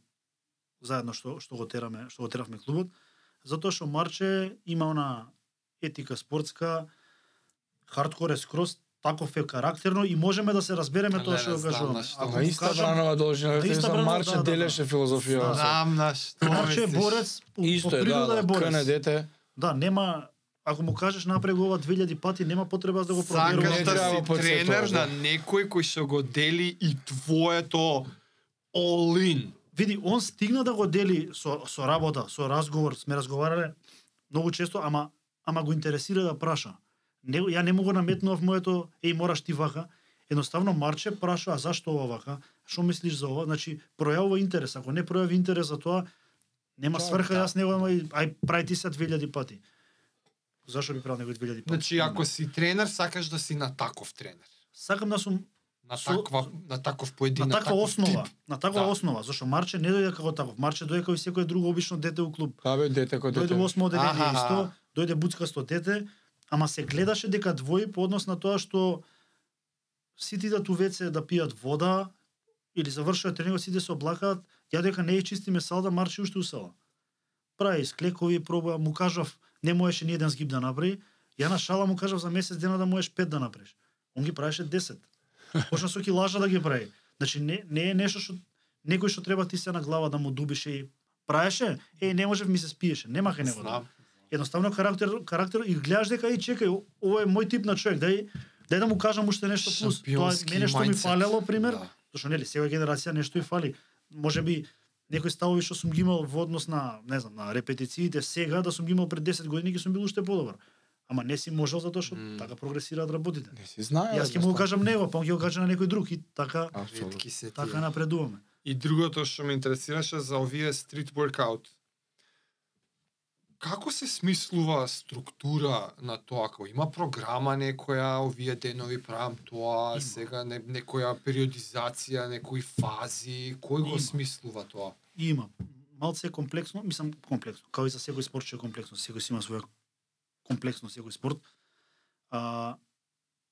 Speaker 1: заедно што што го тераме, што го теравме клубот, затоа што Марче има она етика спортска, хардкор е скрос, таков е карактерно и можеме да се разбереме
Speaker 3: Не,
Speaker 1: тоа
Speaker 3: не,
Speaker 1: што го
Speaker 3: знам
Speaker 1: кажуваме.
Speaker 3: на што да,
Speaker 1: Ако
Speaker 2: На
Speaker 1: му
Speaker 2: иста
Speaker 1: кажам,
Speaker 2: бранова должина,
Speaker 1: на иста
Speaker 2: за
Speaker 1: бранова,
Speaker 2: Марче
Speaker 1: да, да, да.
Speaker 2: делеше филозофија.
Speaker 1: Да.
Speaker 3: Знам на што
Speaker 1: Марче е
Speaker 3: мислиш.
Speaker 1: Така борец, по, по
Speaker 2: Исто е, да,
Speaker 1: природа е
Speaker 2: да, кне
Speaker 1: борец.
Speaker 2: дете.
Speaker 1: Да, нема ако му кажеш направи го ова 2000 пати, нема потреба аз да го да. проверувам.
Speaker 3: Сакаш
Speaker 2: Не
Speaker 3: да
Speaker 2: треба
Speaker 3: си
Speaker 2: по цел
Speaker 3: тренер
Speaker 2: тоа,
Speaker 3: на некој кој што го дели и твоето all in.
Speaker 1: види, он стигна да го дели со, со работа, со разговор, сме разговарале многу често, ама ама го интересира да праша. Не, ја не могу наметнував моето, еј, мораш ти вака. Едноставно Марче праша, а зашто ова вака? Што мислиш за ова? Значи, пројавува интерес. Ако не пројави интерес за тоа, нема
Speaker 2: Тоа е
Speaker 1: сврха,
Speaker 3: така.
Speaker 2: да.
Speaker 1: јас него има и ај прај ти се 2000 пати. Зашо би правил него 2000 пати?
Speaker 3: Значи, ако си тренер, сакаш да си на таков тренер.
Speaker 1: сакам да сум
Speaker 3: На
Speaker 1: Со-
Speaker 3: таква, на таков поединок,
Speaker 1: на таква
Speaker 3: таков
Speaker 1: основа,
Speaker 3: тип.
Speaker 1: на таква
Speaker 3: Да.
Speaker 1: основа, зашто Марче не дојде како таков. Марче дојде како и секој друго обично дете у клуб.
Speaker 2: Абе, дете кој
Speaker 1: дојде
Speaker 2: дете.
Speaker 1: во осмо
Speaker 3: Така, Аха.
Speaker 1: одделение исто, дојде буцкасто дете, ама се гледаше дека двои по однос на тоа што сите идат у WC да пијат вода или завршуваат тренингот, сите се облакаат, ја дека не е чистиме салда, марши уште у сала. Прави склекови, проба, му кажав, не можеше ни еден сгиб да направи, ја на шала му кажав за месец дена да можеш пет да направиш. Он ги правеше
Speaker 3: [LAUGHS]
Speaker 1: 10. Почна со ки лажа да ги прави. Значи не, не е нешто што некој што треба ти се на глава да му дубише и праеше, е не можев ми се спиеше, немаха него.
Speaker 3: Знам.
Speaker 1: Едноставно карактер карактер и гледаш дека и чекај, о- ова е мој тип на човек, дај дај да му кажам уште нешто плюс. Тоа е
Speaker 3: Шампионски
Speaker 1: мене што ми
Speaker 3: mindset.
Speaker 1: фалело пример,
Speaker 3: Да.
Speaker 1: Зашто нели сега генерација нешто и фали. Може би некои ставови што сум ги имал во однос на, не знам, на репетициите сега да сум ги имал пред 10 години ќе сум бил уште подобар. Ама не си можел затоа што
Speaker 3: Мм.
Speaker 1: така прогресираат работите.
Speaker 2: Не си знае.
Speaker 1: Јас ќе му го кажам него, па он ќе го каже на некој друг и така
Speaker 2: Апсолутно.
Speaker 3: Ретки се тие.
Speaker 1: така напредуваме.
Speaker 3: И другото што ме интересираше за овие стрит workout. како се смислува структура на тоа кој има програма некоја овие денови правам тоа
Speaker 1: Има.
Speaker 3: сега не, некоја периодизација некои фази кој го
Speaker 1: Има.
Speaker 3: смислува тоа
Speaker 1: И има. Малце е комплексно, мислам комплексно, као и за секој спорт што е комплексно, секој си има своја комплексност секој спорт. А,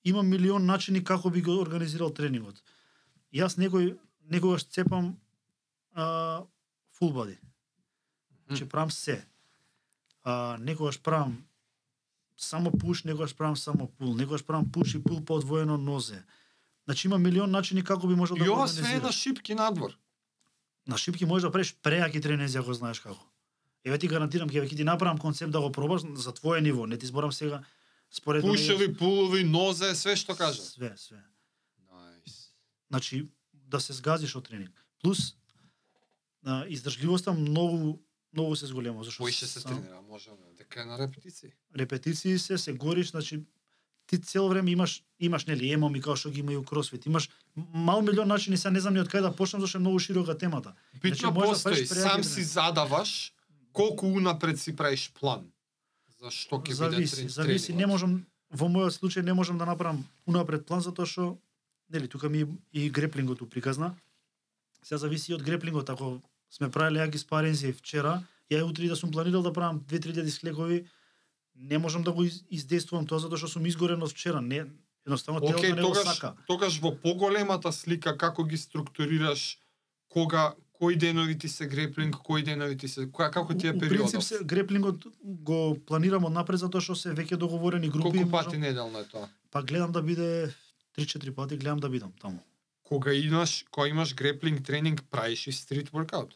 Speaker 1: има милион начини како би го организирал тренингот. Јас некој некогаш цепам а, full body. Значи правам се. А, некогаш правам само пуш, некогаш правам само пул, некогаш правам пуш и пул по одвоено нозе. Значи има милион начини како би можел да
Speaker 3: и
Speaker 1: го
Speaker 3: ова све е
Speaker 1: организираш.
Speaker 3: на шипки надвор
Speaker 1: На шипки можеш да правиш преаки тренинзи ако знаеш како. Еве ти гарантирам ќе ќе ти направам концепт да го пробаш за твое ниво, не ти зборам сега според мене-
Speaker 3: пушеви пулови нозе све што кажа
Speaker 1: Све, све.
Speaker 3: Nice.
Speaker 1: Значи да се сгазиш од тренинг. Плюс а, издржливоста многу многу се зголема, зашто
Speaker 3: Кој ќе се
Speaker 1: само-
Speaker 3: тренира може бе, дека е на репетиции
Speaker 1: репетиции се, се гориш, значи ти цел време имаш имаш нели емо ми како што ги има и у кросфит, имаш мал милион начини, сега не знам ни од кај да почнам зашто е многу широка темата.
Speaker 3: Битно
Speaker 1: може да
Speaker 3: постои,
Speaker 1: правиш
Speaker 3: сам
Speaker 1: преаки
Speaker 3: си
Speaker 1: тренинзи.
Speaker 3: задаваш колку унапред си правиш план. За што ќе биде
Speaker 1: зависи,
Speaker 3: да трени-
Speaker 1: зависи, не
Speaker 3: тренингот.
Speaker 1: можам во мојот случај не можам да направам унапред план затоа што нели тука ми и греплингот уприказна. Сега зависи и од греплингот ако сме правеле јаки спарензи вчера, ја и утре да сум планирал да правам 2-3 дислекови, не можам да го из- издействувам тоа затоа што сум изгорен од вчера, не едноставно телото
Speaker 3: Океј,
Speaker 1: не го
Speaker 3: тогаш,
Speaker 1: сака.
Speaker 3: тогаш во поголемата слика како ги структурираш кога кои денови ти се греплинг, кои денови ти се која како ти е
Speaker 1: У- у принцип
Speaker 3: периодот?
Speaker 1: се греплингот го планирам однапред затоа што се веќе договорени групи.
Speaker 3: Колку
Speaker 1: и
Speaker 3: пати
Speaker 1: можам-
Speaker 3: неделно е тоа?
Speaker 1: Па гледам да биде 3-4 пати гледам да бидам таму.
Speaker 3: Кога имаш, кога имаш греплинг тренинг, правиш и стрит воркаут.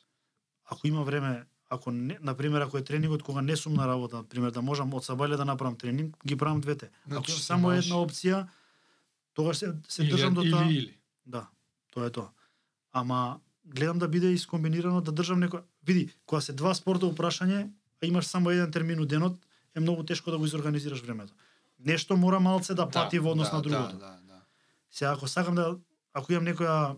Speaker 1: ако има време, ако не, на пример ако е тренингот кога не сум на работа, на пример да можам од сабајле да направам тренинг, ги правам двете. Ако
Speaker 3: Значи,
Speaker 1: е само
Speaker 3: имаш
Speaker 1: една опција, тогаш се се
Speaker 3: или-
Speaker 1: држам до
Speaker 3: или,
Speaker 1: таа.
Speaker 3: или.
Speaker 1: Да, тоа е тоа. Ама гледам да биде искомбинирано да држам некој види, кога се два спорта у прашање, а имаш само еден термин у денот, е многу тешко да го изорганизираш времето. Нешто мора малце да пати во однос на другото.
Speaker 3: Да, да, да.
Speaker 1: Сега ако сакам да ако имам некоја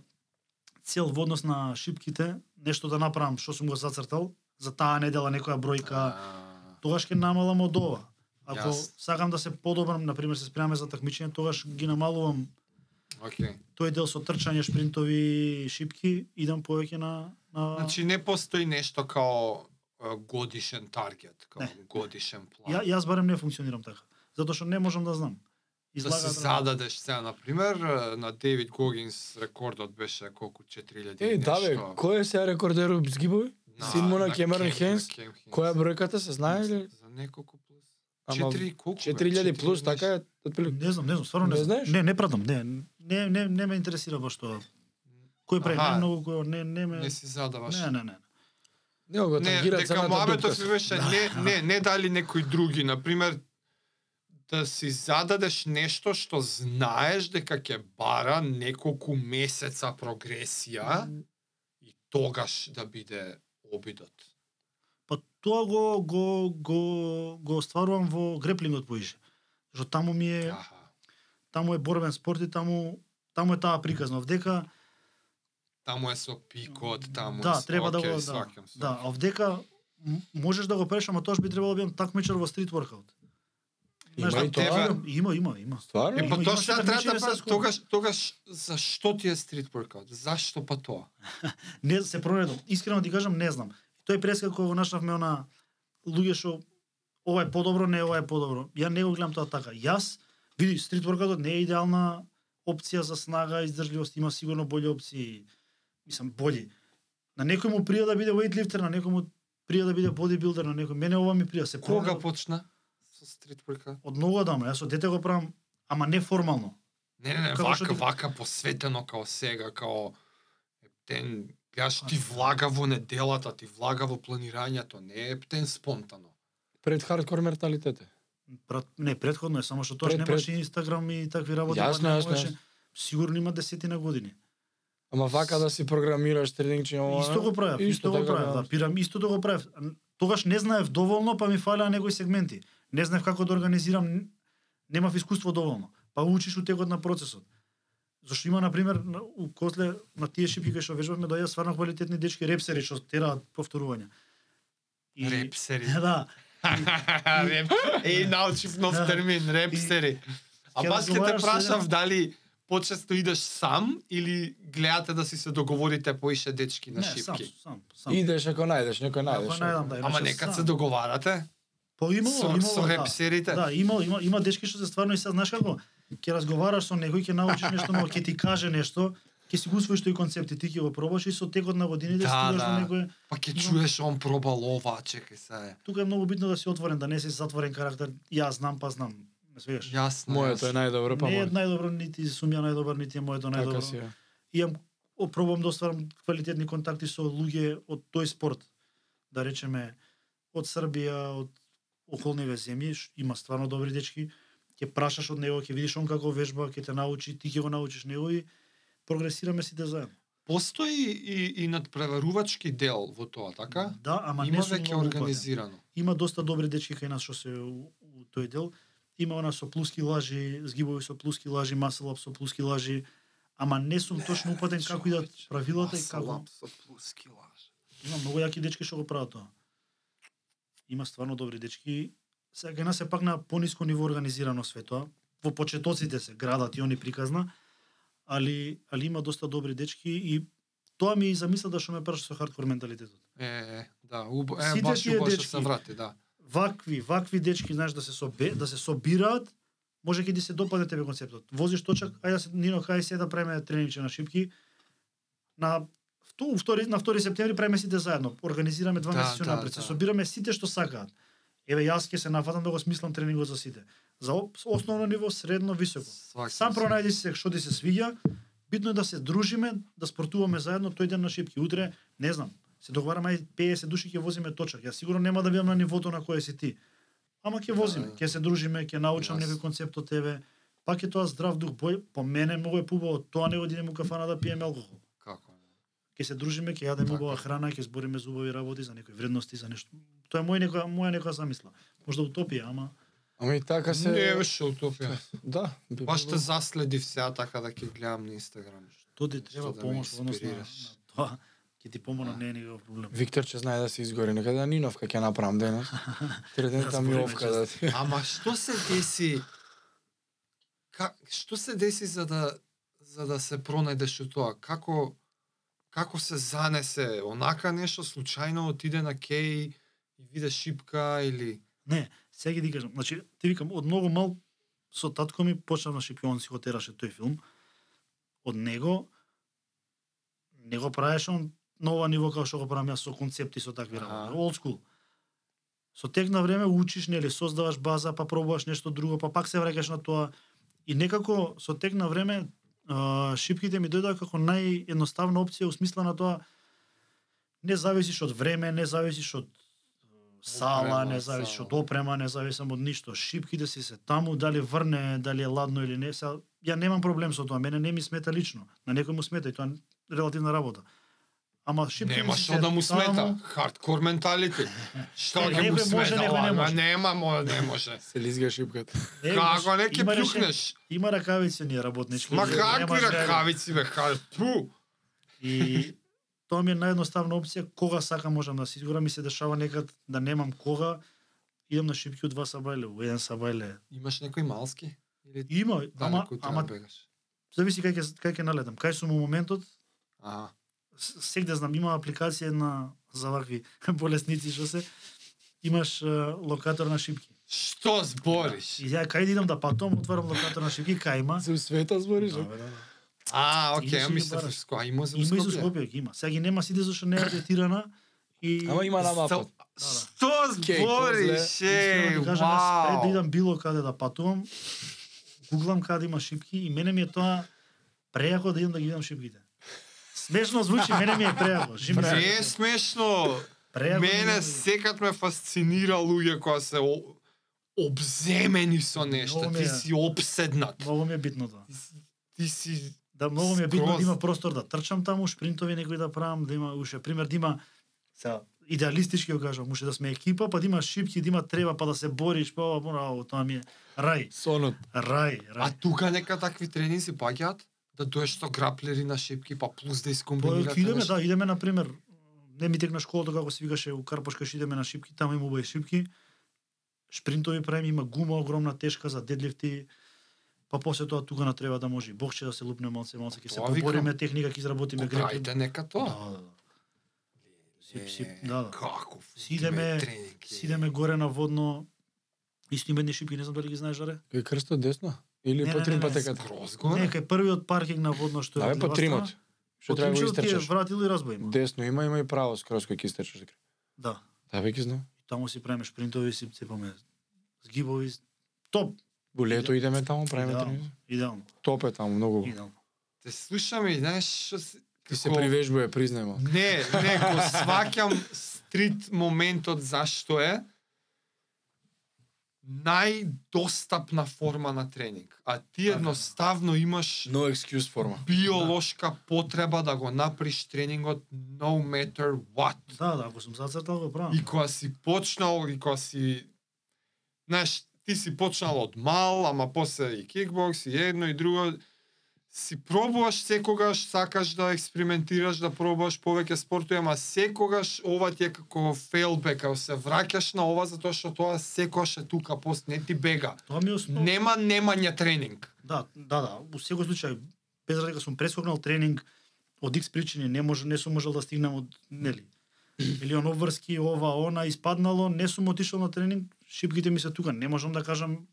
Speaker 1: цел во однос на шипките, нешто да направам што сум го зацртал за таа недела некоја бројка,
Speaker 3: А,
Speaker 1: тогаш ќе намалам од ова. Ако
Speaker 3: Јас-
Speaker 1: сакам да се подобрам, на пример се спремаме за такмичење, тогаш ги намалувам
Speaker 3: Океј.
Speaker 1: тој дел со трчање, шпринтови, шипки, идам повеќе на на
Speaker 3: Значи не постои нешто као е, годишен таргет, као
Speaker 1: Не.
Speaker 3: годишен план.
Speaker 1: Ја, јас барем не функционирам така, затоа што не можам да знам.
Speaker 3: да се
Speaker 1: да-
Speaker 3: зададеш сега, например, е, на Девид Гогинс рекордот беше колку 4000
Speaker 2: Е, да бе, кој е сега рекордер у згибови?
Speaker 3: На-
Speaker 2: син му на
Speaker 3: на
Speaker 2: Кемерон
Speaker 3: Кем- на
Speaker 2: Хейнс?
Speaker 3: Кем Хейнс.
Speaker 2: Која е бројката се знае ли?
Speaker 3: За неколку плюс.
Speaker 2: Ама
Speaker 3: Четири, колку? бе?
Speaker 2: 4000 плюс,
Speaker 3: Четири
Speaker 2: така е, отприлика.
Speaker 1: Не знам, не знам, стварно не,
Speaker 2: Не
Speaker 1: знам.
Speaker 2: знаеш?
Speaker 1: Не, не пратам, не, не, не, не ме интересира баш тоа. Кој прави
Speaker 3: Аха.
Speaker 1: најмногу, кој не, не ме...
Speaker 3: Не си задаваш.
Speaker 1: Не, не, не.
Speaker 2: Не го
Speaker 3: Не,
Speaker 2: тангира
Speaker 3: дека
Speaker 2: црната дупка.
Speaker 3: муабетот ми беше не, не, не дали некои други, например, да си зададеш нешто што знаеш дека ќе бара неколку месеца прогресија и тогаш да биде обидот.
Speaker 1: Па тоа го го го го остварувам во греплингот поише. Што таму ми е
Speaker 3: Аха.
Speaker 1: таму е борбен спорт и таму таму е таа приказна овдека
Speaker 3: Таму е со пикот, таму е
Speaker 1: да,
Speaker 3: со...
Speaker 1: треба да
Speaker 3: окей,
Speaker 1: го да.
Speaker 3: сваќам, сваќам.
Speaker 1: Да, овдека м- можеш да го правиш, ама тогаш би требало да бидам такмичар во стрит воркаут.
Speaker 2: Има
Speaker 1: Знаеш, да
Speaker 2: и тоа?
Speaker 1: тренирам- Има, има, има.
Speaker 2: Стварно?
Speaker 3: Е, па
Speaker 1: Има-
Speaker 3: тоа
Speaker 1: имаше
Speaker 3: што треба
Speaker 1: такмичење
Speaker 3: да
Speaker 1: со
Speaker 3: прав...
Speaker 1: скок.
Speaker 3: тогаш, тогаш, зашто ти е стрит воркаут? Зашто па тоа?
Speaker 1: Не се проредам. Искрено ти кажам, не знам. Тој преска кога го нашавме она луѓе што ова е подобро, не ова е подобро. Ја не го гледам тоа така. Јас види стрит воркаутот не е идеална опција за снага, издржливост, има сигурно боле опции. Мислам боле. На некој му прија да биде weightlifter, на некој му прија да биде бодибилдер, на некој мене ова ми прија. Се
Speaker 3: Кога
Speaker 1: променам
Speaker 3: почна со стрит воркаут?
Speaker 1: од многу одамна. Јас од дете го правам, ама не формално.
Speaker 3: Не, не, не,
Speaker 1: Како што
Speaker 3: вака,
Speaker 1: ти-
Speaker 3: вака посветено као сега, као ептен, Јаш ти влага во неделата, ти влага во планирањето, не е птен спонтано.
Speaker 2: Пред хардкор менталитет. е.
Speaker 1: Прат, не, предходно е, само што тоа
Speaker 2: Пред-
Speaker 1: немаше Инстаграм и такви работи. па
Speaker 2: Јасно,
Speaker 1: не
Speaker 2: јасно,
Speaker 1: можеше.
Speaker 2: јасно.
Speaker 1: Сигурно има десетина години.
Speaker 2: Ама вака да си програмираш тренинг че ова. така
Speaker 1: Исто го правев, исто, го правев, да, пирам, исто да го правев. Тогаш не знаев доволно, па ми фалеа некои сегменти. Не знаев како да организирам, н- немав искуство доволно. Па учиш у текот на процесот. Зашто има, например, на- у Косле, на тие шипки кои што вежбавме, доја сварно квалитетни дечки репсери, што тераат повторувања.
Speaker 3: Репсери.
Speaker 1: [LAUGHS] Да,
Speaker 3: реп. [LAUGHS] Е,
Speaker 1: [LAUGHS]
Speaker 3: научив нов термин, репстери.
Speaker 1: Ќе
Speaker 3: А баш ке те
Speaker 1: разговараш да. со
Speaker 3: прашав
Speaker 1: еден-
Speaker 3: дали почесто идеш сам или гледате да си се договорите поише дечки на
Speaker 1: Не, сам,
Speaker 3: шипки?
Speaker 1: сам, сам.
Speaker 2: Идеш ако најдеш, некој
Speaker 1: Ако
Speaker 2: најдеш.
Speaker 1: најдам, да,
Speaker 3: Ама
Speaker 1: иначе
Speaker 3: некад се
Speaker 1: сам.
Speaker 3: договарате
Speaker 1: Па имало,
Speaker 3: со,
Speaker 1: имало,
Speaker 3: со
Speaker 1: да.
Speaker 3: репсерите.
Speaker 1: Да, има, има, има дечки што се стварно и се знаеш како, ќе разговараш со некој, ќе научиш нешто, но ќе ти каже нешто, ќе си го усвоиш тој концепт и ти ќе го пробаш и со текот на годините
Speaker 3: Да,
Speaker 1: стигаш
Speaker 3: да.
Speaker 1: до некој
Speaker 3: Па ќе чуеш он пробал ова, чекај се.
Speaker 1: Тука е многу битно да си отворен, да не си затворен карактер. Ја знам, па знам. Ме свигаш?
Speaker 3: Јасно.
Speaker 2: Моето е
Speaker 3: јасно.
Speaker 2: најдобро, па
Speaker 1: не е
Speaker 2: моето.
Speaker 1: најдобро, нити сум ја најдобар, нити е моето
Speaker 2: Така
Speaker 1: најдобро.
Speaker 2: си е.
Speaker 1: Имам, о, пробам да остварам квалитетни контакти со луѓе од тој спорт. Да речеме, од Србија, од околниве земји, ш- има стварно добри дечки. Ќе прашаш од него, ќе видиш он како вежба, ќе те научи, ти ќе го научиш него и прогресираме сите заедно.
Speaker 3: Постои и, и надпреварувачки дел во тоа, така?
Speaker 1: Да, ама
Speaker 3: Има
Speaker 1: не сум
Speaker 3: веќе
Speaker 1: многу убавен.
Speaker 3: организирано.
Speaker 1: има доста добри дечки кај нас што се у, у тој дел. Има она со плуски лажи, згибови со плуски лажи, маселап со плуски лажи, ама не сум точно упатен како идат правилата и како.
Speaker 3: Маслап со плюски лаж.
Speaker 1: Има многу јаки дечки што го прават тоа. Има стварно добри дечки. Сега кај нас е пак на пониско ниво организирано све тоа. Во почетоците се градат и они приказна, али али има доста добри дечки и тоа ми и замисла да што ме праша со хардкор менталитетот.
Speaker 3: Е, е, да, убо, е,
Speaker 1: Сите
Speaker 3: баш
Speaker 1: тие
Speaker 3: убо што
Speaker 1: дечки.
Speaker 3: се врати, да.
Speaker 1: вакви, вакви дечки, знаеш, да се собе, да се собираат, може ќе ти се допадне тебе концептот. Возиш точак, ајде да се Нино кај се да правиме тренинче на шипки. На вту, втори, на 2 септември правиме сите заедно. Организираме два
Speaker 3: Да,
Speaker 1: месеци
Speaker 3: да,
Speaker 1: напред, се
Speaker 3: да.
Speaker 1: собираме сите што сакаат. Еве јас ќе се нафатам да го смислам тренингот за сите. За оп- основно ниво, средно, високо.
Speaker 3: Сваки,
Speaker 1: Сам пронајди се што ти се свиѓа. Битно е да се дружиме, да спортуваме заедно тој ден на шипки. Утре, не знам, се договараме ај 50 души ќе возиме точак. Ја сигурно нема да бидам на нивото на кое си ти. Ама ќе возиме,
Speaker 3: Да.
Speaker 1: ќе се дружиме, ќе научам
Speaker 3: Јас.
Speaker 1: некој концепт од тебе. Пак е тоа здрав дух бој, по мене многу е пубаво тоа него да идеме у кафана да пиеме алкохол.
Speaker 3: Како? не?
Speaker 1: Ќе се дружиме, ќе јадеме
Speaker 3: Така.
Speaker 1: убава храна, ќе збориме за убави работи, за некои вредности, за нешто. Тоа е мој некоја моја некоја замисла. Можда утопија, ама
Speaker 2: Ами така се...
Speaker 3: Не, беше утопија.
Speaker 2: Да. би
Speaker 3: Баш те
Speaker 2: било.
Speaker 3: заследив сега така да ќе гледам на Инстаграм.
Speaker 1: тоа ти
Speaker 3: Што
Speaker 1: треба
Speaker 3: да ме
Speaker 1: помош во однос на, на
Speaker 3: инспирираш.
Speaker 1: тоа. Ќе ти помогна, не е никаков проблем.
Speaker 2: Виктор ќе знае да се изгори, нека да Ниновка ќе направам
Speaker 1: [LAUGHS]
Speaker 2: денес. Третента ми
Speaker 1: Разбориме
Speaker 2: овка
Speaker 1: често.
Speaker 2: да ти. [LAUGHS]
Speaker 3: Ама што се деси? Ка, што се деси за да за да се пронајдеш у тоа? Како како се занесе? Онака нешто случајно отиде на кеј и виде шипка или
Speaker 1: Не, сега ги ти кажам. Значи, ти викам, од многу мал со татко ми почнав на Шипион си го тераше тој филм. Од него не го правеше он на ова ниво како што го правам јас со концепти со такви
Speaker 3: Аха.
Speaker 1: работи. Old school. Со тек на време учиш, нели, создаваш база, па пробуваш нешто друго, па пак се враќаш на тоа. И некако со тек на време а, шипките ми дојдоа како наједноставна опција у смисла на тоа не зависиш од време, не зависиш од сала,
Speaker 3: Опрема,
Speaker 1: не зависиш
Speaker 3: сала.
Speaker 1: од опрема, не зависам од ништо. Шипките си се таму, дали врне, дали е ладно или не. Са, ја немам проблем со тоа, мене не ми смета лично. На некој му смета и тоа е релативна работа. Ама шипките
Speaker 3: нема
Speaker 1: си
Speaker 3: што
Speaker 1: се
Speaker 3: да му смета.
Speaker 1: таму,
Speaker 3: Хардкор менталити.
Speaker 1: Е,
Speaker 3: Што ќе му
Speaker 1: некој може,
Speaker 3: смета?
Speaker 1: некој не
Speaker 3: ама
Speaker 1: може.
Speaker 3: Нема, мо- не може.
Speaker 2: Се лизга шипката.
Speaker 1: е,
Speaker 3: Како
Speaker 1: имаш-
Speaker 3: не ќе
Speaker 1: има решен-
Speaker 3: плюкнеш?
Speaker 1: Има ракавици ние работнички.
Speaker 3: Ма
Speaker 1: ние
Speaker 3: какви
Speaker 1: немаш да време.
Speaker 3: ракавици бе, хар, пу!
Speaker 1: И [LAUGHS] тоа ми е наједноставна опција, кога сакам можам да се изгорам, ми се дешава некад да немам кога, идам на шипки од два сабајле, у еден сабајле.
Speaker 3: Имаш некој малски? Или
Speaker 1: Има, ама,
Speaker 3: далеку треба
Speaker 1: ама
Speaker 3: бегаш?
Speaker 1: зависи кај ќе кај ќе налетам. Кај сум во моментот,
Speaker 3: Аха.
Speaker 1: с- сегде знам, има апликација на за вакви [LAUGHS] болесници што се имаш е, локатор на шипки.
Speaker 3: Што збориш?
Speaker 1: И ја кај да идам да патувам, отварам локатор на шипки, кај има.
Speaker 2: Се у света збориш.
Speaker 1: Да, бе, да, да.
Speaker 3: А,
Speaker 1: Или
Speaker 3: окей,
Speaker 1: си
Speaker 3: а
Speaker 1: ги
Speaker 3: мислев
Speaker 1: бараш.
Speaker 3: Скопје. А има за
Speaker 1: Има и со
Speaker 3: Скопје.
Speaker 1: Скопје, ги има. Сега ги нема сите зашто не е третирана и
Speaker 2: Ама има на мапот.
Speaker 3: Што
Speaker 2: Кеј,
Speaker 3: збориш,
Speaker 1: Искрено
Speaker 3: е,
Speaker 1: ти кажам, аз пред да
Speaker 3: вау!
Speaker 1: идам било каде да патувам, гуглам каде има шипки и мене ми е тоа прејако да идам да ги видам шипките. Смешно звучи, мене ми е прејако. Жи ми се.
Speaker 3: Не е смешно.
Speaker 1: Прејако ми е да
Speaker 3: Мене
Speaker 1: ги
Speaker 3: секад ме фасцинира луѓе кои се о- обземени со нешто.
Speaker 1: Много ми
Speaker 3: Ти
Speaker 1: е.
Speaker 3: си обседнат.
Speaker 1: видам. Многу ми е битно тоа.
Speaker 3: Ти си- Ти си...
Speaker 1: Да, многу ми е битно
Speaker 3: Скроз.
Speaker 1: да има простор да трчам таму, шпринтови некои да правам, да има уше пример да има сега идеалистички го кажам, може да сме екипа, па да има шипки, да има треба, па да се бориш, па ова, па она, тоа ми е рај,
Speaker 2: Сонот.
Speaker 1: рај,
Speaker 3: А
Speaker 1: рај.
Speaker 3: тука нека такви тренинзи паѓаат, да доеш со граплери на шипки, па плюс
Speaker 1: Па
Speaker 3: да
Speaker 1: ќе
Speaker 3: искомбинирате
Speaker 1: идеме,
Speaker 3: нешто.
Speaker 1: да, идеме на пример. Не ми текна школата како се викаше у Карпошка, што идеме на шипки, таму има убави шипки. шпринтови правиме, има гума огромна тешка за дедлифти. Па после тоа тука на треба да може и бокше да се лупне малце малце ќе се
Speaker 3: Тоа викам.
Speaker 1: побориме техника ќе изработиме греплинг.
Speaker 3: Крајте Па нека
Speaker 1: Да,
Speaker 3: тоа.
Speaker 1: да, да. Сип, сип, да, да.
Speaker 3: Како?
Speaker 1: Сидеме- Сидеме горе на водно. Исто има едни шипки, не знам дали ги знаеш, Жаре.
Speaker 2: Кај крстот десно? Или
Speaker 1: Не,
Speaker 2: по
Speaker 1: не,
Speaker 2: три
Speaker 1: не, не,
Speaker 2: патеката?
Speaker 3: Скроз
Speaker 1: Не,
Speaker 3: горе.
Speaker 1: кај првиот паркинг на водно што е.
Speaker 2: Абе
Speaker 1: од
Speaker 2: по
Speaker 1: лева
Speaker 2: тримот.
Speaker 1: страна,
Speaker 2: Што
Speaker 1: од
Speaker 2: треба да го
Speaker 1: тримчето ти е
Speaker 2: истрчаш?
Speaker 1: вратил и разбој има.
Speaker 2: Десно има, има и право скроз кој ќе истрчаш.
Speaker 1: Да.
Speaker 2: Да, веќе знам.
Speaker 1: Таму си правиме шпринтови, си цепаме згибови. Топ,
Speaker 2: Во лето идеме таму, правиме
Speaker 1: Да.
Speaker 2: тренинг.
Speaker 1: идеално,
Speaker 2: Топ е таму, многу. го.
Speaker 1: идеално.
Speaker 3: Те слушаме и знаеш што се...
Speaker 2: Ти се
Speaker 3: како-
Speaker 2: привежбуе, признајмо.
Speaker 3: Не, не, го сваќам стрит моментот зашто е најдостапна форма на тренинг. А ти едноставно имаш
Speaker 2: No excuse форма.
Speaker 3: биолошка потреба да го направиш тренингот no matter what.
Speaker 1: Да, да, ако сум зацртал го правам.
Speaker 3: И кога си почнал, и кога си... Знаеш, ти си почнал од мал, ама после и кикбокс, и едно и друго. Си пробуваш секогаш, сакаш да експериментираш, да пробуваш повеќе спортови, ама секогаш ова ти е како фейлбек, како се враќаш на ова затоа што тоа секогаш е тука, пост не ти бега.
Speaker 1: Тоа ми е основ...
Speaker 3: Нема немање тренинг.
Speaker 1: Да, да, да, во секој случај, без разлика сум прескокнал тренинг од X причини, не може, не сум можел да стигнам од, нели, или он обврски, ова, она, испаднало, не сум отишел на тренинг, шипките ми се тука, не можам да кажам,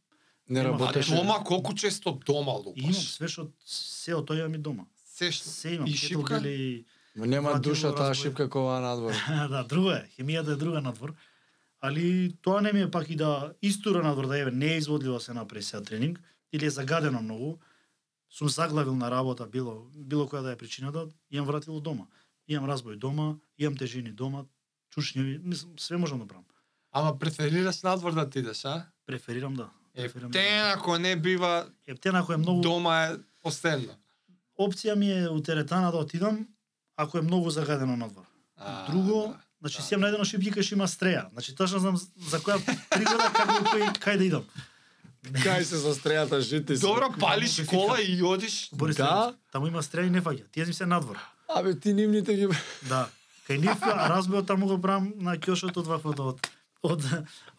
Speaker 2: Не
Speaker 1: Нема,
Speaker 3: А
Speaker 1: Потоа
Speaker 2: работеше.
Speaker 1: што-
Speaker 3: дома колку често дома
Speaker 1: и имам
Speaker 3: лупаш?
Speaker 1: све што, се од тоа имам и дома.
Speaker 3: Се што?
Speaker 1: Се имам,
Speaker 3: И
Speaker 1: кетел
Speaker 3: шипка?
Speaker 1: Били...
Speaker 2: Нема
Speaker 1: Вратило
Speaker 2: душа таа
Speaker 1: разбој.
Speaker 2: шипка кога
Speaker 3: [LAUGHS]
Speaker 2: надвор.
Speaker 1: [CLEARS THROAT] да, друго е, хемијата е друга надвор. Али тоа не ми е пак и да истура надвор да еве не е изводливо да се направи сега тренинг или е загадено многу. Сум заглавил на работа било било која да е причината, имам вратило дома. Имам разбој дома, имам тежини дома, чушњеви, мислам све можам да правам.
Speaker 3: Ама преферираш надвор да ти идеш, а?
Speaker 1: Преферирам да. Преферирам. да.
Speaker 3: Ептен, ако не бива
Speaker 1: Ептен ако е многу
Speaker 3: дома е последно.
Speaker 1: опција ми е у теретана да отидам, ако е многу загадено надвор.
Speaker 3: А,
Speaker 1: Друго,
Speaker 3: да.
Speaker 1: значи
Speaker 3: да,
Speaker 1: си имам
Speaker 3: да.
Speaker 1: најдено шипјика што има стреја. Значи точно знам за која пригода како кој кај да идам.
Speaker 2: Кај се застрејата жити се.
Speaker 3: да. Добро, палиш кола и одиш.
Speaker 1: Борис
Speaker 2: Да?
Speaker 1: да? Таму има стреја и не фаќа. Тие ми се надвор.
Speaker 2: Абе ти нивните ги
Speaker 1: Да. Кај нив а разбојот таму го брам на кјошот од вафот од од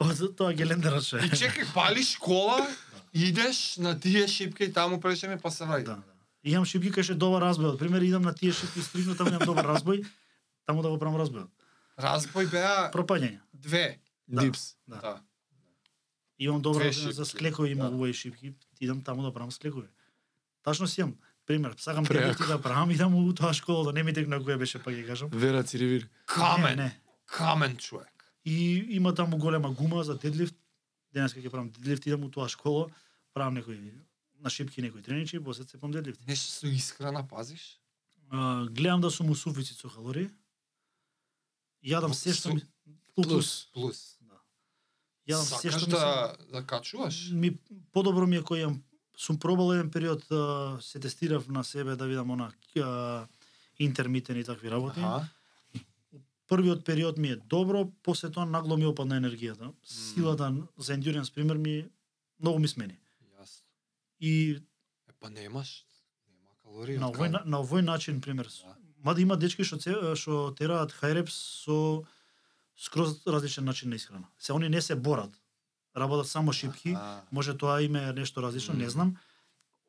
Speaker 1: од тоа гелендараше.
Speaker 3: И чекај, палиш кола, идеш на тие шипки и таму пречеме па се
Speaker 1: Да,
Speaker 3: враќаш.
Speaker 1: да. И Имам шипки кај што е добар разбој. Од пример идам на тие шипки стригно таму имам добар разбој. Таму да го брам разбојот.
Speaker 3: Разбој беа
Speaker 1: Пропаѓање.
Speaker 3: две.
Speaker 1: Да.
Speaker 2: дипс.
Speaker 1: Да.
Speaker 3: Да.
Speaker 1: Имам добра
Speaker 3: Две
Speaker 1: разбој за
Speaker 3: шипки,
Speaker 1: склекови, има
Speaker 3: да.
Speaker 1: убави шипки. Идам таму да брам склекови. Тачно си имам пример. Сакам
Speaker 2: Преако.
Speaker 1: ти да правам, идам у тоа школа, да не ми текна која беше, па ќе кажам.
Speaker 2: Вера Циривир.
Speaker 1: Не,
Speaker 3: Камен,
Speaker 1: не.
Speaker 3: камен човек.
Speaker 1: И има таму голема гума за дедлифт. Денеска ќе правам дедлифт, идам у тоа школа, правам некои на шипки некои треничи, после цепам дедлифт.
Speaker 3: Нешто со исхрана пазиш?
Speaker 1: А, гледам да сум у суфицит со калории. Јадам се што ми плюс.
Speaker 3: Плюс.
Speaker 1: Јадам се
Speaker 3: Сакаш
Speaker 1: што ми се-
Speaker 3: да, да качуваш?
Speaker 1: ми подобро ми е кој имам сум пробал еден период а, се тестирав на себе да видам она а, интермитен и такви работи.
Speaker 3: Аха.
Speaker 1: првиот период ми е добро, после тоа нагло ми опадна енергијата. Силата за ендуренс пример ми многу ми смени.
Speaker 3: Јасно.
Speaker 1: И
Speaker 3: Е, па немаш. Нема калорија.
Speaker 1: на
Speaker 3: од
Speaker 1: овој
Speaker 3: кај-
Speaker 1: на, на овој начин пример. с-
Speaker 3: Да.
Speaker 1: Мада има дечки што це- што тераат хайреп со скроз различен начин на исхрана. Се они не се борат. Работат само шипки.
Speaker 3: А,
Speaker 1: Може тоа име е нешто различно, не
Speaker 3: Мгм.
Speaker 1: знам.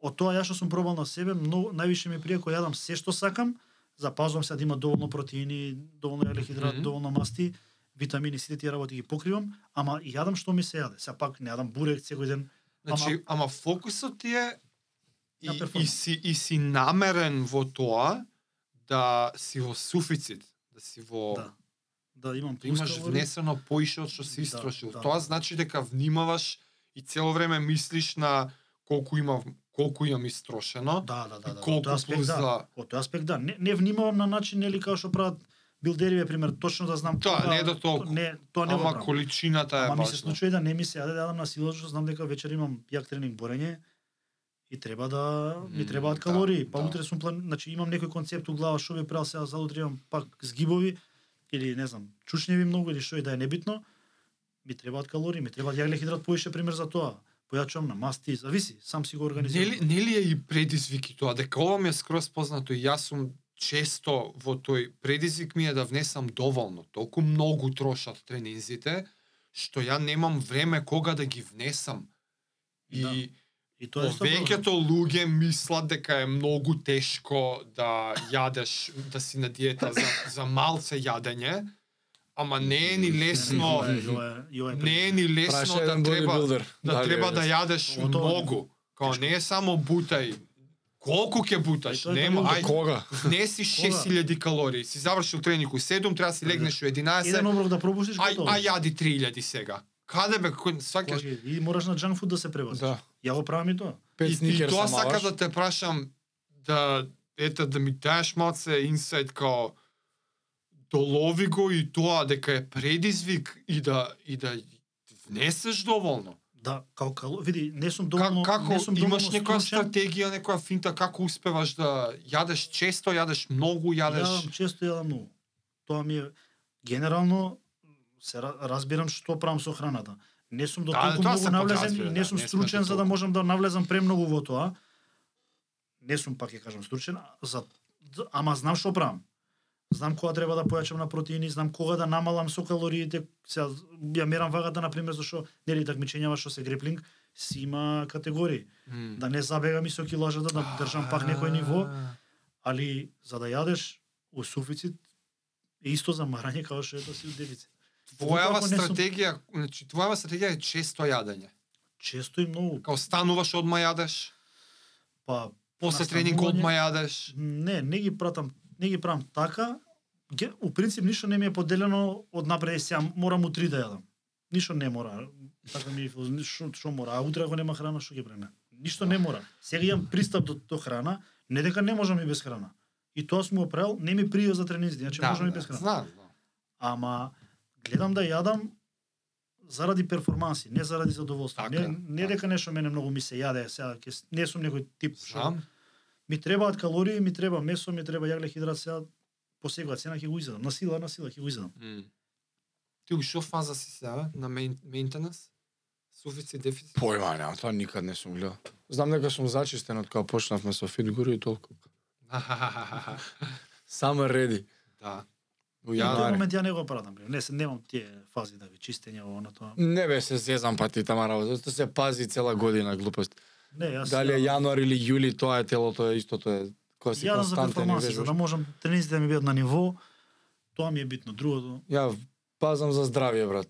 Speaker 1: Од тоа ја што сум пробал на себе, многу највише ми прија кој јадам се што сакам, запазувам се да има доволно протеини, доволно елехидрат,
Speaker 3: Мгм.
Speaker 1: доволно масти, витамини, сите тие работи ги покривам, ама и јадам што ми се јаде. Сега пак не јадам бурек секој ден.
Speaker 3: Значи, ама фокусот ти е и,
Speaker 1: На
Speaker 3: и,
Speaker 1: перформанс.
Speaker 3: си, и си намерен во тоа да си во суфицит, да си во
Speaker 1: Да. Да имам
Speaker 3: да
Speaker 1: плюс
Speaker 3: имаш
Speaker 1: калории.
Speaker 3: внесено поише од што си
Speaker 1: Да,
Speaker 3: истрошил.
Speaker 1: да.
Speaker 3: Тоа значи дека внимаваш и цело време мислиш на колку имам колку имам истрошено.
Speaker 1: Да, да, да,
Speaker 3: И
Speaker 1: да.
Speaker 3: колку
Speaker 1: од тој аспект,
Speaker 3: плюс
Speaker 1: да.
Speaker 3: да.
Speaker 1: Од тој аспект да. Не, не внимавам на начин нели како што прават билдериве пример, точно да знам
Speaker 3: Тоа,
Speaker 1: кога-
Speaker 3: не е до толку.
Speaker 1: Не, тоа не го
Speaker 3: Ама
Speaker 1: правам.
Speaker 3: количината е
Speaker 1: Ама ми се
Speaker 3: важна.
Speaker 1: случува и да не ми се јаде да јадам на сила, што знам дека вечер имам јак тренинг борење и треба да ми
Speaker 3: М,
Speaker 1: требаат
Speaker 3: да,
Speaker 1: калории. Па
Speaker 3: да.
Speaker 1: утре сум план, значи имам некој концепт у глава што би правил сега за утре имам пак згибови или не знам, чучневи многу или што и да е небитно. Ми требаат калории, ми требаат јаглехидрат поише пример за тоа. Појачувам на масти, зависи, сам си го организирам.
Speaker 3: Нели нели е и предизвик и тоа дека ова ми е скрос познато и јас сум често во тој предизвик ми е да внесам доволно, толку многу трошат тренинзите што ја немам време кога да ги внесам. И
Speaker 1: Да.
Speaker 3: да.
Speaker 1: И тоа е исто
Speaker 3: Повеќето луѓе мислат дека е многу тешко да јадеш, да си на диета за, за малце јадење, ама не е ни лесно,
Speaker 1: проблем. Јоа е- јоа е
Speaker 3: не е ни лесно
Speaker 2: Праша
Speaker 3: да
Speaker 2: еден
Speaker 3: треба
Speaker 2: бодибилдер.
Speaker 3: да треба да јадеш
Speaker 1: О, тоа е.
Speaker 3: многу. Као не е само бутај. Колку ќе буташ?
Speaker 1: Е, тоа е
Speaker 3: Нема,
Speaker 1: тоа
Speaker 3: ај,
Speaker 2: Кога?
Speaker 3: внеси 6000 калории. Си завршил тренинг у 7, треба да си легнеш у 11.
Speaker 1: Еден оброк да пропуштиш
Speaker 3: Ај,
Speaker 1: готово.
Speaker 3: ај јади 3000 сега. Каде бе, кој сваќаш?
Speaker 1: Кога- И мораш на junk food да се превозиш.
Speaker 2: Да.
Speaker 1: Ја го правам и тоа.
Speaker 2: Пет
Speaker 3: И, и
Speaker 2: сникерса
Speaker 3: тоа сака
Speaker 2: малаш.
Speaker 3: да те прашам да ете да ми дадеш малце инсайт као долови го и тоа дека е предизвик и да и да внесеш доволно.
Speaker 1: Да, како кало, види, не сум
Speaker 3: Как,
Speaker 1: доволно,
Speaker 3: како
Speaker 1: не сум доволно
Speaker 3: имаш некоја
Speaker 1: стручен.
Speaker 3: стратегија, некоја финта како успеваш да јадеш често, јадеш многу, јадеш
Speaker 1: Јадам често, јадам многу. Тоа ми е генерално се ра- разбирам што правам со храната. Не сум до
Speaker 3: Да,
Speaker 1: толку
Speaker 3: тоа
Speaker 1: многу
Speaker 3: се
Speaker 1: навлезен
Speaker 3: подразбира,
Speaker 1: и
Speaker 3: да,
Speaker 1: не сум
Speaker 3: не сме
Speaker 1: стручен
Speaker 3: до
Speaker 1: за да
Speaker 3: толку.
Speaker 1: можам да навлезам премногу во тоа. Не сум пак ќе кажам стручен, а- за д- ама знам што правам. Знам кога треба да појачам на протеини, знам кога да намалам со калориите. Сега ја мерам вагата на пример зашо нели такмичењава што се греплинг си има категории.
Speaker 3: М.
Speaker 1: Да не забегам и со килажата, да држам пак некој ниво али за да јадеш у суфицит е исто замарање како што е тоа си у дефицит.
Speaker 3: Твојава
Speaker 1: Ако не сум-
Speaker 3: стратегија, значи твојава стратегија е често јадење.
Speaker 1: Често и многу.
Speaker 3: Као стануваш одма јадеш,
Speaker 1: Па
Speaker 3: после
Speaker 1: На
Speaker 3: тренинг
Speaker 1: станување-
Speaker 3: одма јадеш.
Speaker 1: не, не ги пратам, не ги правам така. Ге, у принцип ништо не ми е поделено од напред сега морам у три да јадам. Ништо не мора. Така ми што што мора, а утре ако нема храна што ќе преме. Ништо не мора. Сега имам пристап до, до храна, не дека не можам и без храна. И тоа сум го правил, не ми прио за тренинзи, иначе Значи,
Speaker 3: Да,
Speaker 1: можам и без храна.
Speaker 3: Знам, знам.
Speaker 1: ама гледам да јадам заради перформанси, не заради задоволство.
Speaker 3: Така,
Speaker 1: не, не дека нешто мене многу ми се јаде, сега ќе с- не сум некој тип. што-
Speaker 3: Знам.
Speaker 1: Ми требаат калории, ми треба месо, ми треба јаглехидрат, сега по секоја цена ќе го изедам. На сила, на сила ќе го изедам.
Speaker 3: Ти у што фаза си сега бе? на мејнтенанс? Суфицит, дефицит?
Speaker 2: Појма, нема, тоа никад не сум гледал. Знам дека сум зачистен од кога почнавме со Фитгуру и толку. Само реди.
Speaker 3: [LAUGHS] да.
Speaker 2: Во
Speaker 1: Ја, тој
Speaker 2: јануари.
Speaker 1: момент ја не го пратам. бре. Не, се, немам тие фази да ви чистење ово на тоа.
Speaker 2: Не бе се зезам па ти тама работа, тоа се пази цела година глупост.
Speaker 1: Не, јас
Speaker 2: Дали е јануар или јули, тоа е телото е истото е кога си
Speaker 1: јадам за
Speaker 2: константен и
Speaker 1: перформанси, за да
Speaker 2: вежбаш.
Speaker 1: можам тренизите да ми бидат на ниво. Тоа ми е битно. Другото,
Speaker 2: Ја пазам за здравје брат.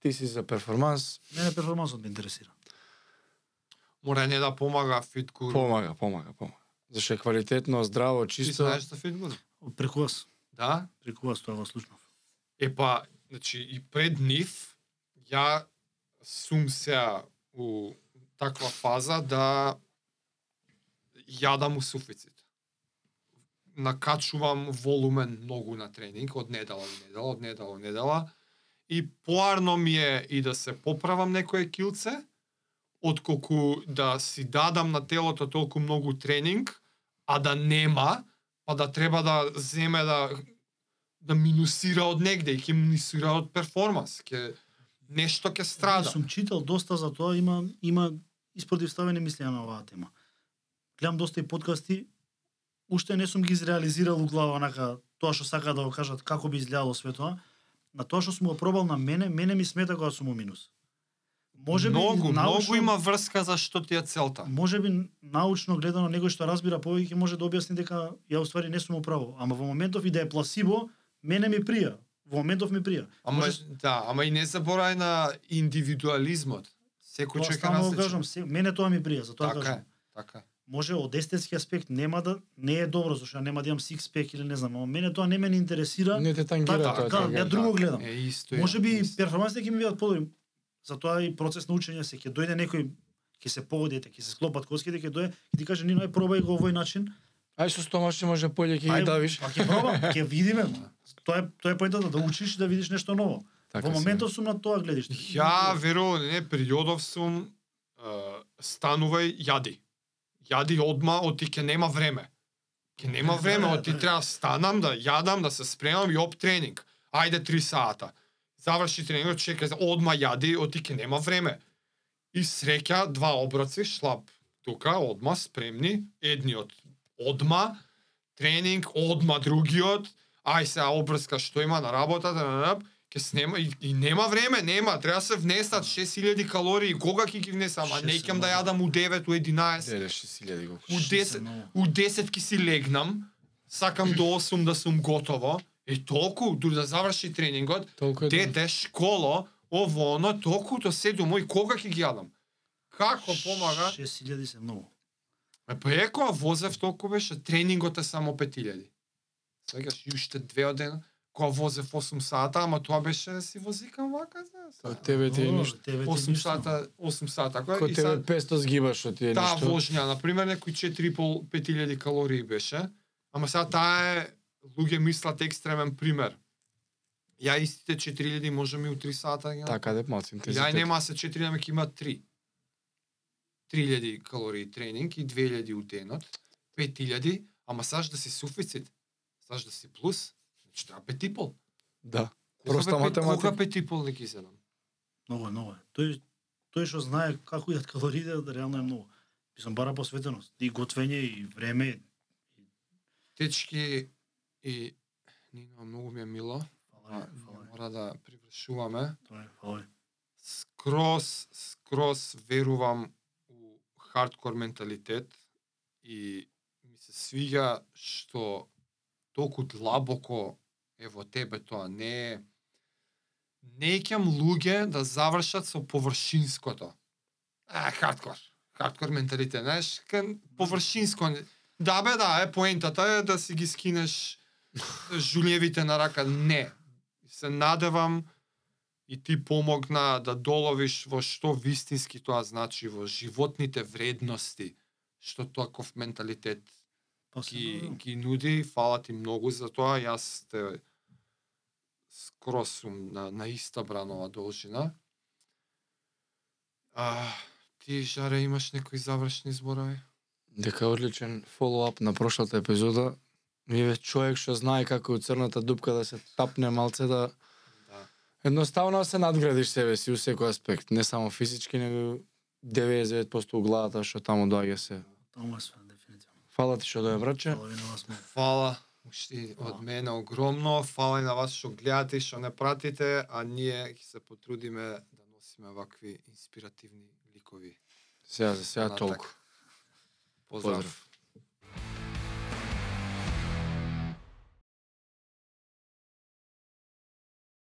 Speaker 2: Ти си за перформанс,
Speaker 1: мене перформансот ме интересира.
Speaker 3: Морање да помага фит гуру.
Speaker 2: помага, помага, помага. Зашто е квалитетно, здраво,
Speaker 3: Ти
Speaker 2: чисто.
Speaker 3: знаеш за фит гуру?
Speaker 1: Преку вас,
Speaker 3: Да.
Speaker 1: преку вас тоа го слушнав.
Speaker 3: Е па, значи и пред нив ја сум сега у таква фаза да јадам у суфицит. Накачувам волумен многу на тренинг од недела во недела, од недела во недела и поарно ми е и да се поправам некое килце отколку да си дадам на телото толку многу тренинг, а да нема, па да треба да земе да да минусира од негде и ќе минусира од перформанс, ќе нешто ќе страда.
Speaker 1: Јас Сум читал доста за тоа, има има испротивставени мислења на оваа тема. Гледам доста и подкасти, уште не сум ги изреализирал у глава онака тоа што сака да го кажат како би изгледало све тоа. На тоа што сум го пробал на мене, мене ми смета кога сум у минус. Може би
Speaker 3: многу,
Speaker 1: научно,
Speaker 3: многу има врска за што ти е целта.
Speaker 1: Може би научно гледано некој што разбира повеќе може да објасни дека ја уствари не сум управо, ама во моментов и да е пласибо, мене ми прија. Во моментов ми прија.
Speaker 3: Ама
Speaker 1: Може-
Speaker 3: да, ама и не заборај на индивидуализмот. Секој
Speaker 1: Тоа
Speaker 3: човек е
Speaker 1: стално го
Speaker 3: различен.
Speaker 1: кажам, се- мене тоа ми прија, за тоа
Speaker 3: Така
Speaker 1: кажам.
Speaker 3: е, така е.
Speaker 1: може од естетски аспект нема да не е добро зашто ја нема да имам six pack или не знам, ама мене тоа не ме ни интересира.
Speaker 2: Не те тангира
Speaker 1: Така, да,
Speaker 2: тоа. тангира.
Speaker 1: ја друго гледам.
Speaker 3: Е, исто е.
Speaker 1: може би
Speaker 3: исто.
Speaker 1: перформансите ќе ми бидат подобри. Затоа и процес на учење се ќе дојде некој ќе се погодите, ќе се склопат коските, ќе дојде и ти каже Нино, ај пробај го овој начин.
Speaker 2: Ај со стомашче може појде ќе ги
Speaker 1: Ај,
Speaker 2: давиш.
Speaker 1: Па ќе пробам, ќе видиме. ма. Тоа е тоа е поентата да учиш да видиш нешто ново.
Speaker 2: Така
Speaker 1: Во
Speaker 2: си.
Speaker 1: моментот сум на тоа гледиште.
Speaker 3: Ја верувам, не, периодов сум е, станувај, јади. Јади одма, оти ќе нема време. Ќе нема
Speaker 1: Да,
Speaker 3: време,
Speaker 1: да,
Speaker 3: оти
Speaker 1: да.
Speaker 3: треба станам да јадам, да се спремам и оп тренинг. Ајде 3 сата. Заврши тренингот, чека, одма јади, оти ќе нема време. И среќа два оброци, шлап тука, одма спремни, едниот одма, тренинг, одма другиот, ај се обрска што има на работа, да, да, да, Ке снема и, и нема време, нема, треба се внесат 6000 калории, кога ќе ги внесам, а не
Speaker 1: 60
Speaker 3: ќам да јадам у 9, у 11,
Speaker 2: Деле 6000 колку.
Speaker 3: у 10, у 10 ки си легнам, сакам до 8 да сум готово, е толку, дури да заврши тренингот,
Speaker 2: Толку е. да.
Speaker 3: дете, школо, ово, оно, толку до 7, мој, кога ќе ги јадам? Како помага?
Speaker 1: 6000 се многу.
Speaker 3: Ме преко возев толку беше, тренингот е само 5000. Сегаш и уште две од ден, кога возев 8 сата, ама тоа беше да си возикам вака,
Speaker 2: Тоа
Speaker 3: знаеш.
Speaker 2: тебе ти е
Speaker 1: О,
Speaker 2: ништо.
Speaker 1: тебе ти
Speaker 3: 8
Speaker 1: ништо.
Speaker 3: сата, 8 сата, кога
Speaker 2: Кој
Speaker 3: и
Speaker 2: тебе
Speaker 3: сад
Speaker 2: 500 сгибаш што ти е
Speaker 3: таа
Speaker 2: ништо.
Speaker 3: вожња, на пример, некои 4.500 калории беше, ама сега таа е луѓе мислат екстремен пример. Ја истите 4000 можам и у 3 сата. ја-
Speaker 2: Така де малци
Speaker 3: Ја
Speaker 2: интензитет.
Speaker 3: нема се 4, ама ќе има 3. 3000 калории тренинг и 2000 у денот, 5000, ама саш да си суфицит, саш да си плюс, значи треба пет и пол.
Speaker 2: Да.
Speaker 3: Кога
Speaker 2: Проста
Speaker 3: бе пет-
Speaker 2: математика.
Speaker 3: Кога пет и пол не ги седам?
Speaker 1: Многу е, многу е. Тој тој што знае како јат калориите, да реално е многу. Мислам бара посветеност, и готвење и време.
Speaker 3: Течки и Нина, многу ми е мило.
Speaker 1: Фала,
Speaker 3: А,
Speaker 1: е,
Speaker 3: ние
Speaker 1: фала, е,
Speaker 3: мора да привршуваме.
Speaker 1: тоа е, фала. е.
Speaker 3: скрос, скрос верувам у хардкор менталитет и ми се свиѓа што толку длабоко е во тебе тоа. Не е не ќам луѓе да завршат со површинското. А, хардкор. Хардкор менталитет, знаеш, кон површинско. Да бе, да, е поентата е да си ги скинеш жулевите на рака. Не. Се надевам и ти помогна да доловиш во што вистински тоа значи во животните вредности што таков менталитет
Speaker 1: Па се
Speaker 3: ги,
Speaker 1: нормално.
Speaker 3: ги нуди. Фала ти многу за тоа. Јас те скрос сум на, на иста бранова должина. А, ти, Жаре, имаш некои завршни зборови?
Speaker 2: дека одличен фолоуап на прошлата епизода. Вие човек што знае како од црната дупка да се тапне малце да
Speaker 3: Да.
Speaker 2: едноставно се надградиш себе си у секој аспект, не само физички, него 99% у главата што таму доаѓа се.
Speaker 1: Таму е све дефинитивно.
Speaker 2: Фала ти што дојде браче.
Speaker 1: Фала ви на вас многу.
Speaker 3: Фала уште од мене огромно. Фала и на вас што гледате и што не пратите, а ние ќе се потрудиме да носиме вакви инспиративни ликови.
Speaker 2: Сега за сега
Speaker 3: Натак.
Speaker 2: толку.
Speaker 3: Поздрав.
Speaker 2: Поздрав.